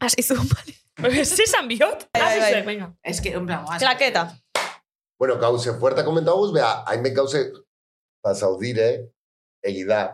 Hasi zu, bale.
*laughs* zizan bihot?
Bai, bai,
Hasi
bai.
zuek, venga.
Es que, en plan, oaz.
Klaketa.
Bueno, gauze fuerte komentabuz, bea, hainbet gauze pasau dire, egi da.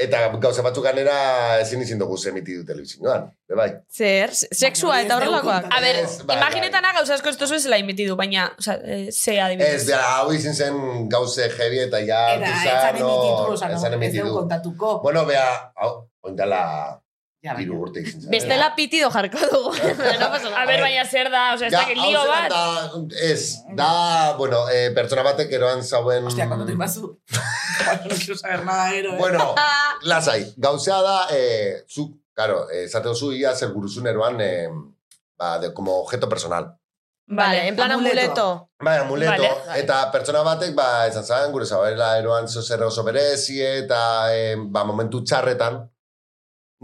e Eta gauze batzuk ganera ezin izin dugu zemiti du telebizioan, be bai.
Zer, sexua eta
Baina, ez dugu
horrelakoak.
kontatu.
A ber,
Ez, bai,
imaginetana gauza asko ez duzu ezela inbitidu, baina, eh, oza, ze
*laughs* Ez,
adibidez.
bea, hau izin zen gauze jebi eta ja...
Eta, etzan
no,
emititu, oza,
etzan
no, ez
emititu.
dugu kontatuko.
Bueno, bea, hau, oindala
Ja, baina.
hiru urte izin zen.
Bestela pitido jarko
*laughs*
dugu. no pasa nada.
A ber, baina zer da, oza, ez
Ja,
dakit
hau
lio
zen
bat.
Da, ez, da, bueno, eh, pertsona batek eroan zauen...
Hostia, cuando te ibas *laughs* tú. Bueno, no eh. quiero saber nada, héroe.
Bueno, lasai, gauzea da, eh, zu, claro, eh, zate duzu ia zer guruzun eroan, eh, ba, de, como objeto personal.
Vale, en plan
Amuleto.
amuleto.
Bai, amuleto,
Vale,
eta pertsona batek, ba, esan zan, gure zabarela eroan zozer oso berezi, eta, eh, ba, momentu txarretan,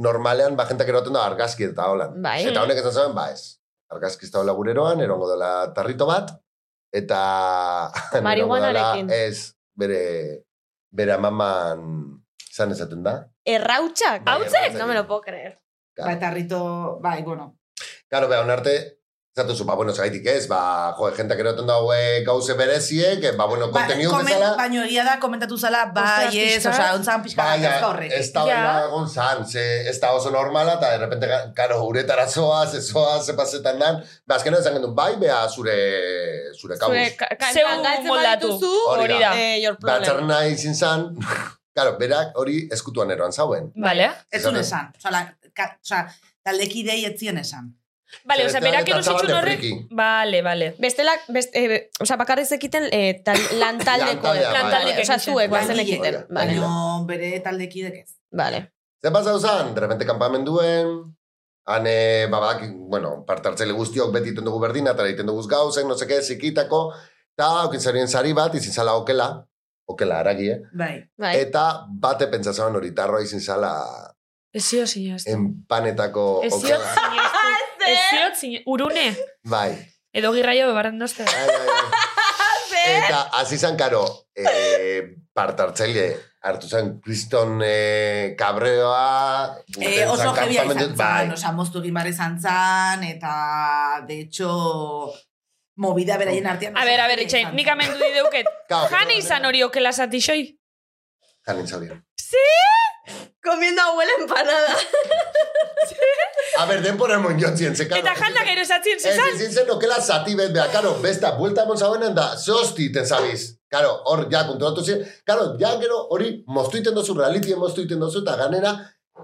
normalean, ba, jentak eroaten da argazki eta holan.
Bai.
Eta honek esan zan, ba, ez. Argazki ez daula gure eroan, erongo dela tarrito bat, eta... *laughs* erongo
Marihuanarekin.
dela, Ez, bere, bere amaman, zan esaten da?
Errautxak.
Bai, Hautzek?
No me lo puedo creer.
Claro.
Bai, tarrito, bai, bueno.
Claro, beha, onarte, zatu zu, ba, bueno, zagaitik ez, ba, jo, jentak eroten dago eh, gauze bereziek, eh, ba, bueno, kontenidu
komen-
bezala,
Baino egia da, komentatu zala,
Ostras,
bai, ez,
pixka.
osea, ontzan pixka bat
baina,
kezka horrekin.
Bai, ez da
Ja.
baina gontzan, ze, ez da oso normala, eta de repente, ga- karo, uretara zoaz, ez zoaz, zepazetan dan, ba, azkenean esan gendun, bai, bea, zure, zure kabuz.
Zure ka- ka-
Zeu
plan, galtzen
moldatu.
badituzu,
Hori da.
eh, your
Ba,
problem.
txarrena izin zan, *laughs* karo, berak hori eskutuan eroan zauen.
Vale,
Ez zuen esan. Osa, la, ka, osa, taldeki dei etzien esan.
vale, oza,
Zertan
berak
eta
erositxun
zabalde
horrek.
friki.
Vale, vale.
Bestela, best, eh, oza, bakarrik zekiten eh, tal, lantaldeko.
Lantaldea, bai,
bai.
Oza, zuek
Bai,
bazen ekiten.
bai,
Vale,
bai.
Baina bere taldekidek ez.
vale.
Zer pasau zan, de repente kampamenduen, hane, babak, bueno, parte hartzaile guztiok beti iten dugu berdina, eta egiten dugu gauzek, no seke, zikitako, eta okin zarien sari bat, izin zala okela, okela aragie,
Bai.
Bai.
eta bate pentsatzen hori tarroa izin zala
Ezio sinestu.
enpanetako
Ezio
okela.
*laughs* sinestu. Ezio sinestu. Urune.
Bai.
Edo girraio bebarren dozte.
Bai, bai, bai. Eta hasi zan, karo, eh, parte hartzaile hartu zen kriston eh, kabreoa.
Eh, oso
zen
jebia izan
kanpamendu-
zan,
Bai,
osa, moztu egin barri izan zan, eta, de hecho, movida beraien artean.
A
oso
ber, a ber,
jebia
itxain,
izan
nik
zan.
amendu
*laughs*
dideuket.
Kao,
Jane izan hori okela zatixoi.
Jane Xabier.
Comiendo abuela empanada.
A ber, denbora mon jotzien, ze karo.
Eta jana gero esatzen
Ez,
zezan.
ezin zen okela zati bet, beha, karo, besta, buelta emon zauenen da, zosti iten zabiz. Karo, hor, ja, konturatu ziren. Karo, ja, gero, hori, moztu iten dozu, realitien moztu iten dozu, eta ganera,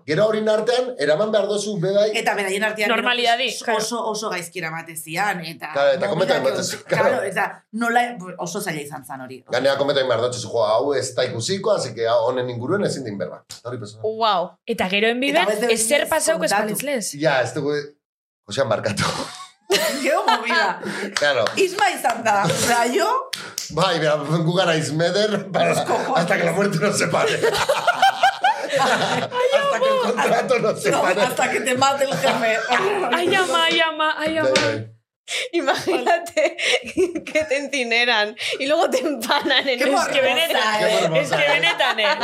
gero hori artean, eraman behar dozu, bebai.
Eta beraien artean
Normalidadi,
gero,
claro.
oso, oso gaizkira matezian, eta...
Claro, eta komentan
movidak-
batezu, claro.
Claro, eta nola oso zaila izan zan hori. *laughs*
Ganera kometan behar dutzu, jo, hau ez da ikusiko, así que ah, hau honen inguruen ezin din berba. pues, Eta Hori
Uh.
pasó.
Wow.
Eta gero enbiben,
Eta beste behin
ezer
ez
pasauko
kontatu.
espalitzlez.
Ja, ez dugu, Josean barkatu.
Geo movida.
*laughs* Claro.
Isma izan da, raio,
Bai, bera, gu gara izmeder, para, hasta que la muerte nos separe. hasta que el contrato no se
No,
pare.
hasta que te mate el
*laughs*
jefe.
Ay, ama, ay, ama, ay,
Bai,
ama.
bai.
Imagínate que te encineran y luego te empanan en
Qué
el-
Es que benetan,
Qué
eh?
morbosa,
es que
eh?
benetan, eh?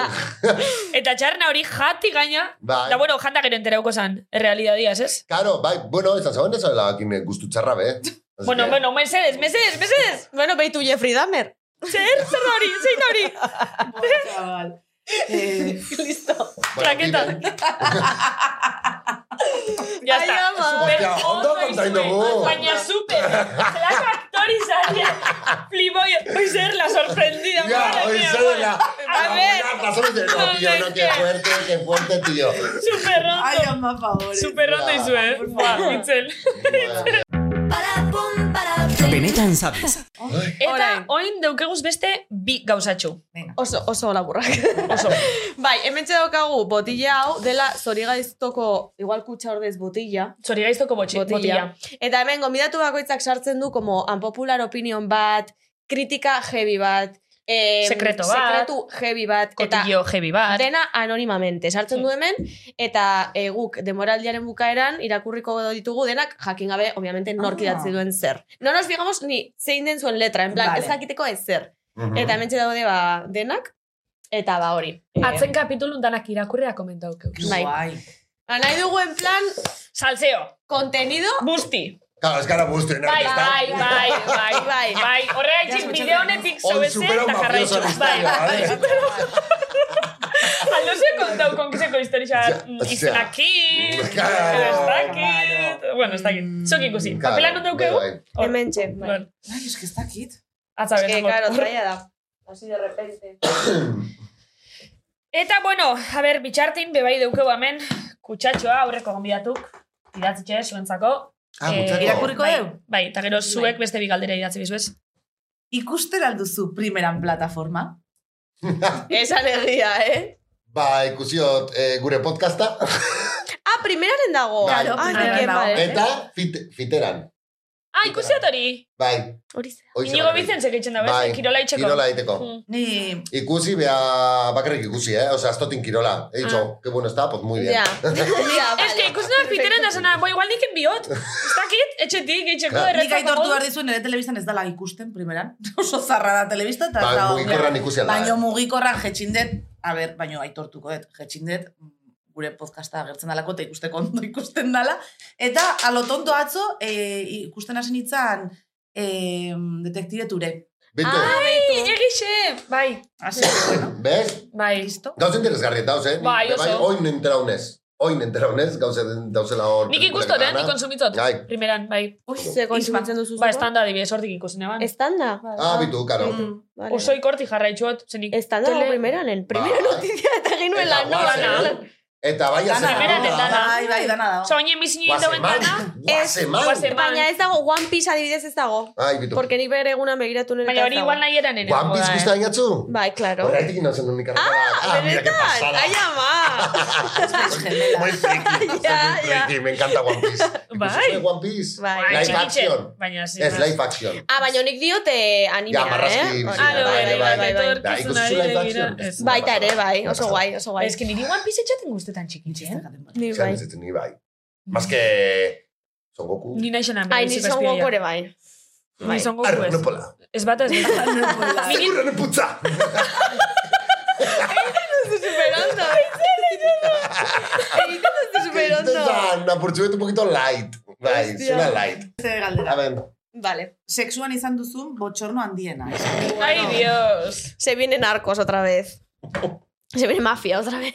Eta txarna hori jati gaina,
Bai.
da bueno, janta gero enterauko zan, realidadiaz, ez?
Claro, bai, bueno, ez da zegoen ez da guztu txarra, be. Así
Bueno,
que-
bueno, mesedes, mesedes, mesedes!
Bueno, beitu Jeffrey Dahmer.
Zer, zer da hori, zein da hori?
Chaval. Eh,
Listo.
Bueno,
Traketa.
dime.
Ya está.
Ai, ama.
Super
Hostia, ondo
ondo
kontain
izue.
dugu.
Baina super. Zelako aktori zaria. Flipoi, oizer, la sorprendida.
Ya,
madre
hoy
mía,
se de la...
A
la
ver.
buena razón de- No, tío, no, qué fuerte, qué fuerte, tío.
Super
Ay,
ondo.
ama, favores.
Super ondo izue.
Por
Ba,
favor.
itzel.
Bueno.
Benetan sabes.
Eta
Orain.
oin deukeguz beste bi gauzatxu.
Venga.
Oso, oso laburrak.
Oso.
bai, hemen daukagu botila hau, dela zorigaiztoko, igual kutsa ordez botila.
Zori gaiztoko botxi, botila.
Eta hemen gomidatu bakoitzak sartzen du como unpopular opinion bat, kritika heavy bat, em,
Sekreto bat.
sekretu heavy bat, eta
Kotillo heavy bat.
dena anonimamente. Sartzen
Hmm.
du hemen, eta e, guk demoraldiaren bukaeran irakurriko ditugu denak jakin gabe, obviamente, nork
Ah.
idatzi duen zer. No nos digamos ni zein den zuen letra, en plan,
Vale.
ez jakiteko ez zer.
Mhm.
Eta hemen daude ba, denak, eta ba hori. Eh,
Atzen kapitulun danak irakurrea komentaukeu.
Bai.
Guai.
ba, nahi dugu en plan,
Salseo.
contenido
Busti.
Claro, es que ahora gusto, ¿no?
Bai,
Está-
bai, bai,
*laughs*
bai, bai.
Bai.
Bai,
Ya,
horregatik
muchas
bide
gracias.
honetik
Hoy
zobeze
supera un
eta
mafioso
jarraitu.
en
Bai, *laughs*
España, ¿vale?
Aldo kontau konkizeko historia mm,
Ja, o sea.
izenakit,
Claro.
izenakit, bueno, ez dakit. Zok ikusi,
Claro,
papelan non daukegu?
bai, bai.
Hor.
hemen txe. Bai.
Bueno,
Ay, es que está kit.
atza
Es que,
bezan
claro,
hor.
traia da. Así de repente.
Eta, bueno, a ber, bitxartin, bebai daukegu hemen, kutsatxoa aurreko gonbidatuk, idatzitxe, zuentzako.
Ah,
Eh,
muchacho.
irakurriko
bai,
dugu?
Bai, eta gero zuek beste bigaldera idatzi bizuez.
Ikusten alduzu primeran plataforma?
Esa alegria, eh?
Ba, ikusi dut, eh, gure podcasta
Ah, primeraren dago.
Bai,
ah,
primeraren
nekien,
dago.
vale.
eta fit, fiteran.
Ah, ikusi dut hori!
Bai.
Hori ze.
hoize
Inigo
bakarrik.
Bizentzek eitzen da,
Bai,
bez? Kirola itxeko.
Kirola egiteko.
Mm.
Ni...
Ikusi, bea, bakarrik ikusi, eh? Osea, astotin kirola. He
Ah.
dicho, qué bueno está, pues *laughs* muy bien.
Ja. Ja,
Ez que ikusten da fiteren da zena, boi, igual nikin biot. Ez dakit, etxetik, etxeko
Claro.
Nik
erretzako
aitortu
modu.
behar dizu, nire telebistan ez dala ikusten, primeran. *laughs* Oso zarra da telebista, eta...
Ba,
ez da-
mugikorran ikusi alda,
Baino
eh?
mugikorran jetxindet, a ber, baino aitortuko dut, jetxindet, mm, gure podcasta agertzen dalako, eta ikusteko ondo ikusten dala. Eta alotonto atzo, e, ikusten hasen itzan, e, detektibe ture.
Bito,
Ai, egixe! Bai,
Hasi, bueno,
¿ves?
bai.
listo.
Gauza interesgarriet dauz, eh? Nik-
Bai,
be
oso.
Oin enteraunez. Oin enteraunez, gauza den- dauzela hor.
Nik ikustot, eh?
pelikuletan,
Nik
ah?
konsumitzot.
Bai.
Primeran, bai.
Ui,
Ze kontsumitzen duzu
Ba,
zuko?
estanda adibidez, hortik ikusen eban.
Estanda.
Ah, bitu, karo.
Mm. Vale.
Oso ikorti jarraitxuot, zenik.
Estanda dago
tele-
primeranen. Primera
Bai.
notitia eta genuen
Eta
la nola.
guazen, eh? Eta bai,
Dana,
azemana.
Primera
dana,
tendana.
Guazeman.
Bai, bai, dana dago.
Osa, oinen bizin egin dauen dana,
Guazeman.
guazeman.
Baina ez dago One Piece adibidez ez dago.
Ai, bitu.
Porque ni bere eguna begiratu nire.
baina hori igual nahi eran ere.
One Piece
eh.
guztain gatzu?
Bai, claro.
Horregatik inauzen unik arrakala. Ah, mira, qué
Benetan,
pasada.
ai
*laughs*
ama. *laughs*
Ez Bai, gemela.
Muy friki,
Ya,
muy
ya.
friki, me encanta One Piece. Ikusi
Bai.
zuen One Piece,
Bai.
live action.
Baina, zin.
Ez, live action.
Ah, baina honik diote animea,
Ja, marrazki
eh?
bizitza,
Ah, no,
Bai,
bai, bai,
bai,
bai,
bai.
bai.
Da, ikusi zuen live action. Ez,
Baita ere, bai, oso guai, oso guai.
Ez que niri One Piece etxaten guztetan txikitxen.
Ni
Zer
bai.
bizitzen ni bai. Más que Son Goku. Ah,
Ni nahi xenan,
Ai, ni son gokore bai.
Ni
*laughs*
son
Arre,
goku ez.
Nopola.
Ez bat ez beste. *laughs*
Segura ne
*laughs*
putza.
Pues, Superondo.
*laughs*
Egiten duzu superondo.
Na por un poquito light. Bai,
Hostia.
suena light.
Beste
A
galdera.
ver.
Vale.
Sexuan izan duzun botxorno handiena.
Ai, Dios.
Se vienen arcos otra vez.
Oh.
Se viene mafia otra vez.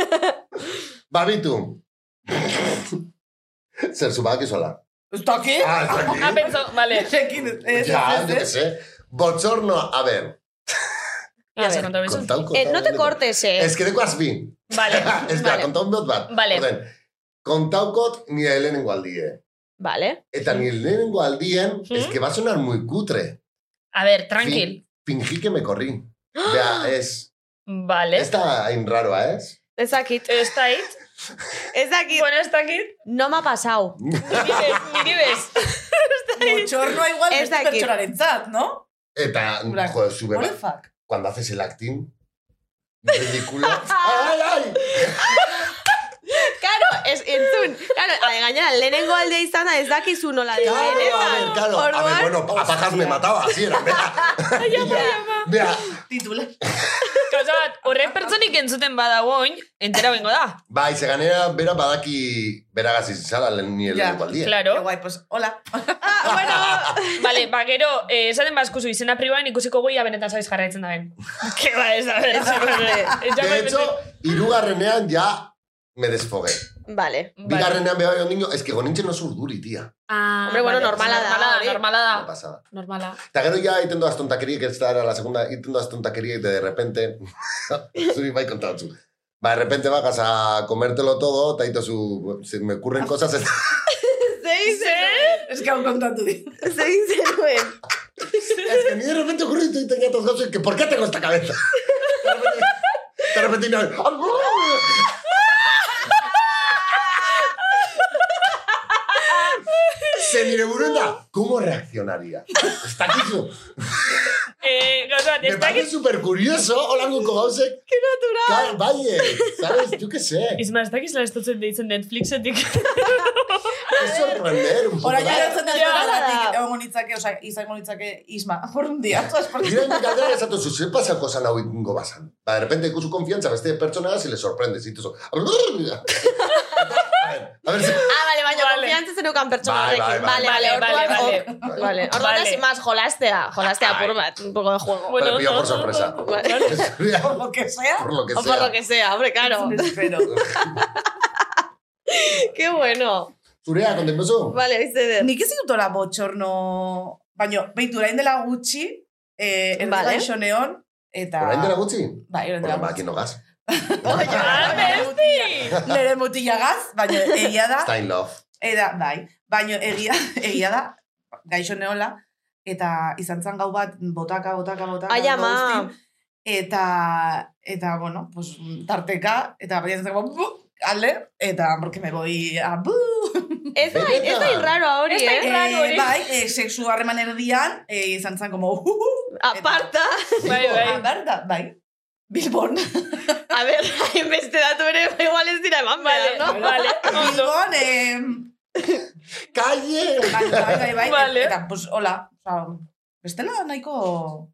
*laughs*
Babitu. Zer zubak izola.
Ez daki?
¿Eh? *laughs*
Ah, ez dakit.
Ah, penso, *laughs*
*laughs*
vale.
Zekin, ez,
Ja,
ez,
yo que
ez, ez.
sé. Bochorno, a ver.
Ya se
ver.
contó eso.
Kontau, kontau.
Eh, no te cortes, eh.
Ez que deko azbi. *laughs*
Vale.
Ez da,
vale.
kontau behot bat.
Vale.
Orden, kontaukot nire lehenengo aldie.
Vale.
Eta nire lehenengo aldien,
Hmm?
es que va a sonar muy cutre.
A ver, tranquil. ¡Ah!
Fingí que me corrí. Ya, es...
Vale.
Ez da hain raroa, ez?
*laughs*
Ez dakit.
Ez da hit.
Ez dakit.
Bueno, ez da hit.
No me ha pasado.
Niri bez, niri *laughs* bez.
Botxornoa igual
Ez
beste
dakit.
pertsonaren zat, no?
Eta,
Blanco.
jo, sube,
What the fuck?
*laughs*
cuando haces el acting, Ridículo. ¡Ay, ay, ay!
Claro, ez, entzun, claro, ale, gainera, lehenengo aldia izan da ez dakizu nola den.
Claro, a
benetan.
ver, claro. A ver, bueno, a pajas me mataba, así era. Vea,
*laughs*
vea.
Titular.
Gauza bat, horren pertsonik entzuten badago oin, entera bengo da.
*laughs* Bai, ze ganera, bera badaki, bera gazi zala, lehen nire
Ja,
lehenko aldien.
Qué
Claro.
guay, pues hola. *laughs*
Ah, bueno,
Vale, ba, gero, eh, esaten bazkuzu izena pribaen ikusiko goia benetan zaiz jarraitzen da *laughs* ben. Ke ba, ez da, ez da, *laughs* ez da,
De
ez
hecho,
da,
irugarrenean ja me desfogué.
vale.
Vale.
Bigarrenean beba joan niño, es que gonintzen oso urduri, tia.
Ah,
Hombre, bueno,
vale,
normala da,
normala
hori.
da, normala
La
da,
pasada.
normala.
Eta gero ja egiten doaz tontakeria, que ez da era la segunda, egiten doaz tontakeria, eta de repente, *laughs* zuri bai kontatzu. Ba, de repente bajas a comértelo todo, eta hitozu, se me ocurren cosas, eta
Zein zen,
Es que aún contando. Te
*laughs*
zein zenuen.
Es que a mí de repente ocurre y tenía otras cosas que ¿por qué tengo esta cabeza? De repente, de repente no. Se mire Burunda, ¿cómo reaccionaría? Está aquí su-
Eh, gauza bat,
Me
ez dakit
parece súper curioso. Hola, Gunko Gausek. ¡Qué natural! Valle, ¿sabes? Yo qué sé.
Isma, ez dakiz lan estotzen deitzen *laughs* Netflixetik.
Es sorprender un poco.
Ahora ya
¿verdad?
hartzen dut
Ja.
horregatik, egongo nitzake, osea, izango nitzake e Isma, *laughs* por un día. Oso, espero-
Mira, mi caldera es a tus se pasa cosas la Gunko Basan. De repente, con su confianza, veste persona se le sorprende. Si tú so- A ver, a ver si...
Ah, vale, baina
Vale.
vale. konfiantza zenukan pertsona
Vale,
horrekin.
vale,
Vale,
vale.
vale,
Vale,
orduan
vale,
ok.
vale.
Vale, orduan
Vale.
hasi más jolastea, jolastea apur bat, un poco de juego.
Bueno,
Pero pillo por
no, no,
sorpresa.
no,
Vale.
*laughs*
*laughs*
Por lo que sea,
Por lo que
*laughs* o por
sea.
lo que sea, hombre, claro.
*laughs*
espero.
Qué bueno.
Zurea, kontempozu?
Vale, bizede.
Nik ez ditutola botxorno... Baina, beitu, orain dela gutxi, eh, erdez
Vale.
gaixo neon, eta...
Orain dela gutxi?
Bai, orain
Hola,
dela
maki
gutxi.
nogaz.
*laughs* Oh,
Ah, besti!
Nere mutilagaz, baina egia da,
Stein love.
Eta, bai, baino egia, egia da, gaixo neola, eta izan zen gau bat, botaka, botaka, botaka,
Ai,
gau
ama.
guztin, eta, eta, bueno, pues, tarteka, eta baina ez dago, bu, ale, eta, porque me voy a, bu,
Ez da, ez da
Benetan.
irraro hori,
Ez da
eh?
Claro, hori.
Eh, bai, e, sexu harreman erdian, e, izan zen, como, uh, uh,
Aparta.
Bai, bai.
ah, berda, bai, Bilbon.
A ber, *laughs* hainbeste datu ere, igual ez dira eman
Vale,
behar, no?
vale, ondo.
Bilbon, eh,
Kalle!
bai, bai, bai, bai,
Vale.
eta, pues, hola, oza, bestela nahiko...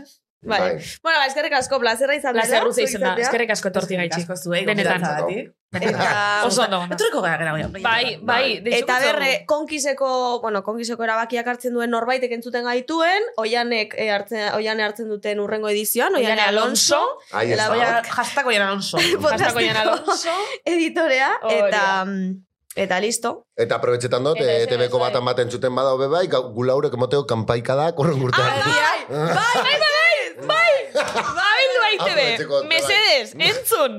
Ez?
Vale. Bueno, ba, eskerrik asko, plazerra izan dela.
Lazer ruze izan da,
zuek izatea.
eskerrik asko etorti gaitxik.
Asko zuei,
Benetan.
gonbidatzagatik.
Eta-
Oso ondo. ondo.
Etorriko gara gara baina.
Bai, bai, deituko
Eta
dugu.
berre, konkiseko, bueno, konkiseko erabakiak hartzen duen norbaitek entzuten gaituen, oianek eh, hartzen, oiane hartzen duten urrengo edizioan, oiane
Oiane
Alonso,
Alonso.
Ahí
La
está.
voy
Oia, hashtag oian *laughs* Alonso.
Bastako jan Alonso.
editorea,
Hori da.
eta, mm, eta listo.
Eta aprobetxetan dut,
Eta esan
ETV-ko
bai.
bat amaten zuten bada hobe bai, gau- gulaurek emoteo kanpaika da,
Ah,
korren urtean.
Bai, bai, bai, bai, *laughs* bai,
Babildu aitebe,
Aprovetzeko, bai.
mesedes, entzun,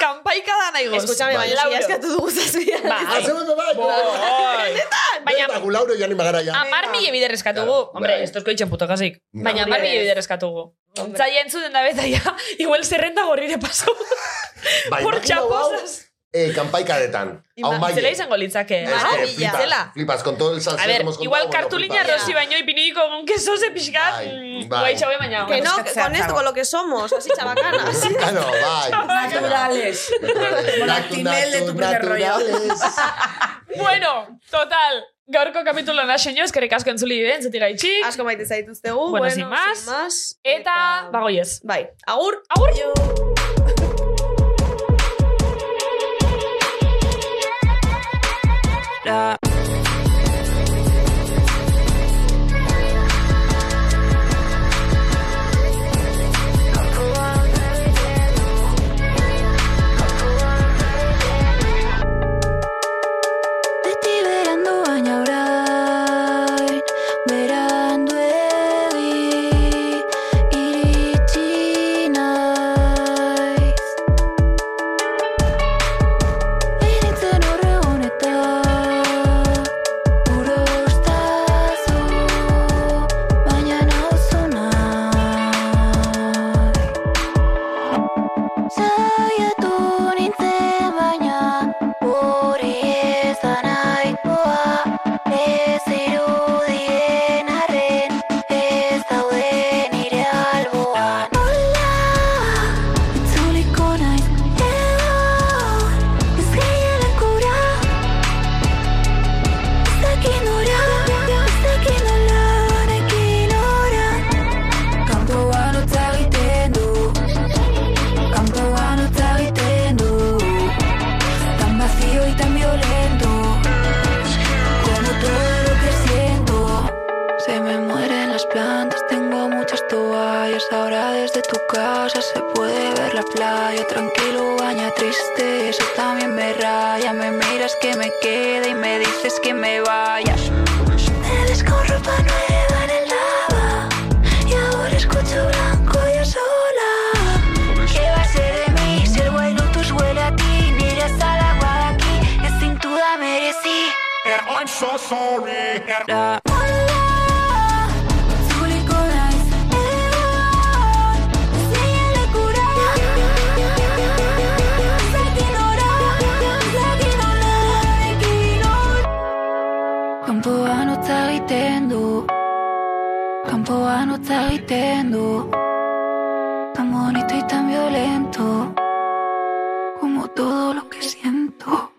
kanpaika da nahi goz.
Eskuchame,
Bai.
baina
Lauro.
lau eskatu dugu *laughs* zazpian.
Ba,
Ah, ze bebe bai!
Baina,
Eta gulauro ja ni magara ja.
amar mila bide reskatugu.
Claro,
Hombre,
bai.
esto esko itxen puto kasik.
No.
Baina, amar
Hombre.
mila bide reskatugu.
Hombre.
Zaila entzuten da beta, ja, igual zerrenda gorrire pasau.
Bai,
Por
imagina hau,
chaposas.
Eh, kanpaikadetan.
Ima-
Hau maile.
Zela izango litzake.
Es
eh?
que
Maravilla.
flipas,
Zela.
Flipas, con todo el salseo
A ver,
que hemos contado,
igual
bueno,
kartulina
flipas.
rosi baino ipiniko gonke zoze pixkat,
Bai,
mm,
bai.
guai txabe baina.
Que no,
Es que
que
sea
con esto,
chavo.
con lo que somos, así chabacanas.
*laughs* Claro,
*laughs*
bai.
*laughs* Naturales.
Natu,
Moractinel de tu
natu,
primer rollo.
naturales.
*laughs*
Bueno, total, gaurko kapitulo naseño, eskerrik asko entzuli eh, bideen, zutik gaitxik.
*laughs* Asko maite zaituztegu.
Bueno, sin más.
más.
Eta, ba- bagoiez.
Bai, agur.
Agur!
Beti berandu baina orain Berandu egi Iritsi naiz Iritzen horre honetan calle. Hasta ahora desde tu casa se puede ver la playa. Tranquilo, baña triste, eso también me raya. Me miras que me quede y me dices que me vaya. Me ves con ropa nueva en el lava. Y ahora escucho blanco yo sola. ¿Qué va a ser de mí si el bueno tus huele a ti? Miras al agua de aquí, es sin duda merecí. I'm so sorry. Kanpoan utza egiten du Kanpoan utza egiten du Tan bonito y tan violento Como todo lo que siento